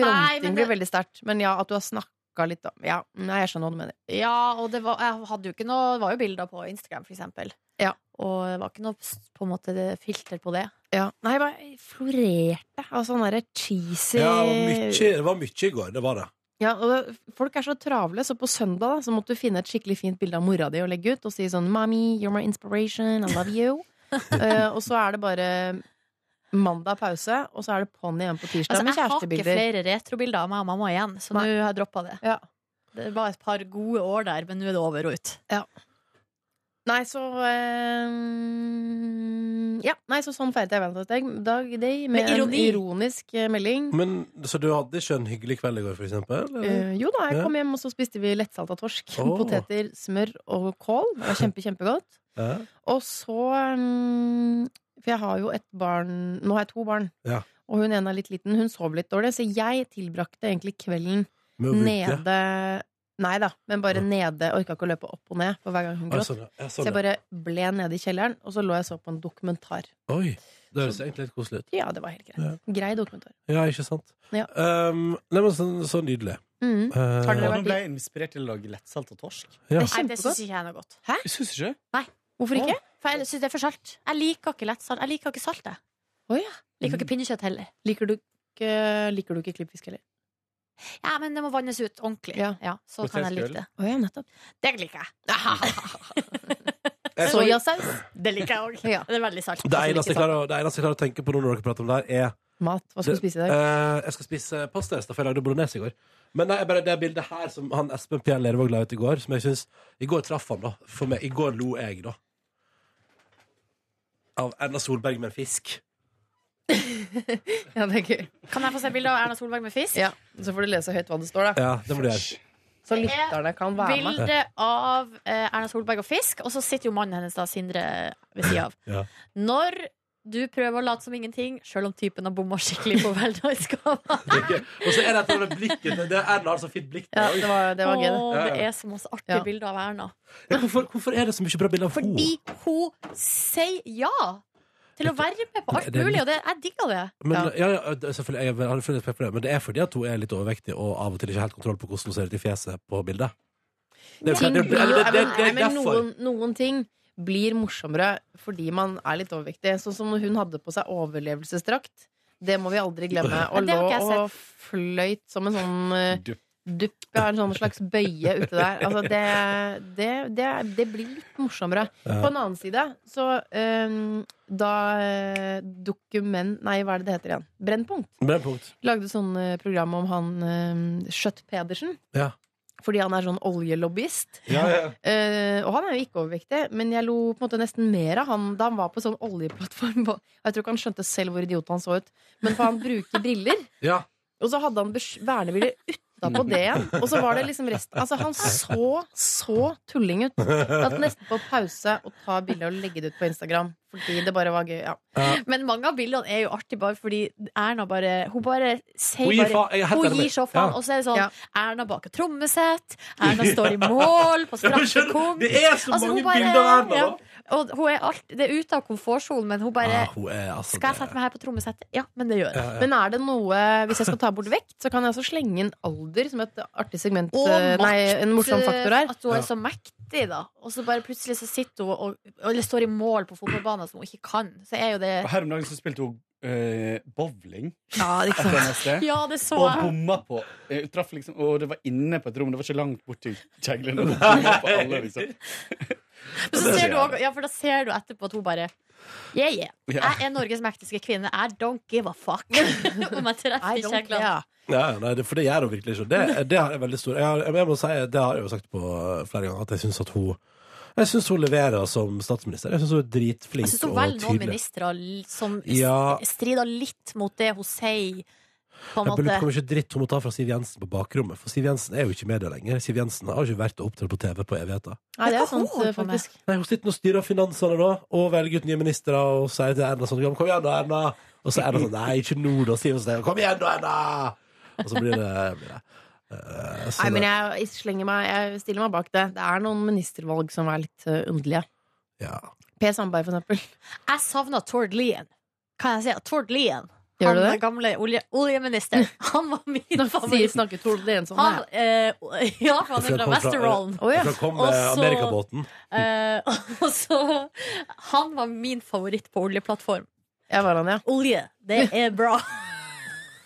Nei, fronting men det- blir veldig sterkt, men ja, at du har snakka litt om Ja, nei, jeg skjønner hva du mener. Ja, og det var, jeg hadde jo ikke noe Det var jo bilder på Instagram, for eksempel. Ja. Og det var ikke noe på en måte, filter på det. Ja. Nei, jeg bare florerte av sånn derre cheesy ja, og mye, det var mye i går, det var det. Ja, og Folk er så travle, så på søndag da, så måtte du finne et skikkelig fint bilde av mora di og legge ut og si sånn 'Mommy, you're my inspiration. I love you'. Eh, og så er det bare mandag pause, og så er det ponni igjen på tirsdag Altså, med jeg har ikke kjærestebilder. flere retrobilder av meg og mamma igjen, så nå Nei. har jeg droppa det. Ja. Det var et par gode år der, men nå er det over og ut. Nei, så eh, Ja, nei, så sånn feiret jeg Valentine's Dag Day med, Med ironi. en ironisk eh, melding. Men, så du hadde ikke en hyggelig kveld i går, for eksempel? eller? Eh, jo da, jeg kom hjem, og så spiste vi lettsalta torsk. Mm-hmm. Åh. Poteter, smør og kål. Det var kjempe, kjempegodt. Ja. Og så mm, For jeg har jo et barn Nå har jeg to barn. Ja. Og hun ene er litt liten. Hun sov litt dårlig, så jeg tilbrakte egentlig kvelden Med å bruke? nede. Nei da, men bare Ja. nede. Orka ikke å løpe opp og ned for hver gang hun Ah, gråt. sånn, ja. Ja, Så sånn, jeg ja. bare ble nede i kjelleren, og så lå jeg og så på en dokumentar. Oi, det høres Sånn. egentlig litt koselig ut. Ja, det var helt greit. Ja. Grei dokumentar. Ja, ikke sant? Ja. Um, nei, men så, så nydelig. Mm. Eh, Har dere Nå vært ble jeg inspirert til å lage lettsalt og torsk. Ja. Det er Nei, det syns kjempegodt. ikke jeg er noe godt. Jeg synes ikke. Hvorfor ikke? For jeg syns det er for salt. Jeg liker ikke lett salt. Jeg liker ikke salt, jeg. Å ja. Liker Mm. ikke pinnekjøtt heller. Liker du ikke, liker du ikke klippfisk heller? Ja, men det må vannes ut ordentlig. Ja. så kan jeg like Potetgull. det. Å ja, nettopp. Det liker jeg. Jeg så- Soyasaus. Det liker jeg òg. Ja. Det er veldig salt. Altså, Det eneste jeg klarer å- det eneste jeg klarer å tenke på nå når dere prater om det her, er Mat. Hva skal du spise i dag? Eh, jeg skal spise pasta i stedet, for jeg lagde bolognese i går. Men nei, bare det bildet her som han Espen Pierre Lervåg la ut i går, som jeg syns I går traff han, da. For meg. I går lo jeg, da. Av Erna Solberg med en fisk. Ja, det er gøy. Kan jeg få se bilde av Erna Solberg med fisk? Ja, Så får du lese høyt hva det står, da. Ja, det må du gjøre. Så lytterne kan være med. Bilde av eh, Erna Solberg og fisk, og så sitter jo mannen hennes, da, Sindre, ved sida av. Ja. Når du prøver å late som ingenting, sjøl om typen har bomma skikkelig på veldagsgava. Og så er det et blikket det- det- Erna har så fint blikk. Ja, det var, det var gøy, det. Åh, Ja, ja. det er så masse artige Ja. bilder av Erna. Ja, Hvorfor, hvorfor er det så mye bra bilder av henne? Fordi hun sier ja til å være med på alt Det er mulig, litt- og det, jeg digger det. Men, ja. Ja, det- selvfølgelig, jeg har full respekt for det, men det er fordi at hun er litt overvektig og av og til ikke helt kontroll på hvordan hun ser ut i fjeset på bildet. Det er, Ting det, det, blir jo- det, det, det nei, er men derfor. noen, noen ting blir morsommere fordi man er litt overvektig. Sånn som når hun hadde på seg overlevelsesdrakt. Det må vi aldri glemme. Og Det har lå ikke jeg sett. og fløyt som en sånn eh, Dupp. dupp. Jeg har en sånn slags bøye ute der. Altså, det, det, det, det blir litt morsommere. Ja. På den annen side, så eh, da eh, dokument... Nei, hva er det det heter igjen? Brennpunkt. Brennpunkt. Lagde sånn eh, program om han eh, Skjøtt Pedersen. Ja. Fordi han er sånn oljelobbyist. Eh, og han er jo ikke overvektig, men jeg lo på en måte nesten mer av han da han var på sånn oljeplattform. på- Jeg tror ikke han skjønte selv hvor idiot han så ut, men for han bruker briller. Ja. Og så hadde han bes- vernebriller utapå det igjen. Og så var det liksom resten Altså, han så så tulling ut. Jeg hadde nesten på pause å ta bilde og legge det ut på Instagram. Fordi det bare var gøy. Ja. Men mange av bildene er jo artige bare fordi Erna bare Hun bare sier Hun gir bare faen. Jeg er helt hun enig. gir så faen, Ja. og så er det sånn Ja. Erna baker trommesett, Erna står i mål på Ja, men skjønner du, straffekonk Det er så Altså, mange hun bare- bilder av Erna, ja. da! Og hun er alt, det er ute av komfortsonen, men hun bare Ah, hun er altså Skal jeg sette meg her på trommesettet? Ja, men det gjør jeg. Men er det noe Hvis jeg skal ta bort vekt, så kan jeg også slenge inn alder som et artig segment. Og eh, makt, eh, nei, en morsom faktor her. At hun er Ja. så mektig, da. Og så bare plutselig så sitter hun og, og eller står i mål på fotballbanen som hun ikke kan. Så er jo det Og Her om dagen så spilte hun eh, bowling. Ja, ikke sant. Neste. Ja, det så Og jeg. bomma på. Eh, Traff liksom, og det var inne på et rom. Det var ikke langt bort til kjeglene. og bomma på alle, liksom. Men så ser du også, ja, for da ser du etterpå at hun bare Yeah, yeah. Ja. Jeg er Norges mektigste kvinne. I don't give a fuck om jeg treffer I don't kjegla. care. Ja, ja, nei, det, for det gjør hun virkelig ikke. Det, det har jeg veldig stor jeg, har- jeg må si, Det har jeg jo sagt på flere ganger, at jeg syns at hun jeg syns hun leverer som statsminister. Jeg syns hun er Jeg dritflink syns hun og velger noen tydelig. ministre l- som s- Ja. strider litt mot det hun sier, på en Jeg lurer på måte. hvor mye dritt hun må ta fra Siv Jensen på bakrommet. For Siv Jensen er jo ikke i media lenger. Siv Jensen har jo ikke vært og opptrådt på TV på evigheter. Nei, det Hva er sant, eh, holder hun på med? faktisk. Nei, Hun sitter og styrer finansene da, og velger ut nye ministre og sier til Erna sånn Kom igjen, da, Erna! Og så er Erna sånn Nei, ikke nå, da. Sier hun sånn Kom igjen, da, Erna! Og så blir det, blir det. eh, Nei, sånn men der. jeg, jeg, slenger meg, jeg stiller meg bak det. Det er noen ministervalg som er litt eh, underlige. ja. Per Sandberg, for eksempel. Jeg savna Tord Lien. Kan jeg si? Tord Lien. Gjør du han det? gamle olje, oljeministeren. Han var min Snakker, favoritt. sier, snakker Tord Lien sånn. Han, her. eh, ja, for han er Fra- kom fra fra- Vesterålen. Å, ja. Så kom Og eh, så- Amerikabåten. Eh, og så Han var min favoritt på oljeplattform. Ja, var han, ja. Olje, det er bra.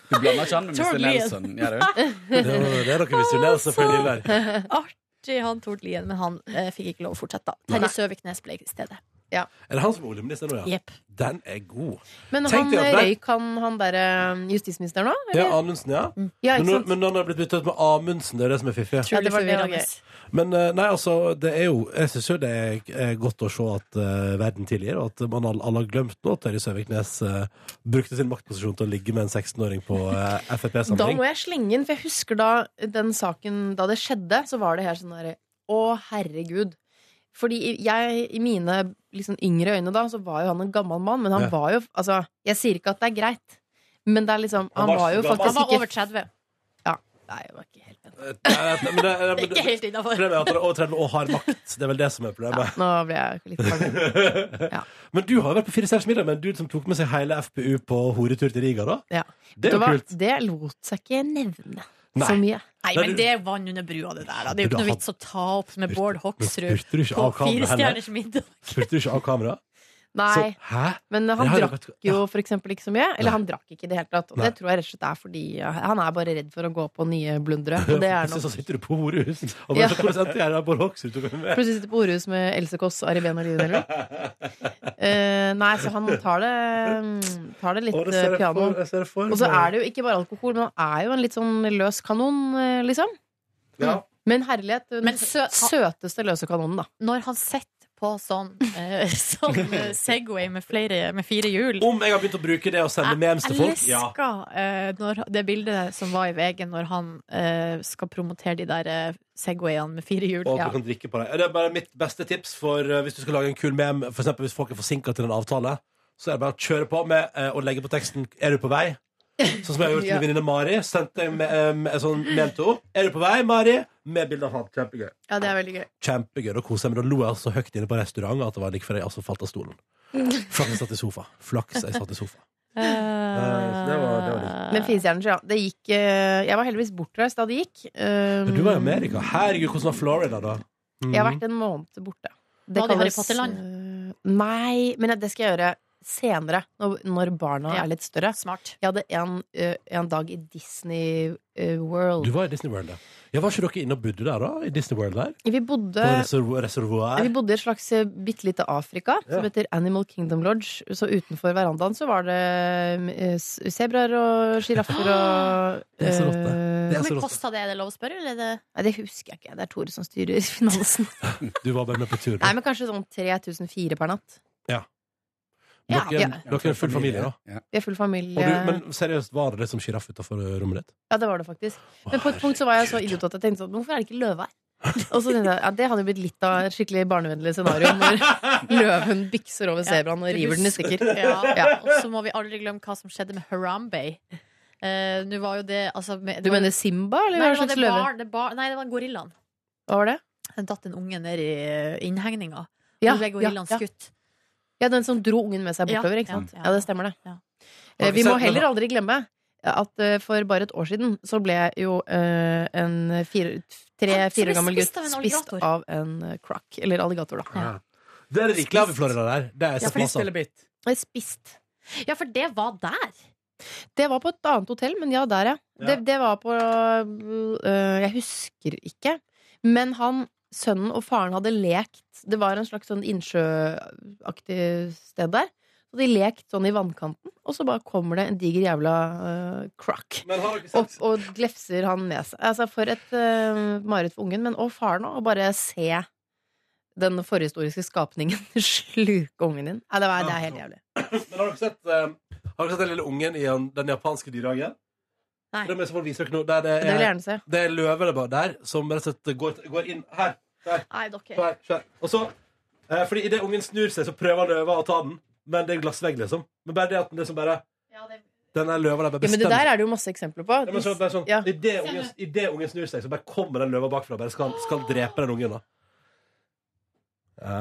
Du blander ikke han med Tror Mr. du- Nelson, gjør du? Det er det er noe visjonært, selvfølgelig. Der. Artig, han Tord Lien, men han eh, fikk ikke lov å fortsette. da. Terje Søviknes ble i stedet. Ja. Er det han som er oljeminister nå, ja? Jepp. Den er god. Men Tenk han deg at det- altså. røyk han, han derre justisministeren nå? Ja, eller? Amundsen, ja. ja, Men, ikke nå, sant? men han har blitt byttet ut med Amundsen, det er det som er fiffig. Utrolig det var det han forvirrende. Men eh, nei, altså, det er jo Jeg syns jo det er eh, godt å se at eh, verden tilgir, og at man all- alle har glemt nå at Terje Søviknes eh, brukte sin maktposisjon til å ligge med en 16-åring på eh, Da Frp-samling. må jeg slenge inn, for jeg husker da den saken Da det skjedde, så var det her sånn derre Å, herregud. Fordi jeg, i mine liksom, yngre øyne da, så var jo han en gammel mann, men han Ja. var jo Altså, jeg sier ikke at det er greit, men det er liksom Han Han, var var jo så gammel. Han faktisk var ikke over 30. Nei, jeg var ikke helt Eh, nei, nei, men det- nei, men Ikke det- helt innafor. Problemet er at han er over 30 og har makt. Det er vel det som er ja, problemet. Nå ble jeg litt fanget. Men du har jo vært på Fire stjerners middag med en dude som tok med seg hele FPU på horetur til Riga, da. Ja. Det er jo Det var- kult. Det lot seg ikke nevne så Nei. mye. Nei, Nei, men du- det er vann under brua, det der. da. Det er jo Du, da ikke noe had- vits å ta opp med Bård Hoksrud Spurte du ikke på av kamera heller? Firestjerners middag. Spurte du ikke av kamera? Så, Nei, hæ? men Det har han jo drakk vært- jo for eksempel ikke så mye. Eller Nei. han drakk ikke i det hele tatt. Og Nei. det tror jeg rett og slett er fordi ja, han er bare redd for å gå på nye blundere. Og det Plutselig er nok så sitter du på horehus og bare sånn, Ja. så, Hvordan endte jeg her? Bård Hoksrud tok meg med. Plutselig sitter på Orhus med Else Kåss og Aribena Lien eller noe. Eh, nei, så han tar det, mm, tar det litt Å, det ser eh, jeg piano. for- det ser jeg for Og så meg. er det jo ikke bare alkohol, men han er jo en litt sånn løs kanon, eh, liksom. Ja. Men herlighet, den Men sø- søteste løse kanonen, da. Når han sitter på sånn, eh, sånn eh, Segway med, flere, med fire hjul Om jeg har begynt å bruke det og sende memes til folk? Ja. elsker eh, når, det bildet som var i VG når han eh, skal promotere de der eh, Segwayene med fire hjul. Og Ja. du kan drikke på det. Det er bare mitt beste tips for eh, hvis du skal lage en kul meme, for eksempel hvis folk er forsinka til en avtale. Så er det bare å kjøre på med eh, å legge på teksten 'Er du på vei?' Sånn som jeg har gjort med Ja. venninne Mari. Sendte jeg med, eh, med, sånn meme til henne. 'Er du på vei, Mari?' Med bilde av han. Kjempegøy. Ja, det er veldig gøy. Kjempegøy. Da koser jeg meg. Da lo jeg så høyt inne på restauranten at det var like før jeg altså falt av stolen. Flaks jeg satt i sofa. Flaks jeg satt i sofa. Eh, det var- det var litt- Men Firestjerners, ja. Det gikk eh, Jeg var heldigvis bortreist da det gikk. Eh, Men du var i Amerika. Herregud, hvordan var Florida, da? Mm. Um, Jeg har vært en måned borte. Var det i Harry kalles, Potter-land? eh, Nei, men det skal jeg gjøre senere, når, når barna Ja. er litt større. Smart. Jeg hadde en, eh, en dag i Disney eh, World. Du var i Disney World, ja. ja. Var ikke dere inne og bodde der, da? I Disney World der? Vi bodde På reservo- reservoar? vi bodde i et slags eh, bitte lite Afrika som Ja. heter Animal Kingdom Lodge. Så utenfor verandaen så var det eh, s- sebraer og sjiraffer og Det er så rått, det. eh, Det er Hvor så mye rått. kosta det? Er det lov å spørre, eller er det Nei, det husker jeg ikke. Det er Tore som styrer finansen. Du var bare med på tur. da. Nei, men kanskje sånn 3004 per natt. Dere, ja. dere er en full familie, da. Ja. Vi er full familie. Og du, men seriøst, var det det som sjiraff utafor eh, rommet ditt? Ja, det var det faktisk. Men på et punkt så var jeg så idiot at jeg tenkte sånn "Men Hvorfor er det ikke løve her? Og så tenkte jeg, ja, Det hadde jo blitt litt av et skikkelig barnevennlig scenario når løven bykser over sebraen og river den i stykker. Ja. Ja. Og så må vi aldri glemme hva som skjedde med Harambe. Eh, Nå var jo det altså, med, Du mener Simba, Nei, eller det hva var slags det løve? barn, det barn, nei, det var gorillaen. Hva var det? Den datt en unge ned i eh, innhegninga. Ja, Nå ble ja, gorillaen ja. skutt. ja, den som dro ungen med seg Ja, bortover, ja, ikke sant? ja. Ja, det stemmer det. Ja. Eh, Vi må Men- heller aldri glemme at eh, for bare et år siden så ble jo eh, en fire, Han som ble tre-fire gammel spist gutt av en spist alligator. av en eh, croc, eller alligator, da. Det er det rikelig av i Florida der. Det er sett masse av. bit? Eh, Spist. Ja, for det var der! Det var på et annet hotell, men ja, der, ja. Ja. Det, det var på øh, Jeg husker ikke. Men han, sønnen og faren hadde lekt Det var en slags sånn innsjøaktig sted der. Og de lekt sånn i vannkanten, og så bare kommer det en diger jævla øh, croc. Men har dere Opp sett og glefser han med seg. Altså, for et øh, mareritt for ungen, men og faren òg. Å bare se den forhistoriske skapningen sluke ungen din. Nei, det, var, det er helt jævlig. Men har dere sett, eh, har dere sett den lille ungen i han- den japanske dyrehagen? Nei. Det må jeg så bare vise dere nå. Der Det vil jeg det, er, gjerne se. det er løver der bare der, som rett og slett går, går inn her. Der. Nei, dere. der, der. Og så eh, Fordi idet ungen snur seg, så prøver løva å ta den, men det er glassvegg, liksom. Men bare det at den liksom bare Den der løva der bare Ja, men det bestemmer der er det jo masse eksempler på. Ja, men så, bare sånn, Ja. i, det ungen, I det ungen snur seg, så bare kommer den løva bakfra bare skal, skal drepe den ungen. da ja.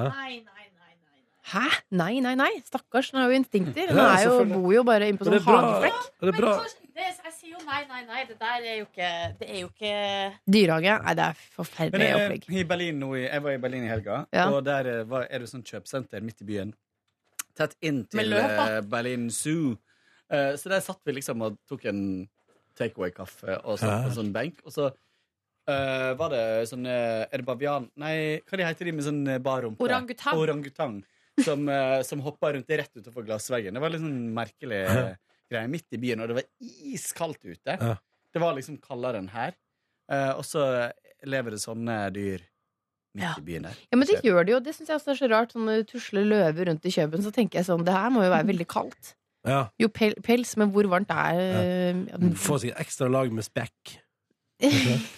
Hæ? Nei, nei, nei. Stakkars, den har jo instinkter. Den Ja, er jo, selvfølgelig. bor jo bare inne på Men sånn det er bra, hageflekk. det er bra. jeg sier jo nei, nei, nei. Det der er jo ikke Det er jo ikke Dyrehage. Nei, det er forferdelig Men, opplegg. eh, i Berlin nå, i- jeg var i Berlin i helga, Ja. og der eh, var, er det sånn kjøpesenter midt i byen. Tett inn Med til løpa. eh, Berlin Zoo. Eh, så der satt vi liksom og tok en takeaway-kaffe og satt på en sånn benk. Og så eh, var det sånn eh, Er det bavian Nei, hva de heter de med sånn eh, bar rumpe? Orangutang. Orangutang. som, eh, som hoppa rundt rett utenfor glassveggen. Det var litt sånn merkelig eh, greie midt i byen, og det var iskaldt ute. Ja. Det var liksom kaldere enn her. Eh, og så lever det sånne dyr midt Ja. i byen der. Ja, men det gjør det jo. Det syns jeg også er så rart. Sånn når du tusler løver rundt i Kjøben, så tenker jeg sånn Det her må jo være veldig kaldt. Ja. Jo, pel- pels, men hvor varmt er eh, ja, den- Få seg et ekstra lag med spekk. det,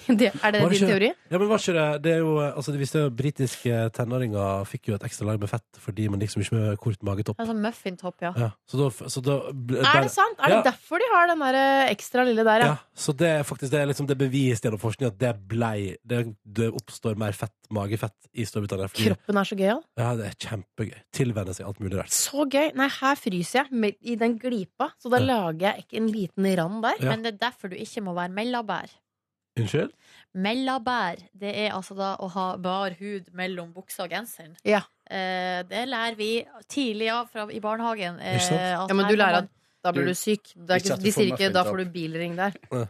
Er det Var det din ikke- teori? Ja, men var ikke det, det er jo, eh, altså, Hvis det er britiske tenåringer fikk jo et ekstra lag med fett fordi man liksom ikke med kort magetopp. Altså muffintopp, ja. Ja, så da, så da ble- Er bare- det sant? Er det Eh, Ja. derfor de har den der eh, ekstra lille der, ja? Ja, så det er faktisk det er liksom det er bevist gjennom forskning at det blei det, det oppstår mer fett, magefett i Storbritannia. Fordi, Kroppen er så gøy, ja. ja, det er kjempegøy. Tilvenne seg alt mulig rart. Så gøy! Nei, her fryser jeg med- i den glipa, så da Ja. lager jeg ikke en liten rand der. Ja. Men det er derfor du ikke må være mellabær. Unnskyld? Mellabær, det er altså da å ha bar hud mellom buksa og genseren. Ja. Eh, det lærer vi tidlig av fra, i barnehagen. eh, Ikke sant? at Ja, men her du må lærer man- at da blir Du- du syk. Det er Ikke ikke, at du de får sier ikke 'da muffins får opp. du bilring der'.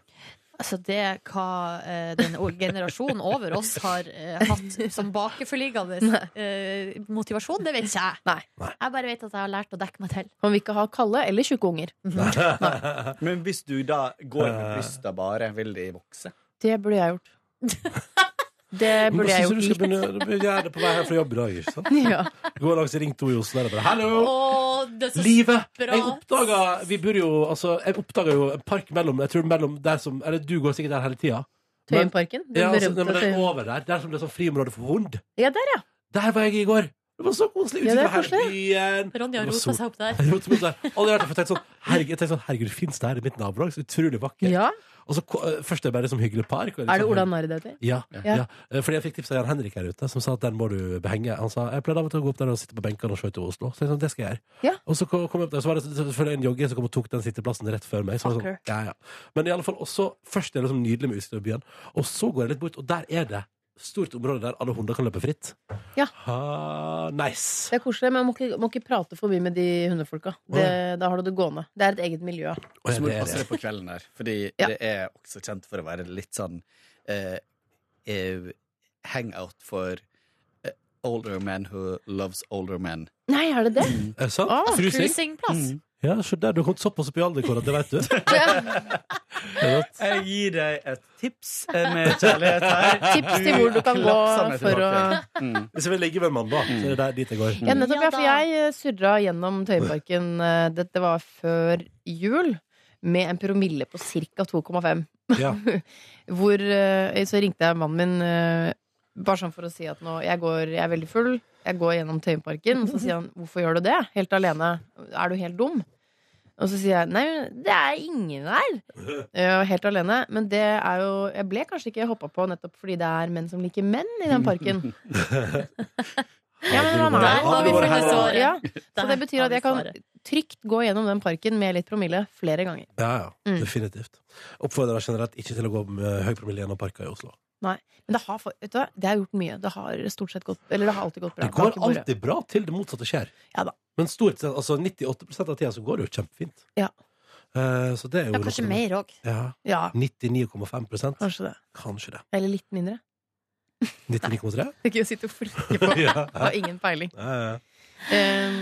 Altså, det er hva eh, den o- generasjonen over oss har eh, hatt som bakeforliggende eh, motivasjon, det vet ikke jeg. Nei. Nei. Jeg bare vet at jeg har lært å dekke meg til. Man vil ikke ha kalde eller tjukke unger. Men hvis du da går Eh. med brysta bare, vil de vokse? Det burde jeg gjort. Det Men burde da jeg synes jeg gjort. Du skal begynne, begynne å gjøre det på vei her fra jobb i dag. ikke sant? Ja. Gå langs Ring 2 i Oslo der og bare Hallo! Å, det er så Livet! bra. Jeg oppdaga Vi bor jo Altså, jeg oppdaga jo en park mellom Jeg tror mellom der som Eller du går sikkert der hele tida. Men- Tøyenparken. Den Ja, altså, nei, berømte men det er Tøyen- over der. Der som det er sånn friområde for hund. Ja, der, ja. Der var jeg i går! Det var så koselig. Ja, Utsikt det er over hele byen. Ronja Det var rota sol. seg opp der. Jeg rotet meg ut der. Aldri vært der, for jeg tenkte sånn, herregud, jeg tenkte sånn, herregud, finnes det her i mitt nabolag? Så utrolig vakkert. ja. Og så ko- øh, først er det bare som hyggelig par. hvor jeg Er det liksom- Ola Narr det heter? Ja, Ja. ja. Eh, Fordi jeg fikk tips av Jan Henrik her ute, som sa at den må du behenge. Han sa jeg pleide av og til å gå opp der og sitte på benkene og se utover Oslo. Så jeg sa, det skal jeg gjøre. Ja. Og så kom kom jeg opp der, så var det selvfølgelig en jogger som kom og tok den sitteplassen rett før meg. Så var det sånn, Fucker. ja, ja. Men i alle fall, også, først er det liksom nydelig med utsikt over byen, og så går jeg litt bort, og der er det stort område der alle hunder kan løpe fritt. Ja. Ha, nice. Det er koselig, men man må ikke, må ikke prate for mye med de hundefolka. Det, da har du det gående. Det er et eget miljø. Og Så må du det er passe det. deg på kvelden der, fordi Ja. det er også kjent for å være litt sånn eh, eh, hangout for eh, older men who loves older men. Mm. Nei, er det det? Er det sant? Ah, Mm. Frysing? Cruisingplass. Ja, se der, du har kommet såpass opp i alder, Kåre, at det vet du. Jeg gir deg et tips eh, med kjærlighet her. Tips til hvor du kan gå Klapsene for å tilbake. Mm. Hvis jeg vil ligge med en mann, da, så er det der dit jeg går. ja, nettopp, ja, Ja da. for Jeg eh, surra gjennom Tøyenparken eh, Dette var før jul Med en promille på ca. 2,5 Ja. Hvor eh, så ringte jeg mannen min eh, Bare sånn for å si at nå jeg, går, jeg er veldig full Jeg går gjennom Tøyenparken Og så sier han, hvorfor gjør du det? Helt alene, er du helt dum? Og så sier jeg, nei, men det er ingen der Eh, Helt alene Men det er jo, jeg ble kanskje ikke hoppet på Nettopp fordi det er menn som liker menn i den parken Ja, men han er Der har Har du vært vi funnet her? svaret. ja, Der så det betyr har at vi jeg kan svaret. trygt gå gjennom den parken med litt promille flere ganger. Ja, ja, Mm. definitivt. Oppfordrer deg generelt ikke til å gå med høy promille gjennom parker i Oslo. Men det har, for- vet du, hva? det har gjort mye. Det har stort sett gått Eller det har alltid gått bra. Det går Bak i bordet. alltid bra til det motsatte skjer. Ja da. Men stort sett, altså 98 av tida så går det jo kjempefint. Ja. Eh, så det er jo Ja, kanskje mer òg. Ja. Ja, 99,5 kanskje det. Kanskje det. Eller litt mindre. 99,3? Det er gøy å sitte og flikke på. ja. Har ingen peiling. Ja, ja. Um,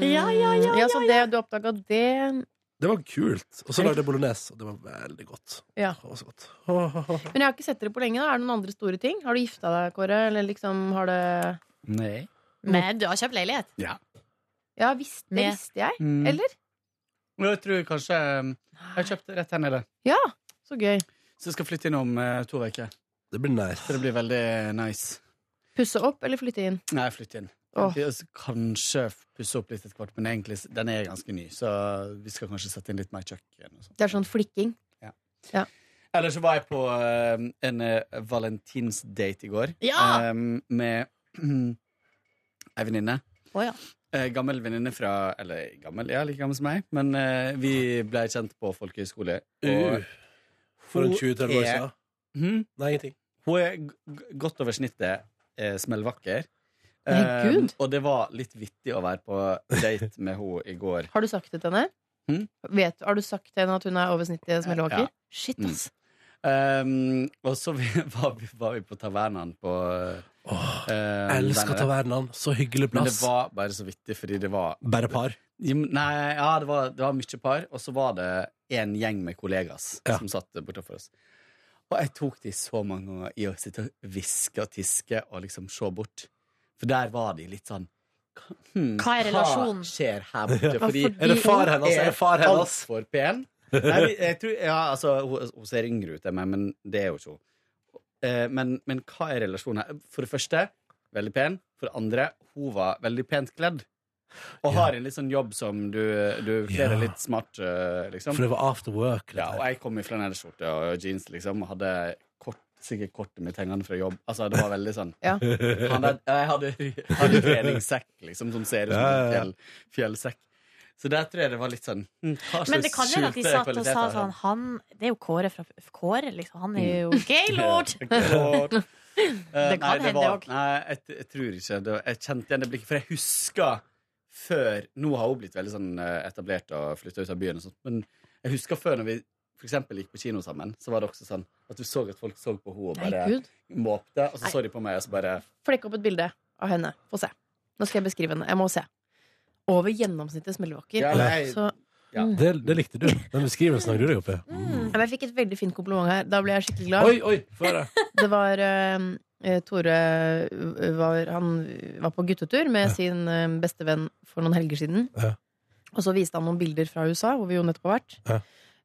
Ja, ja, ja, ja, så det, du oppdaga det. Det var kult. Og så lagde jeg bolognese, og det var veldig godt. Ja. Det var så godt. Åh, åh, åh. Men jeg har ikke sett dere på lenge. da Er det noen andre store ting? Har du gifta deg, Kåre? Eller liksom har det Nei. Men du har kjøpt leilighet. Ja, visst, det Med- visste jeg. Mm. Eller? Men Jeg tror kanskje um, Jeg kjøpte rett her nede. Ja, så gøy. Så jeg skal flytte inn om eh, to uker. Det blir nice. Så det blir veldig nice. Pusse opp eller flytte inn? Nei, flytte inn. Åh. Vi skal Kanskje pusse opp litt etter hvert, men egentlig, s- den er ganske ny. Så vi skal kanskje sette inn litt mer kjøkken. Og sånt. Det er sånn flikking. Eller så var jeg på eh, en eh, valentinsdate i går Ja! eh, med ei venninne. Å ja. Eh, gammel venninne fra Eller gammel, ja, like gammel som meg. Men eh, vi ble kjent på folkehøyskole. Uh, for en hun 20-30 år er- siden. Mhm. Nei, ingenting. Hun er g- g- godt over snittet eh, smellvakker. Nei, Eh, Gud. og det var litt vittig å være på date med henne i går. Har du sagt det til henne? Mm. Vet, har du sagt til henne at hun er over snittet smellvåker? Ja. Shit, Mm. ass. Ehm, Um, og så vi, var, vi, var vi på tavernaen på eh, Eh, Jeg elsker men- tavernaen. Så hyggelig Men det plass. var bare så vittig, fordi det var Bare par. Jo, men- Nei, ja, det var, det var mye par, og så var det en gjeng med kollegas Ja. som satt bortafor oss. Og jeg tok de så mange ganger i å sitte og hviske og tiske og liksom se bort. For der var de litt sånn hmm, Hva er relasjonen? Hva skjer her borte? Fordi fordi- Er det far hennes? Er det altså, far hennes? altfor pen. Nei, vi- jeg tror, ja, altså, hun, hun ser yngre ut enn meg, men det er jo ikke hun. Eh, Men, men hva er relasjonen her? For det første, veldig pen. For det andre, hun var veldig pent kledd. Og har en litt sånn jobb som du, du kler Ja. deg litt smart, eh, liksom. For det var after work. Ja, og jeg kom i flanellskjorte og jeans, liksom. Og hadde kort, sikkert kortet mitt hengende fra jobb. Altså, det var veldig sånn Ja. Han der, Jeg hadde, hadde treningssekk, liksom, som ser ut som Ja, en ja, ja. fjell, fjellsekk. Så der tror jeg det var litt sånn hm, Mm. hva Men slags det kan jo være at de skjulte satt og sa kvaliteter sånn har han, Det er jo Kåre fra Kåre, liksom. Han er jo gaylord! Gaylord. Eh, Det nei, kan det hende var, òg. nei, jeg, t- jeg tror ikke det. var- Jeg kjente igjen det blikket, for jeg husker før Nå har hun blitt veldig sånn eh, etablert og flytta ut av byen og sånt, men jeg husker før når vi for eksempel gikk på kino sammen, så var det også sånn at du så at folk så på henne og Nei, bare gud. måpte, og så så de på meg, og så bare Flekk opp et bilde av henne. Få se. Nå skal jeg beskrive henne. Jeg må se. Over gjennomsnittet smellvakker. Ja, nei. Så Det, det likte du. Den beskrivelsen har du deg opp i. Ja, men Jeg fikk et veldig fint kompliment her. Da ble jeg skikkelig glad. Oi, oi! Få høre. Det var eh, eh, Tore eh, var, Han var på guttetur med sin eh, bestevenn for noen helger siden. Ja. Og så viste han noen bilder fra USA, hvor vi jo nettopp har vært. Ja.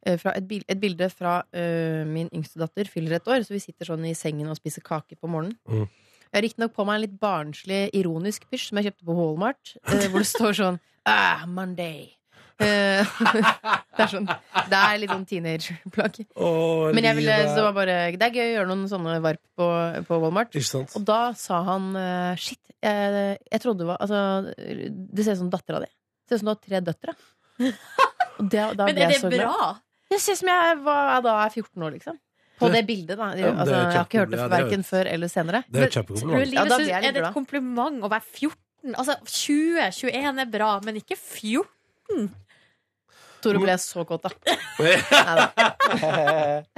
Eh, Fra et, bil, et bilde fra eh, min yngste datter fyller et år, så vi sitter sånn i sengen og spiser kake på morgenen. Mm. Jeg har riktignok på meg en litt barnslig, ironisk pysj som jeg kjøpte på Walmart, eh, hvor det står sånn Ah, Monday. Eh, det er sånn Det er litt sånn teenagerplagg. Å, Men jeg ville, livet. så det, var bare, det er gøy å gjøre noen sånne varp på, på Walmart. Ikke sant? Og da sa han eh, Shit, jeg, jeg trodde det var altså, Det ser ut som dattera di. Det ser ut som du har tre døtre. Og det, da Men ble er jeg det så glad. bra? Det ser ut som jeg var, da er 14 år, liksom. På det bildet, da. Ja, men det er altså, jeg har ikke hørt kjempe- det ja, det er jo- verken før eller senere. Det er jo Tror du kjempekompliment. Ja, livet da syns- blir jeg litt Er det glad. et kompliment å være 14? Altså 20, 21 er bra, men ikke 14? Tore ble så kåt, da. Neida.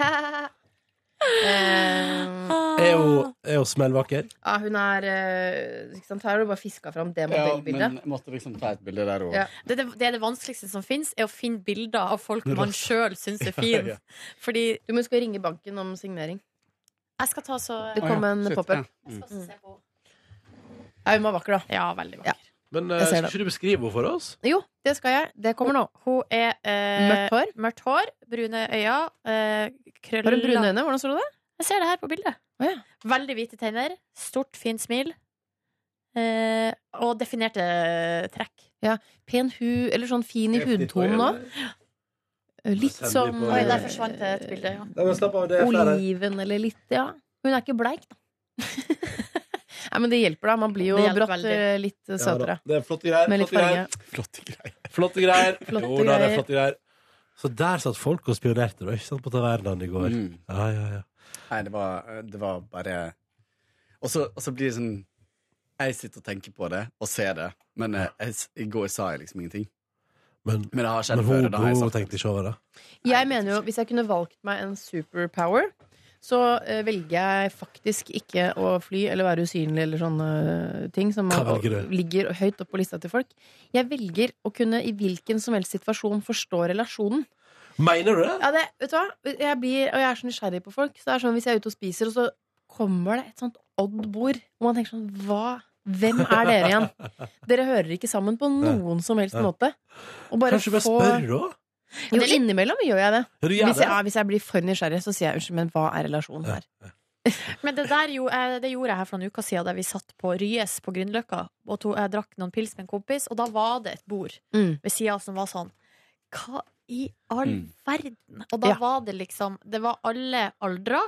Eh, Ah. Er hun, er hun smellvakker? ja, hun er eh, ikke sant? Her har du bare fiska fram det ja, modellbildet. Men jeg måtte liksom ta et bilde der òg. Ja. Det, det, det er det vanskeligste som fins, er å finne bilder av folk man sjøl syns er fin. Fordi Du må huske å ringe banken om signering. jeg skal ta så Det kom en pop-up. Ja, hun var vakker, da. Ja, veldig Ja. vakker. Men Jeg eh, ser skal det. ikke du beskrive henne for oss? Jo, det skal jeg. Det kommer nå. Hun er eh, Mørkt hår? mørkt hår, brune øyne, eh, krøller Har hun brune øyne? Hvordan så du det? Jeg ser det her på bildet. Å, ja. Veldig hvite tenner, stort, fint smil. Eh, og definerte trekk. Pen hu, eller sånn fin i hudtonen òg. Litt sånn- Sendig som på- Oi, Eh, der forsvant det et bilde. Ja. Nei, men slapp av, det er flere. oliven eller litt, ja. Hun er ikke bleik, da. Nei, men det hjelper, da. Man blir jo Det hjelper brått veldig. eh, litt eh, Ja, da. søtere. det er flotte greier. Med litt flotte greier. farge. Flotte greier. Flotte greier. Flotte jo, da, det greier. er flotte greier. Så der satt folk og spionerte, da, ikke sant, på tavernaen i går. Mm. Ja, ja, ja. Nei, det var, det var bare Og så og så blir det sånn Jeg sitter og tenker på det og ser det, men eh, jeg, s- i går sa jeg liksom ingenting. Men, Men det har skjedd men før. hun, og Da har jeg hun sagt tenkte ikke over det. Jeg mener jo, hvis jeg kunne valgt meg en superpower, så eh, velger jeg faktisk ikke å fly eller være usynlig eller sånne eh, ting som Hva er- velger du? ligger høyt oppe på lista til folk. Jeg velger å kunne i hvilken som helst situasjon forstå relasjonen. Mener du det? Ja, det, vet du hva? Jeg blir, og jeg er så nysgjerrig på folk. Så det er sånn Hvis jeg er ute og spiser, og så kommer det et sånt odd bord, og man tenker sånn hva, Hvem er dere igjen? Dere hører ikke sammen på noen som helst Nei. måte. Og bare Kanskje du bare få spør, da? Jo, innimellom gjør jeg det. Ja, du gjør Hvis det. jeg, ja, hvis jeg blir for nysgjerrig, så sier jeg unnskyld, men hva er relasjonen her? Men det der jo, eh, det gjorde jeg her for noen uker siden, der vi satt på Ryes på Grünerløkka. Og to, jeg drakk noen pils med en kompis, og da var det et bord Mm. ved sida av som var sånn Hva i all Mm. verden? Og da Ja. var det liksom Det var alle aldra.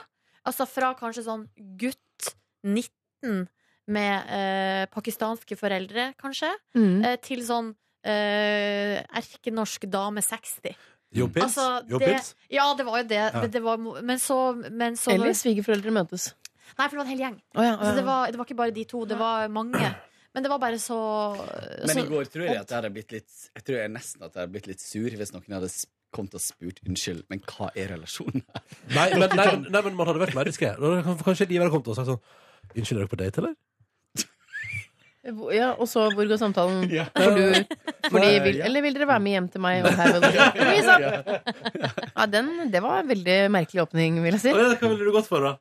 Altså fra kanskje sånn gutt 19 med eh, pakistanske foreldre, kanskje, Mm. eh, til sånn eh, erkenorsk dame 60. Jobbpils? Altså, det- Jobbpils? Ja, det var jo det. Ja. Men, det var, men så, men så Eller svigerforeldre møtes. Nei, for det var en hel gjeng. sånn Å ja, å ja. Så det var, det var ikke bare de to, det var mange. Men det var bare så, Men i Altså, så går tror jeg at jeg hadde blitt litt Jeg tror jeg nesten at jeg hadde blitt litt sur hvis noen hadde s- kommet og spurt unnskyld, men hva er relasjonen? Nei, men, nei, men, nei, men man hadde vært mer diskré. Kanskje de hadde kommet og sagt sånn Unnskyld, er dere på date, eller? Ja, og så hvor går samtalen? Ja. Får du, får de, Nei, vil, ja. eller vil dere være med hjem til meg? Og her, og der? Vis opp! ja, den, det var en veldig merkelig åpning, vil jeg si. Å, ja, Hva ville du gått for, da?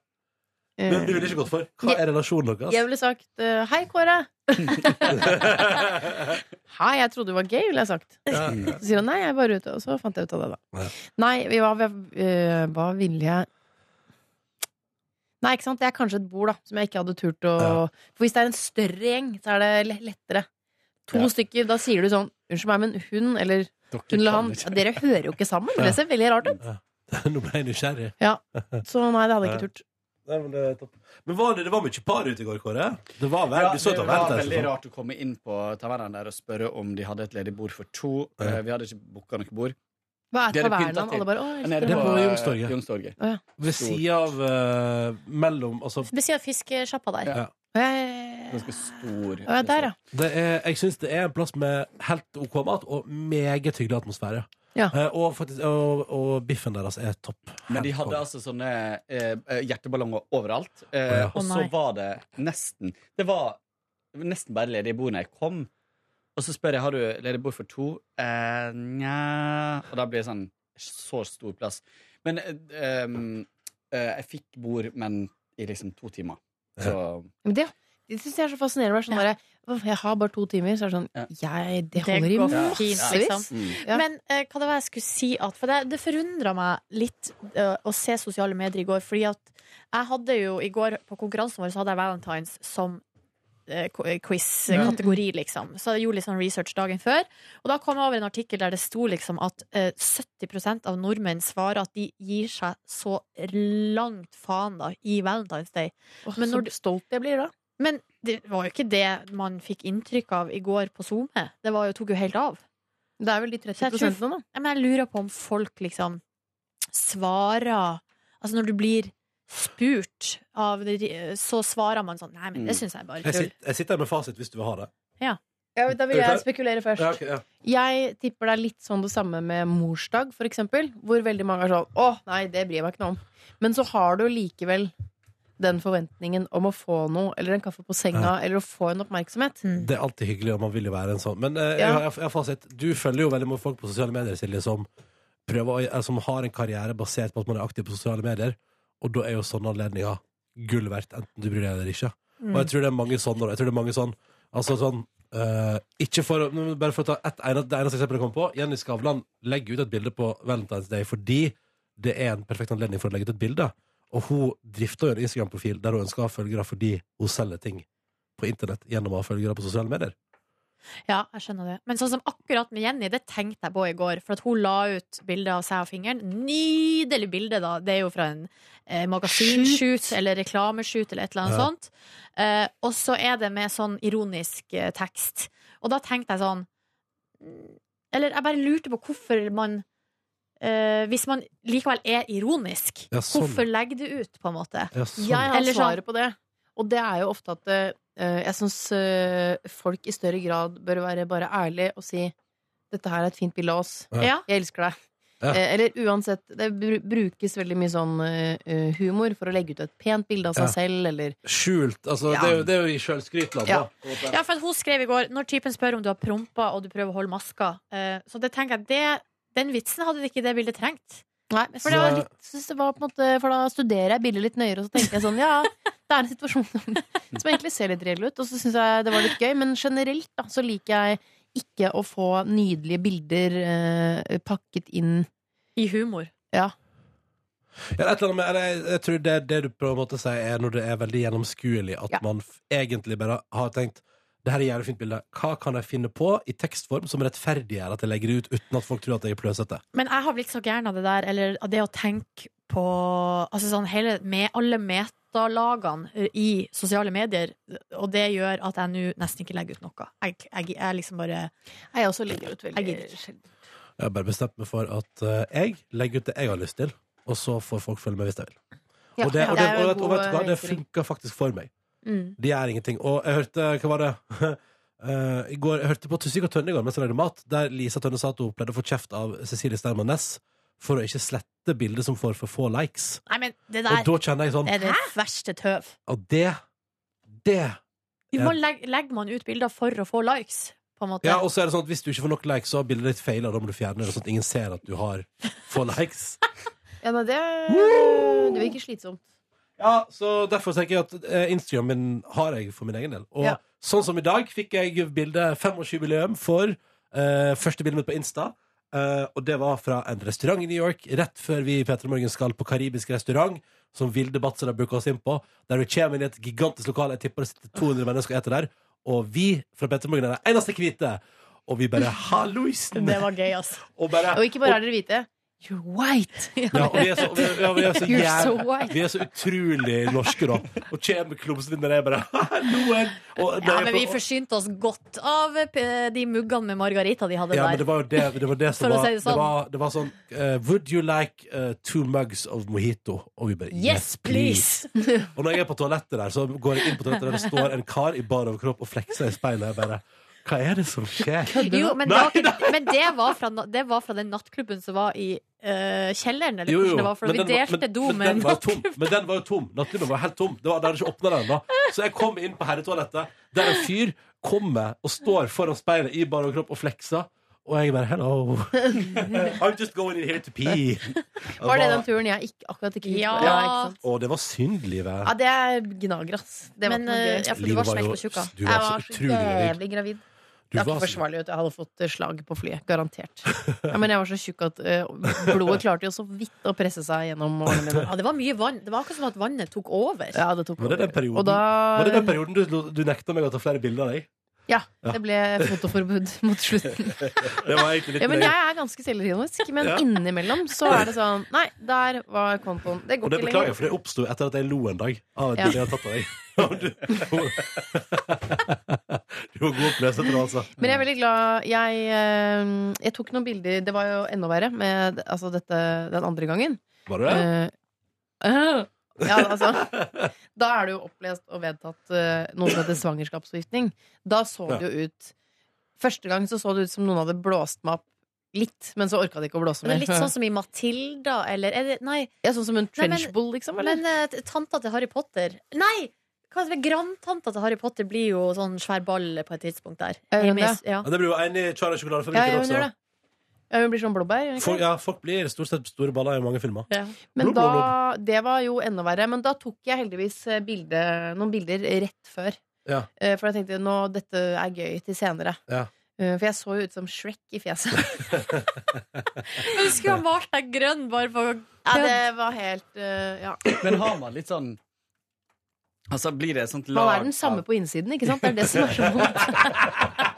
Men du Eh, ville ikke gått for. Hva er relasjonen Jeg deres? ville sagt eh, 'hei, Kåre'. Hei, jeg trodde du var gay, ville jeg sagt. Så sier han nei, jeg er bare ute. Og så fant jeg ut av det, da. Ja. Nei, vi var, vi, eh, hva ville jeg Nei, ikke sant. Det er kanskje et bord da som jeg ikke hadde turt å Ja. For hvis det er en større gjeng, så er det le- lettere. To Ja. stykker, da sier du sånn 'unnskyld meg, men hun eller Dere hun eller han kan ja, ikke. Dere hører jo ikke sammen. Det ser veldig rart ut. Nå ble jeg nysgjerrig. Så nei, det hadde jeg ikke turt. Nei, men det er topp. Men var det, det var mye par ute i går, Kåre. Det var vel, Ja, du så det et var event der. veldig sånn. rart å komme inn på tavernaen der og spørre om de hadde et ledig bord for to. Ja. Eh, Vi hadde ikke booka noe bord. Hva er Det er det pyntet tavernaen? til. Alle bare 'å, jeg Nede elsker på- det'. eh, Youngstorget. Youngstorget. Ved sida av eh, mellom Altså, Ved siden av eh, fiskesjappa der. Ja. Å, jeg- Ganske stor. Å, ja, der, ja. det er, jeg syns det er en plass med helt OK mat og meget hyggelig atmosfære. Ja. Eh, og, faktisk, og, og biffen deres er topp. Men de Helt hadde konge. altså sånne eh, eh, hjerteballonger overalt. Eh, Å, ja. Å, Og så nei. var det nesten Det var nesten bare ledige bord når jeg kom. Og så spør jeg har du ledig bord for to. Eh, Nja Og da blir det sånn så stor plass. Men eh, ehm, eh, jeg fikk bord, men i liksom to timer. Så Men det, det syns jeg er så fascinerende. Bare sånn Ja. der, «Åh, jeg har bare to timer, så er det sånn Ja. jeg, Det Det holder i går massevis. fint, liksom. mm. Ja. Men eh, hva det var jeg skulle si at, For det, det forundra meg litt eh, å se sosiale medier i går. Fordi at jeg hadde jo i går på konkurransen vår så hadde jeg Valentines som eh, ko- eh, quiz-kategori, liksom. Så jeg gjorde litt sånn research dagen før. Og da kom jeg over en artikkel der det sto liksom at eh, 70 av nordmenn svarer at de gir seg så langt faen da i Valentine's Day. Åh, Men så når du- stolt jeg blir da. Men det var jo ikke det man fikk inntrykk av i går på SoMe. Det var jo, tok jo helt av. Det er vel de 30 prosentene, da. Ja, men jeg lurer på om folk liksom svarer Altså når du blir spurt av det, så svarer man sånn Nei, men det Mm. syns jeg bare jeg, tull. sit, jeg sitter her med fasit hvis du vil ha det. da vil Er du jeg klar? spekulere Ja, ok, ja. Jeg tipper det er litt sånn det samme med morsdag, for eksempel. Hvor veldig mange er sånn 'Å, nei, det bryr jeg meg ikke noe om'. Men så har du likevel den forventningen om å få noe, eller en kaffe på senga, eller å få en oppmerksomhet. Det er alltid hyggelig, og man vil jo være en sånn. Men eh, jeg, Ja. har- jeg, har fasit. Du følger jo veldig mange folk på sosiale medier, Silje, som, prøver, å- eh, som har en karriere basert på at man er aktiv på sosiale medier. Og da er jo sånne anledninger gull verdt, enten du bryr deg eller ikke. Mm. Og jeg tror det er mange sånne. og Jeg tror det er mange sånn, altså sånn eh, ikke for, å- men bare for å ta ett ene, det eneste eksempelet jeg kom på. Jenny Skavlan legger ut et bilde på Valentine's Day fordi det er en perfekt anledning for å legge ut et bilde. Og hun drifter jo en Instagram-profil der hun ønsker å ha følgere fordi hun selger ting på internett gjennom å ha følgere på sosiale medier. Ja, jeg skjønner det. Men sånn som akkurat med Jenny, det tenkte jeg på i går. For at hun la ut bilde av seg og fingeren. Nydelig bilde, da. Det er jo fra en eh, magasinshoot eller reklameshoot eller et eller annet Ja. sånt. Eh, og så er det med sånn ironisk eh, tekst. Og da tenkte jeg sånn mm, Eller jeg bare lurte på hvorfor man eh, Hvis man likevel er ironisk, Ja, sånn. hvorfor legger du ut, på en måte? Ja, sånn. Jeg har Eller sånn- svaret på det. Og det er jo ofte at eh, jeg syns folk i større grad bør være bare ærlig og si 'dette her er et fint bilde av oss'. Ja. Ja. Jeg elsker deg. Ja. Eh, Eller uansett, det bru- brukes veldig mye sånn eh, humor for å legge ut et pent bilde av seg Ja. selv, eller Skjult. Altså, Ja. det, er jo, det er jo i sjølskrytland, Ja. da. Ja, for at hun skrev i går Når typen spør om du har prompa og du prøver å holde maska eh, Så det tenker jeg det, Den vitsen hadde ikke det bildet trengt Nei, for, det var litt, synes det var på en måte, for da studerer jeg bildet litt nøyere, og så tenker jeg sånn ja, det er en situasjon som, som egentlig ser litt reell ut, og så syns jeg det var litt gøy. Men generelt da, så liker jeg ikke å få nydelige bilder eh, pakket inn I humor Ja. Ja, et eller annet med, eller jeg, jeg tror det, det du på en måte sier, er når det er veldig gjennomskuelig, at Ja. man f egentlig bare har tenkt det her er et jævlig fint bilde. Hva kan jeg finne på i tekstform som rettferdiggjør at jeg legger det ut uten at folk tror at jeg er pløsete? Men jeg har blitt så gæren av det der Eller av det å tenke på Altså sånn hele med, Alle metalagene i sosiale medier Og det gjør at jeg nå nesten ikke legger ut noe Jeg, jeg, jeg liksom bare Jeg også legger ut Jeg veldig gidder ikke. sjelden. Jeg har bare bestemt meg for at eh, jeg legger ut det jeg har lyst til, og så får folk følge med hvis de vil. Ja, og det, og ja, det, er og jo vet, og vet du god, hva, det eh, innstilling. funker faktisk for meg. mm. De er ingenting. Og jeg hørte Hva var det? Eh, I går, jeg hørte på Tusvik og Tønne i går mens jeg lagde mat, der Lisa Tønne sa at hun pleide å få kjeft av Cecilie Sterman Næss for å ikke slette bilder som får for få likes. Nei, men det Og der Eh. da kjenner jeg sånn er det verste tøv at det Det Jo, man legger, legger man ut bilder for å få likes, på en måte. Ja, og så er det sånn at hvis du ikke får nok likes, så har bildet ditt feila. Da må du fjerne det, sånn at ingen ser at du har få likes. Ja, nei, det, det virker slitsomt. Ja, så derfor tenker jeg at eh, Instagram min har jeg for min egen del. Og Ja. sånn som i dag fikk jeg bilde 25-jubileum for eh, første bildet mitt på Insta. Eh, og det var fra en restaurant i New York rett før vi i Petra Morgen skal på karibisk restaurant, som Vilde Batzer har booka oss inn på. Der vi kommer inn i et gigantisk lokale. Jeg tipper det sitter 200 mennesker og eter der. Og vi fra Petra Morgen er de eneste hvite. Og vi bare 'halloisen'! Det var gøy, altså. Og bare Og ikke bare er dere hvite. You're white! ja, og vi er så, vi, ja, vi er så, You're jæv- so white. vi er så utrolig norske, da. Og kommer klumsete inn der jeg bare Halloen! Og Ja, når jeg men på- vi forsynte oss godt av eh, de muggene med margarita de hadde ja, men det der. var jo det, det, var det som For å var, si det det, sånn. var, det var sånn eh, Would you like eh, two mugs of mojito? Og vi bare Yes, please! Og når jeg er på toalettet der, så går jeg inn på toalettet der det står en kar i bar overkropp og flekser i speilet. Jeg bare Hva er det som skjer? Jo, men, det var, ikke- men det, var fra, na- det var fra den nattklubben som var i eh, kjelleren, eller hvordan det var, for men vi den var- men- delte do men med den en var jo tom. Men den var jo tom. Nattklubben var helt tom. Det var, de hadde ikke åpnet den da. Så jeg kom inn på herretoalettet, der en fyr kommer og står foran speilet i bar overkropp og flekser. Og jeg bare hello. I'm just going in here to pee. Var det den turen jeg ikke, akkurat ikke gikk Ja. på? ikke sant? Å, det var synd, livet. ja, det er gnager, ass. Det var Men, ikke noe eh, gøy. ja, for du Livet var var smekk jo- på tjukka. Du Jeg var så var så utrolig gravid. jævlig gravid. Du det var var ikke så- forsvarlig. Vet du. Jeg hadde fått eh, slag på flyet. Garantert. Ja, men jeg var så tjukk at eh, blodet klarte jo så vidt å presse seg gjennom årene mine. Ja, det var mye vann. Det var akkurat som at vannet tok over. Ja, det tok Var det den over. perioden? Og da Var det den perioden du, du nekta meg å ta flere bilder av deg? Ja. Ja. Det ble fotoforbud mot slutten. Det var egentlig litt Ja, men nøye. jeg er ganske selvironisk, men Ja. innimellom så er det sånn Nei, der var kontoen. Det Og går det ikke beklager jeg, lenger. for det oppsto etter at jeg lo en dag av et Ja. bilde jeg hadde tatt av deg. Og du- Du var god oppløser til det, altså. Men jeg er veldig glad jeg, eh, jeg tok noen bilder Det var jo enda verre med altså, dette den andre gangen. Var du det? Eh, eh, ja, altså Da er det jo opplest og vedtatt eh, noe som heter svangerskapsforgiftning. Da så det jo ut Første gang så så det ut som noen hadde blåst meg opp litt, men så orka de ikke å blåse Men det mer. er litt sånn som i Matilda, eller er det, Nei, ja, sånn som en Nei, men- trenchbull, liksom? Eller? men eh, t- tanta til Harry Potter Nei! Hva heter det? Grandtanta til Harry Potter blir jo sånn svær ball på et tidspunkt der. Er hun Hjemme i- Ja. Ja, det blir jo en i Charlie ja, Sjokoladefabrikken ja, hun også. gjør det. Ja, hun blir sånn blåbær. gjør hun ikke Folk, ja, folk blir stort sett store baller i mange filmer. Ja. Men Blub, blub, da, det var jo enda verre. Men da tok jeg heldigvis eh, bilde, noen bilder rett før. Ja. Eh, For jeg tenkte nå, dette er gøy til senere. Ja. Eh, For jeg så jo ut som Shrek i fjeset. Men du skulle ha malt deg grønn bare for å ja, det var helt eh, Ja. Men har man litt sånn Altså, blir det et sånt Man lag er den samme på innsiden, ikke sant? Det er det som er så vondt.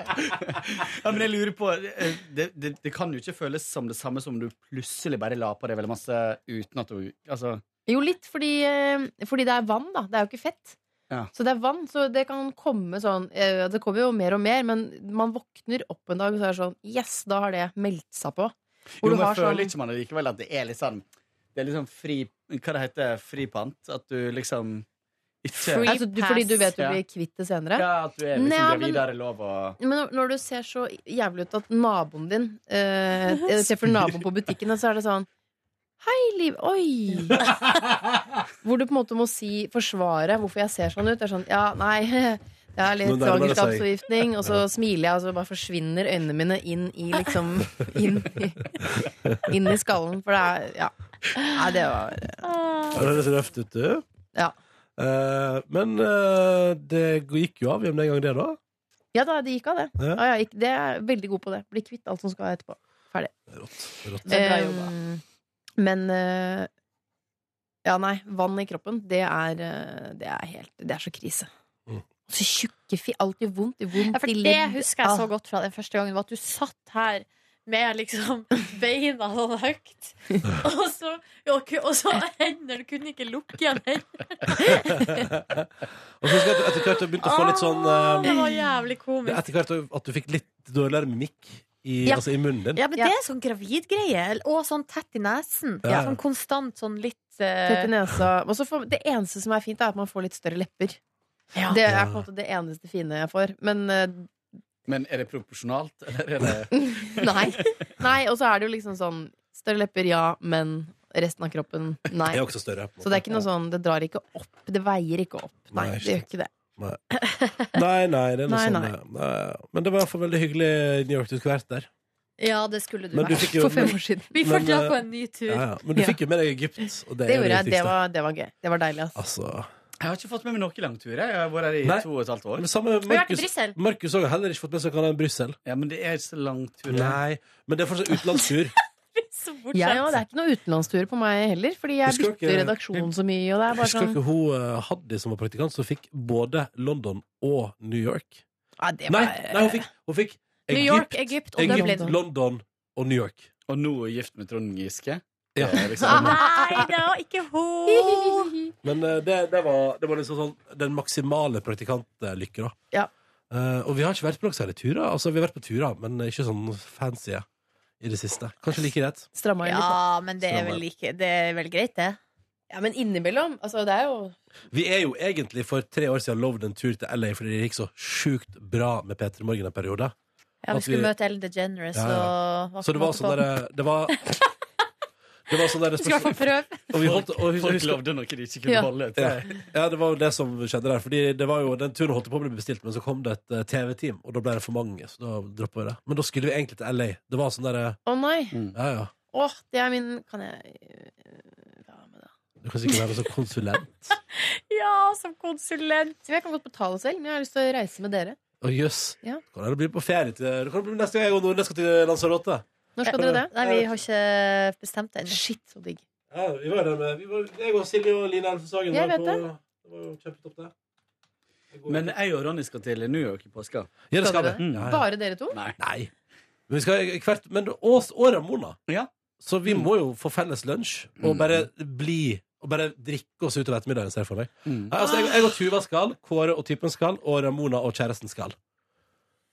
Ja, men jeg lurer på eh, det, det, det kan jo ikke føles som det samme som om du plutselig bare la på deg veldig masse uten at du Altså Jo, litt fordi, eh, fordi det er vann, da. Det er jo ikke fett. Ja. Så det er vann, så det kan komme sånn eh, Det kommer jo mer og mer, men man våkner opp en dag, og så er det sånn Yes, da har det meldt seg på. Hvor Jo, du men har føler sånn- ikke man likevel at det er litt sånn Det er litt sånn fri Hva det heter Fripant? At du liksom ikke Free- altså, du, Fordi du vet du Ja. blir kvitt det senere. Ja, at du er liksom Nei, men- gravid, da er det lov å Men når- når du ser så jævlig ut at naboen din eh, jeg ser for naboen på butikken, og så er det sånn Hei, Liv. Oi! Hvor du på en måte må si, forsvare hvorfor jeg ser sånn ut. Det er sånn, ja, nei det er litt Nå nærmer det seg. svangerskapsforgiftning, og så smiler jeg, og så bare forsvinner øynene mine inn i liksom Inn i, inn i skallen. For det er Ja. Nei, det var Ja, Det høres røft ut, du. Ja. Eh, men eh, det gikk jo av igjen den gangen, det, da. Ja da, det gikk av, det. Ja. Ja, ja, gikk, det er veldig god på det. Bli kvitt alt som skal etterpå. Rått. Det er bra jobba. Eh, Men eh, Ja, nei, vann i kroppen, det er, eh, det er helt Det er så krise. Mm. Så tjukke fi Alt gjør vondt. gjør vondt Ja, for i det ledd. husker jeg så Ah. godt fra den første gangen, var at du satt her med liksom beina sånn høyt, og så, og, ku- og så hendene Du kunne ikke lukke igjen hendene. Og så husker jeg at du etter hvert begynte å få litt sånn Ah, Åh, Det eh, var jævlig det er komisk. Etter hvert at du fikk litt dårligere mimikk i, Ja. altså, i munnen din. Ja, men det er sånn gravidgreie, og sånn tett i nesen. Ja. Sånn konstant, sånn litt Tett i eh, nesa. Og så får, det eneste som er fint, er at man får litt større lepper. Ja. Det er på en måte det eneste fine jeg får. Men eh, Men er det proporsjonalt, eller er det nei. nei. Og så er det jo liksom sånn Større lepper, ja, men resten av kroppen, nei. Jeg er også større. på en Så det er ikke noe sånn Det drar ikke opp. Det veier ikke opp. Nei, Nei, det gjør ikke det. Nei, nei, det er noe Nei, sånn nei. det- nei. Men det var i hvert fall veldig hyggelig i New York. Du skulle vært der. Ja, det skulle du Men du vært. fikk jo- for fem år siden. Vi får men, dra eh, på en ny tur. Ja, ja. Men du Ja. fikk jo med deg Egypt, og det, Det er det gjorde jeg. Det viktigste. var, det var gøy. Det var deilig, ass. Altså. Jeg har ikke fått med meg noen langturer. Jeg har vært her i Nei. to og et halvt år. Men samme med Vi har vært i Markus. Brussel. Markus har heller ikke fått med seg hva det er i Brussel. Ja, men det er ikke så langturer. Nei, men det er fortsatt utenlandstur. Så Jeg bortsett. òg. Det er ikke noe utenlandsturer på meg heller, fordi jeg Husker bytter dere- redaksjon så mye, og det er bare Husker sånn dere hun eh, Haddy som var praktikant, som fikk både London og New York? Nei, det Nei, var nei hun fikk, hun fikk New York, Egypt, Egypt og Egypt, Dublin. London og New York. Og nå er jeg gift med Trond Giske. Ja. Det er liksom, Nei, det var ikke hun! Men eh, det, det, var, det var liksom sånn den maksimale praktikantlykke, da. Ja. Eh, og vi har ikke vært på noen særlige turer. Altså, vi har vært på turer, men ikke sånn fancy i det siste. Kanskje like greit. Stramma inn litt. da. Ja, men det er vel, ikke, det er vel greit, det. Ja, men innimellom. Altså, det er jo Vi er jo egentlig for tre år siden lovd en tur til LA fordi det gikk så sjukt bra med P3 Morgen en periode. Ja, At vi skulle vi- møte Ellen DeGeneres Ja, og hva Så det var skal sånn man ta på? derre Det var det var sånn der Skal i hvert fall prøve. og vi holdt, og husk- folk husk- lovde noe de ikke kunne Ja. holde. ja, til. ja, det var jo det som skjedde der. Fordi det var jo, Den turen holdt på å bli bestilt, men så kom det et eh, TV-team, og da ble det for mange. Så da droppet vi det. Men da skulle vi egentlig til LA. Det var sånn derre Å nei. Ja, ja. Åh, det er min Kan jeg øh, hva med det? Du kan sikkert være sånn konsulent. Ja, som konsulent. Så Jeg kan godt betale selv, men jeg har lyst til å reise med dere. Å, jøss. Ja. Kan det bli på ferie til Du kan bli neste gang jeg og Nordnes skal til Lanzarote. Når skal dere det? Nei, vi har ikke bestemt det ennå. Shit, så digg. Ja, vi var der med vi var, Jeg og Silje og Line Elfensagen Jeg var vet på det. var jo kjempetopp, det. det. går- Men jeg og Ronny skal til New York i påska. ja, det skal vi. Skal Mm. Ja, ja. Bare dere to? Nei. Nei. Men vi skal hvert Men ås og Ramona. Ja. Så vi må jo få felles lunsj og bare bli Og bare drikke oss utover ettermiddagen, ser jeg for meg. Mm. Nei, altså, jeg, jeg og Tuva skal, Kåre og typen skal, og Ramona og kjæresten skal.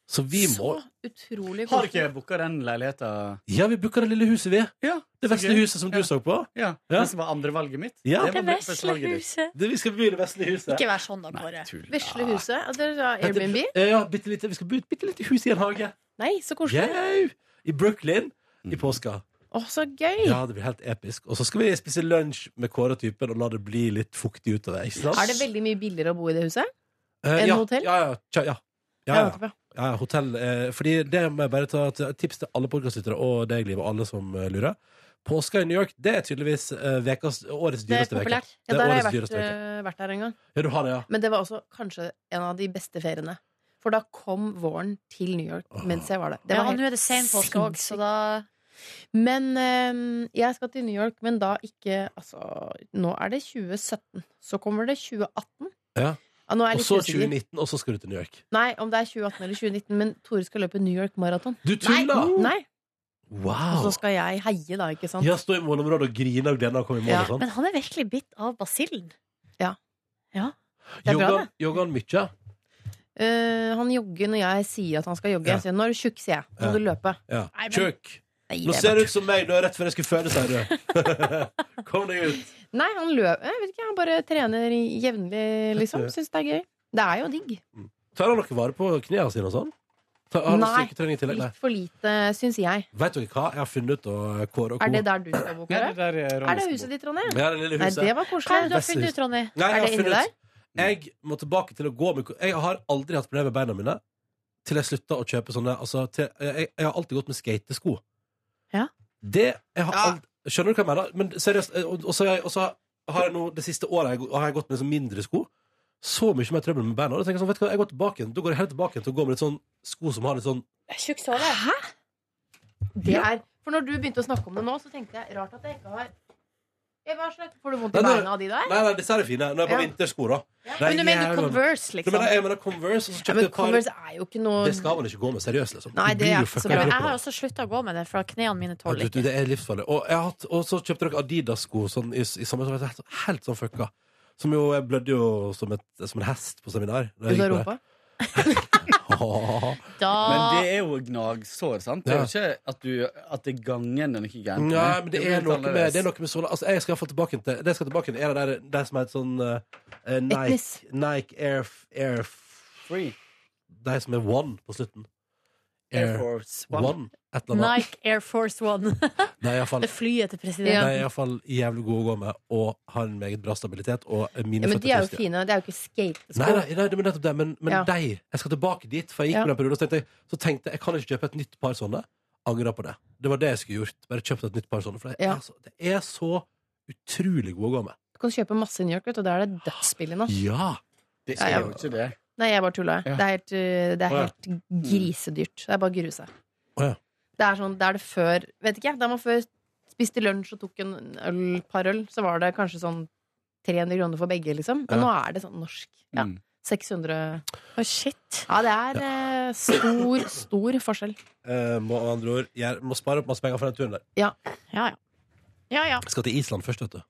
Så vi må Så utrolig Har koselig. dere booka den leiligheta? Ja, vi booker det lille huset, vi. Ja, Det vesle huset som du Ja. så på. Ja. Ja. Det som var andrevalget mitt. Ja. Det Det var vesle førstevalget ditt. huset. Det, vi skal bo i det vesle huset. Ikke vær sånn, da, Kåre. Tull. Vesle huset? At dere har Airbnb? Ja, ja, bitte lite. Vi skal bo i et bitte lite hus i en hage. Nei, så koselig. Jau! I Brooklyn i påska. Å, så gøy! Ja, det blir helt episk. Og så skal vi spise lunsj med Kåre og typen og la det bli litt fuktig utover. Ikke sant? Er det veldig mye billigere å bo i det huset? Eh, enn ja, hotell? Ja, ja. tja, ja. Ja, Ja, ja. nettopp, ja. ja, ja, hotell. Eh, fordi det må jeg bare ta til et tips til alle podkastlyttere og deg, Liv, og alle som eh, lurer. Påska i New York det er tydeligvis eh, vekas, årets Det er dyreste uke. populært. Det Ja, er der har årets jeg vært, dyreste uke. øh, vært der en gang. Ja, du har det, ja. Men det var også kanskje en av de beste feriene. For da kom våren til New York Åh. mens jeg var der. Det Ja, var helt... nå er det sen påske òg, så da Men øhm, jeg skal til New York, men da ikke Altså, nå er det 2017. Så kommer det 2018. Ja. nå er jeg Og litt så usikker. 2019, og så skal du til New York. Nei, om det er 2018 eller 2019, men Tore skal løpe New York Marathon. Du tuller! Nei. Og Wow! så skal jeg heie, da, ikke sant? Ja, stå i målområdet og grine og glede deg og komme i mål Ja, og sånn. Men han er virkelig bitt av basillen. det er bra, Jogger- Jogger han mye? Eh, han jogger når jeg sier at han skal jogge. Ja. Jeg sier, når er du tjukk, sier jeg. Nå Ja. må du løpe. Ja. Nei, men- Tjukk! Nei, Nå det er ser bare- du ut som meg, du er rett før jeg skulle føde, sier du. Kom deg ut. Nei, han løper. Jeg vet ikke, han bare trener jevnlig, liksom. Syns det er gøy. Det er jo digg. Tar han noe vare på knærne sine og sånn? Tar, har han Nei. styrketrening i tillegg? Nei. Litt for lite, syns jeg. Vet dere hva? Jeg har funnet ut å kåre og Er det kåre. der du skal bo, Ja, det Kåre? der er Er Ronnys det huset ditt, Ronny? Ja, det lille Nei, huset. det var Hva er det koselig. du har funnet ut, Ronny? Nei, jeg har Er det inni funnet der? ut- Mm. Jeg må tilbake til å gå med Jeg har aldri hatt problemer med beina mine til jeg slutta å kjøpe sånne altså, til, jeg, jeg har alltid gått med skatesko. Ja. Det jeg har Ja. ald- Skjønner du hva jeg mener? Men seriøst, eh, og, og så har jeg- og så har jeg nå det siste året jeg, har jeg gått med sånn mindre sko. Så mye mer trøbbel med beina. Og Da tenker jeg sånn, vet du hva, jeg går tilbake igjen. Da går jeg helt tilbake igjen til å gå med litt sånn sko som har litt sånn Tjukk såle. Det er For når du begynte å snakke om det nå, så tenkte jeg rart at jeg ikke har Eva, Aslak, får du vondt Nei, i nei. beina av de der? Nei, nei, disse her er fine. Nå er jeg på Ja. vintersko, da. Det er Men du mener jævla- Converse, Nå liksom? mener jeg- Jeg mener Converse, og så Ja, kjøpte jeg men et par Converse er jo ikke noe Det skal man ikke gå med seriøst, liksom. Nei, Du det blir er jo ikke så fucka bra. Ja, men opp jeg på har det. også slutta å gå med det, for knærne Ja, mine tåler du, du, ikke. det er livsfarlig. Og, jeg har hatt, og så kjøpte dere Adidas-sko sånn, i, i sommer som var helt, helt sånn fucka. Som jo, jeg blødde jo som, et, som en hest på seminar. da Ut jeg av gikk på det. rumpa? Men Ah. Da det er jo gnagsår, sant? Det er jo ikke at, du, at det er gangen er noe gærent. med. Nei, men det Det er blir noe litt med, det er noe med såla. Altså, jeg skal iallfall tilbake til Det jeg skal tilbake til, er det der det som er et sånn eh, Etnis. Nike, Nike Air, F- Air F- Free. De som er one på slutten. Air Force One. Et eller annet. Nike Air Force One. Det er iallfall Det flyet til Ja. presidenten. iallfall jævlig gode å gå med, og har en meget bra stabilitet. Og mine Ja, men de føtter er jo puster. fine. Det er jo ikke skatesko. Nei, nei, nei, det var nettopp det. Men, men Ja. de Jeg skal tilbake dit, for jeg gikk Ja. på den perioden. Så tenkte, jeg, så tenkte jeg jeg kan ikke kjøpe et nytt par sånne. Angra på det. Det var det jeg skulle gjort. Bare kjøpt et nytt par sånne. For det, Ja. er, så, det er så utrolig gode å gå med. Du kan kjøpe masse i New York, vet du, og da er det dødsbillig nå. Ja! Det Ja, er ja. jo ikke det. Nei, jeg bare tulla. jeg. Ja. Det er helt, uh, det er Å, ja. helt grisedyrt. Det er bare å grue seg. Å, ja. Det er sånn, det er det før Vet ikke, jeg. Da man før spiste lunsj og tok en øl, par øl, så var det kanskje sånn 300 kroner for begge, liksom. Men Ja. nå er det sånn norsk. Ja. Mm. 600 Å, shit. Ja, det er eh, stor, stor forskjell. Eh, må med andre ord jeg må spare opp masse penger for den turen der. Ja, ja. Ja, ja. Jeg skal til Island først, vet du.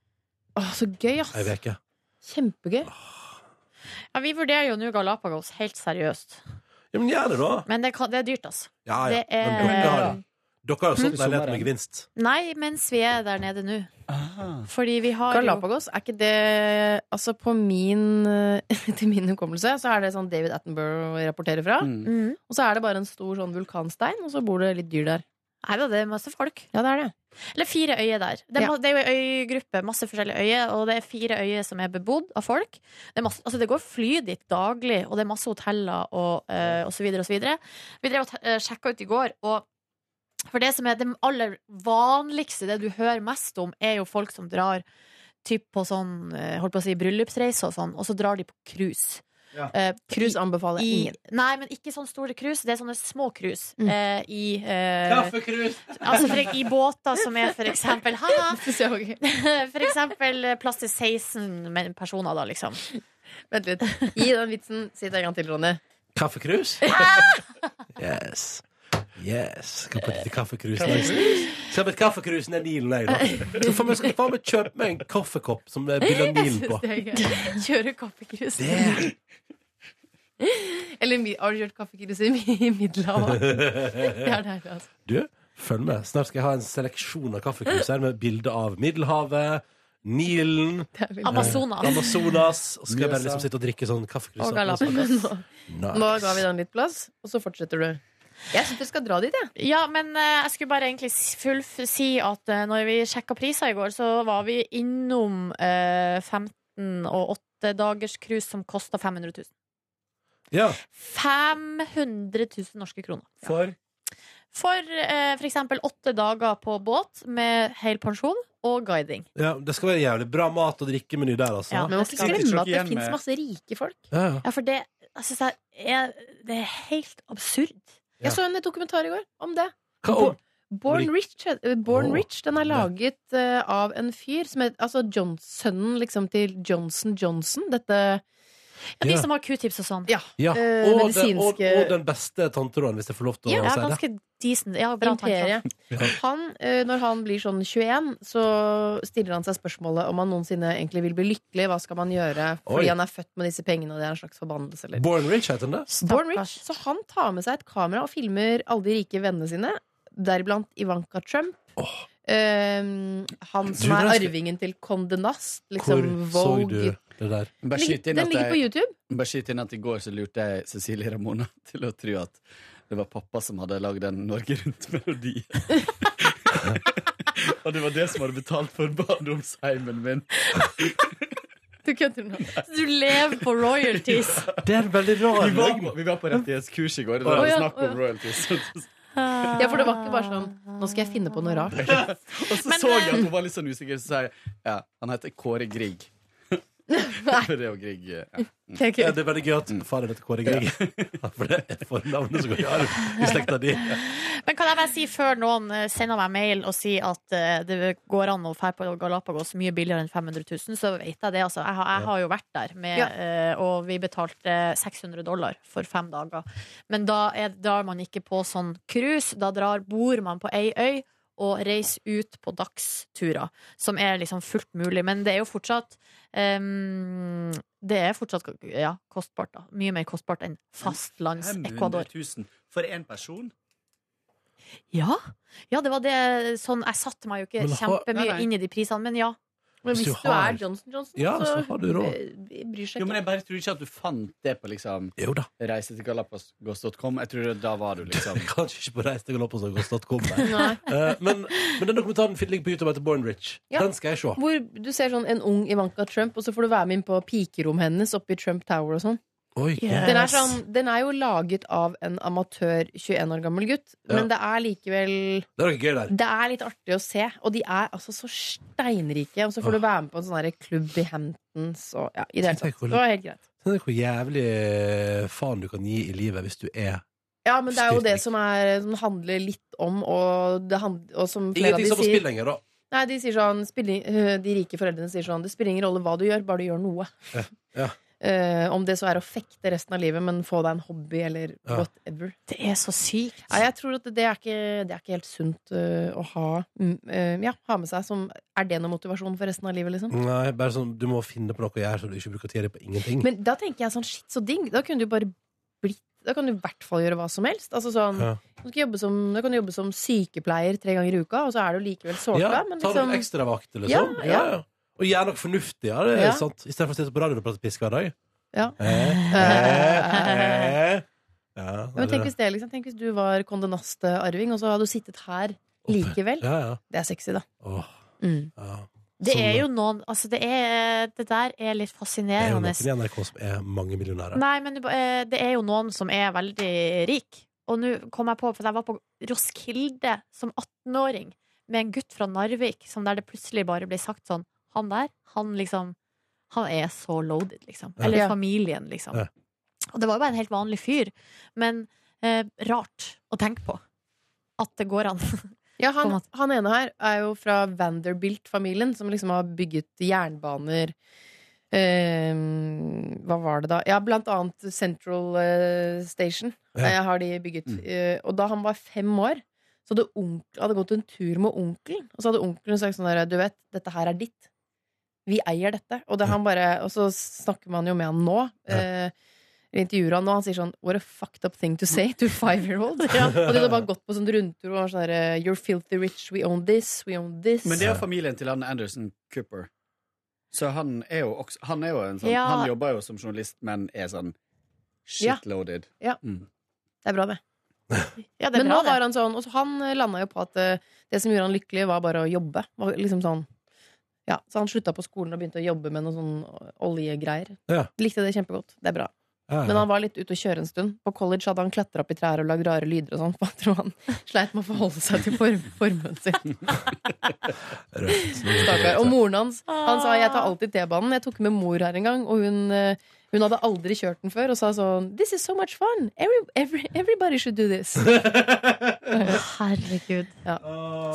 Å, så gøy, Ei ass! uke. Kjempegøy. Ah, ja vi vurderer jo nå Galapagos, helt seriøst. Ja, men gjør det, da! Men det, kan, det er dyrt, altså. Ja, ja. Det er Men dere har, dere har jo sånn Mm. leilighet med gevinst. Nei, mens vi er der nede nå. Fordi vi har jo Galapagos, er ikke det Altså, på min til min hukommelse, så er det sånn David Attenborough rapporterer fra. Mm. mm. Og så er det bare en stor sånn vulkanstein, og så bor det litt dyr der. Nei da, det er masse folk. Ja, det er det. Eller fire øyer der. Det er, Ja. ma- det er jo ei øygruppe, masse forskjellige øyer, og det er fire øyer som er bebodd av folk. Det, er masse, altså det går fly dit daglig, og det er masse hoteller og, eh, og så videre og så videre. Vi drev og te- eh, sjekka ut i går, og for det som er det aller vanligste, det du hører mest om, er jo folk som drar typ på sånn, eh, holdt på å si, bryllupsreise og sånn, og så drar de på cruise. Ja. Eh, Cruise anbefaler jeg i, ingen. nei, men ikke sånne store cruise. Det er sånne små cruise. Mm. Eh, I eh, Altså for, I båter som er for eksempel haha, For eksempel eh, plass til 16 men- personer, da, liksom. Vent litt. Gi den vitsen. Si det en gang til, Ronny. Kaffekrus? yes. Yes. Skal på et lite kaffekrus. Skal på et kaffekrus ned Nilen, jeg, da. Så får vi skal faen meg kjøpe meg en kaffekopp som det er bilde av Nilen på. Kjøre kaffekrus. Det er Eller mi- har du kjørt kaffekrus i mi- i Middelhavet? Det er deilig, altså. Du, følg med. Snart skal jeg ha en seleksjon av kaffekrus her med bilde av Middelhavet, Nilen, Det er veldig- Amazonas. Amazonas. Og skal jeg bare Mjøsa. liksom sitte og drikke sånn kaffekrus. Og Galapagos. Nå ga vi den litt plass, og så fortsetter du. Jeg syns du skal dra dit, jeg. Ja, men eh, jeg skulle bare egentlig s- full si at eh, når vi sjekka priser i går, så var vi innom eh, 15 og 8 dagers cruise som kosta 500 000. Ja. 500 000 norske kroner. For For eh, for eksempel åtte dager på båt med hel pensjon og guiding. ja, det skal være jævlig bra mat og drikkemeny der, altså. Ja. Men man må ikke skal- glemme Ikke at det hjemme. fins masse rike folk. Ja, ja. Ja, for det, jeg synes jeg er, det er helt absurd. Ja. Jeg så en dokumentar i går om det. Hva om Born Rich, eh, Born Åh, Rich den er det. laget eh, av en fyr som heter altså John- sønnen liksom, til Johnson Johnson. Dette Ja, de Ja. som har q-tips og sånn. Ja. ja. Eh, og, den, og, medisinske- og den beste tanteråden, hvis jeg får lov til å Ja, si det. ganske decent. Ja, bra tanke. imperiet. Han, eh, når han blir sånn 21, så stiller han seg spørsmålet om han noensinne egentlig vil bli lykkelig. Hva skal man gjøre Oi. fordi han er født med disse pengene, og det er en slags forbannelse? Eller? Born Rich heter den det? Born Rich. Så han tar med seg et kamera og filmer alle de rike vennene sine, deriblant Ivanka Trump. Åh. Eh, han som Du, er når jeg skal- arvingen til Condé Nast. Hvor Liksom så Vogue. du det der? Bare Ligger- skyt inn Den at ligger på jeg YouTube. Bare skyt inn at i går så lurte jeg Cecilie Ramona til å tro at det var pappa som hadde lagd en Norge Rundt-melodi. Og det var det som hadde betalt for barndomsheimen min. Du kødder nå. Du lever på royalties. Det er en veldig Vi rar var på, vi var på rettighetskurs i går. Det Å, var ja, snakk å, om royalties. Og Ja, for det var ikke bare sånn Nå skal jeg finne på noe rart. så så jeg at hun var litt sånn usikker, så sa jeg ja, han heter Kåre Grieg. For det er jo Grieg ja. Ja, det er veldig gøy at faren heter Kåre Grieg. For det er fornavnet som går i arv i slekta di. Men kan jeg bare si før noen eh, sender meg mail og sier at eh, det går an å fære på Galapagos mye billigere enn 500 000, så vet jeg det. Altså, jeg, har, jeg har jo vært der, med, Ja. eh, og vi betalte 600 dollar for fem dager. Men da er, drar man ikke på sånn cruise. Da drar, bor man på ei øy og reiser ut på dagsturer, som er liksom fullt mulig. Men det er jo fortsatt ehm, det er fortsatt ja, kostbart. da Mye mer kostbart enn fastlands-Ecuador. 000 for én person? Ja. ja, det var det sånn Jeg satte meg jo ikke Men har- kjempemye Nei, nei. inn i de prisene, men ja. Men Hvis du hvis du, har- er Johnson Johnson, Ja, så så, har du råd. eh, bryr seg Jo, men ikke. jeg bare tror ikke at du fant det på liksom Jo da. reise til galapagos.com. Jeg tror det, da var du liksom Kanskje ikke på reis til galapagos.com. nei. Nei. Eh, men, men den dokumentaren ligger på YouTube etter Born Rich. Ja. Den skal jeg se. Hvor du ser sånn en ung Ivanka Trump, og så får du være med inn på pikerommet hennes oppe i Trump Tower og sånn. Oi, Den er, sånn, den er jo laget av en amatør 21 år gammel gutt, men det er likevel Det er noe gøy der. Det er litt artig å se, og de er altså så steinrike. Og så får du være med på en sånn her klubb i Hamptons og ja, i det hele tatt. Det var helt greit. Tenk hvor jævlig eh, faen du kan gi i livet hvis du er Ja, men det er jo det som, er, som handler litt om, og, det hand, og som flere av Ingenting de står på spill sier lenger, da. Nei, de sier sånn spiller, øh, De rike foreldrene sier sånn Det spiller ingen rolle hva du gjør, bare du gjør noe. ja. Eh, om det så er å fekte resten av livet, men få deg en hobby eller Ja. whatever. Det er så sykt. Nei, jeg tror at det er ikke, det er ikke helt sunt øh, å ha, mm, øh, ja, ha med seg som Er det noe motivasjon for resten av livet, liksom? Nei, bare sånn, du må finne på noe å gjøre så du ikke bruker tida di på ingenting. Men da tenker jeg sånn shit, så ding. Da kunne du bare blitt Da kan du i hvert fall gjøre hva som helst. Altså sånn, Ja. du skal jobbe som, da kan du jobbe som sykepleier tre ganger i uka, og så er du likevel ja, sårpa. men ta liksom, noen ekstravakter, Ja, liksom. ja. Og gjør noe fornuftig, ja. Det er Ja. sant. I stedet for å sitte på radioen og prate pisk hver dag. Ja. Eh, eh, eh. Ja, Ja, men tenk hvis det liksom, tenk hvis du var kondenastearving, og så hadde du sittet her likevel. Ja, ja. Det er sexy, da. Åh, Sånn, Mm. ja. Det Som- er jo noen Altså, det, er, det der er litt Det er jo fascinerende. noen i NRK som er mange millionærer. Nei, men eh, det er jo noen som er veldig rik. Og nå kom jeg på, for jeg var på Roskilde som 18-åring med en gutt fra Narvik, som der det plutselig bare ble sagt sånn Han der, han liksom Han er så loaded, liksom. Ja. Eller Ja. familien, liksom. Ja. Og det var jo bare en helt vanlig fyr. Men eh, rart å tenke på. At det går an. Ja, På en han, måte. han ene her er jo fra Vanderbilt-familien, som liksom har bygget jernbaner eh, Hva var det da? Ja, blant annet Central eh, Station Ja. eh, har de bygget. Mm. Eh, og da han var fem år, så hadde onkel, hadde gått en tur med onkelen, og så hadde onkelen sagt sånn der Du vet, dette her er ditt. Vi eier dette. Og, det han bare, og så snakker man jo med han nå. Ja. Eh, vi intervjuer han nå, han sier sånn What a fucked up thing to say to a five-year-old. Og de hadde bare gått på sånn rundtur og var sånn der You're filthy rich, we own this, we own this. Men det er jo familien til han Anderson Cooper. Så han er jo også Han, er jo en sånn, Ja. han jobber jo som journalist, men er sånn shitloaded. Ja. Mm. Det er bra, det. Ja, det er Men nå bra, var det. han sånn Og så han landa jo på at eh, det som gjorde han lykkelig, var bare å jobbe. Var liksom sånn ja, Så han slutta på skolen og begynte å jobbe med noe sånn oljegreier. Ja. Likte det kjempegodt. Det er bra. Ja, Men han var litt ute å kjøre en stund. På college hadde han klatra opp i trær og lagd rare lyder og sånn. for Jeg tror han sleit med å forholde seg til form formuen sin. Røft. Stakkar. Og moren hans Han sa jeg tar alltid T-banen. Jeg tok med mor her en gang, og hun, eh, hun hadde aldri kjørt den før, og sa sånn This is so much fun. Every, every, everybody should do this. Herregud.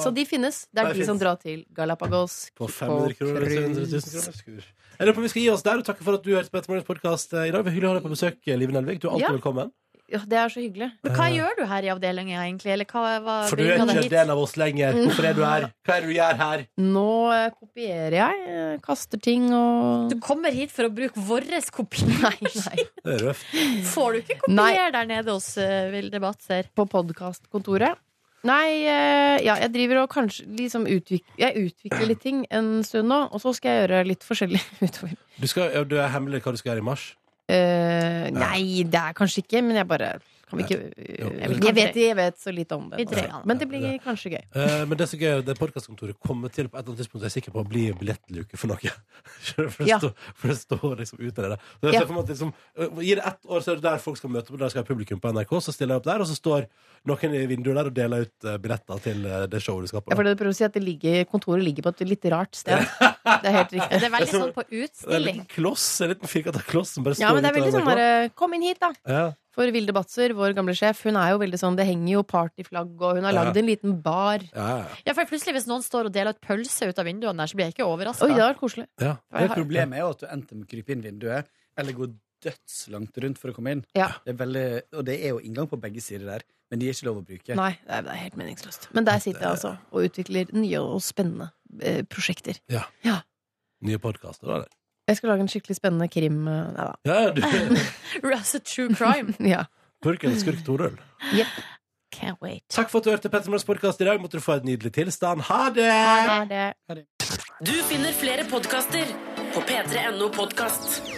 Så de finnes. Det Det er de finnes. som drar til Galapagos. Ah, På 500 kroner eller 700 Cruise. 000 kroner. Skur. Jeg lurer på om vi skal gi oss der. og Takke for at du hørte på Ettermorgens podkast eh, i dag. Det var Hyggelig å ha deg på besøk, Live Nelvik. Du er alltid Ja. velkommen. Ja, det er så hyggelig. Men hva gjør du her i avdelinga, egentlig? Eller hva, hva Eh. For du er bringa ikke deg en hit? del av oss lenger. Hvorfor er du her? Hva er det du gjør her? Nå eh, kopierer jeg. eh, Kaster ting og Du kommer hit for å bruke vår kopi. Nei, nei. Det er røft. Får du ikke Nei. kopier der nede hos eh, Vilde Batser? På podkastkontoret. Nei, eh, ja, jeg driver og kanskje liksom utvikler Jeg utvikler litt ting en stund nå, og så skal jeg gjøre litt forskjellig utover. Du, skal, ja, du er hemmelig hva du skal gjøre i mars. Eh, nei, det er kanskje ikke, men jeg bare kan vi ikke, Jo. jeg, vet, jeg, vet, jeg vet så lite om det. Vi nå. dreier det. Men det blir kanskje gøy. Eh, men det som er gøy, det podkastkontoret kommer til på et eller annet tidspunkt, jeg er sikker på, å bli billettluke for noe. for, det Ja. står, for det står liksom ut av det. der. Så jeg Ja. ser for meg at liksom, eh, Gi det ett år, så er det der folk skal møte opp, og der skal ha publikum på NRK. Så stiller jeg opp der, og så står noen i vinduet der og deler ut eh, billetter til eh, det showet du skal på. Ja, for det du prøver å si at det ligger, Kontoret ligger på et litt rart sted. Det er helt Det riktig. er veldig sånn Det på er en utstilling. liten kloss, en liten firkanta kloss som bare står Ja, men det er ut veldig av sånn NRK. derre Kom inn hit, da! Ja. For Vilde Batzer, vår gamle sjef, hun er jo veldig sånn Det henger jo partyflagg, og hun har lagd en liten bar. Ja, ja, Ja, for plutselig Hvis noen står og deler ut pølse ut av vinduene der, så blir jeg ikke Oi, det overraska. var koselig. ja. Jeg har- Problemet er jo at du enten må krype inn vinduet, eller gå dødslangt rundt for å komme inn. Ja. Det er veldig, og det er jo inngang på begge sider der, men de er ikke lov å bruke. Nei, det er, det er helt meningsløst. Men der sitter jeg altså og utvikler nye og spennende eh, prosjekter. Nye podkaster, da? eller? Jeg skal lage en skikkelig spennende krim... eh, Nei da. Ja, du That's a true crime. Ja. Purken skurk Torøl. Can't wait. Takk for at du hørte Petter Morgens podkast i dag. Måtte du få en nydelig tilstand. Ha det! Det er det. Du finner flere podkaster på p3.no podkast.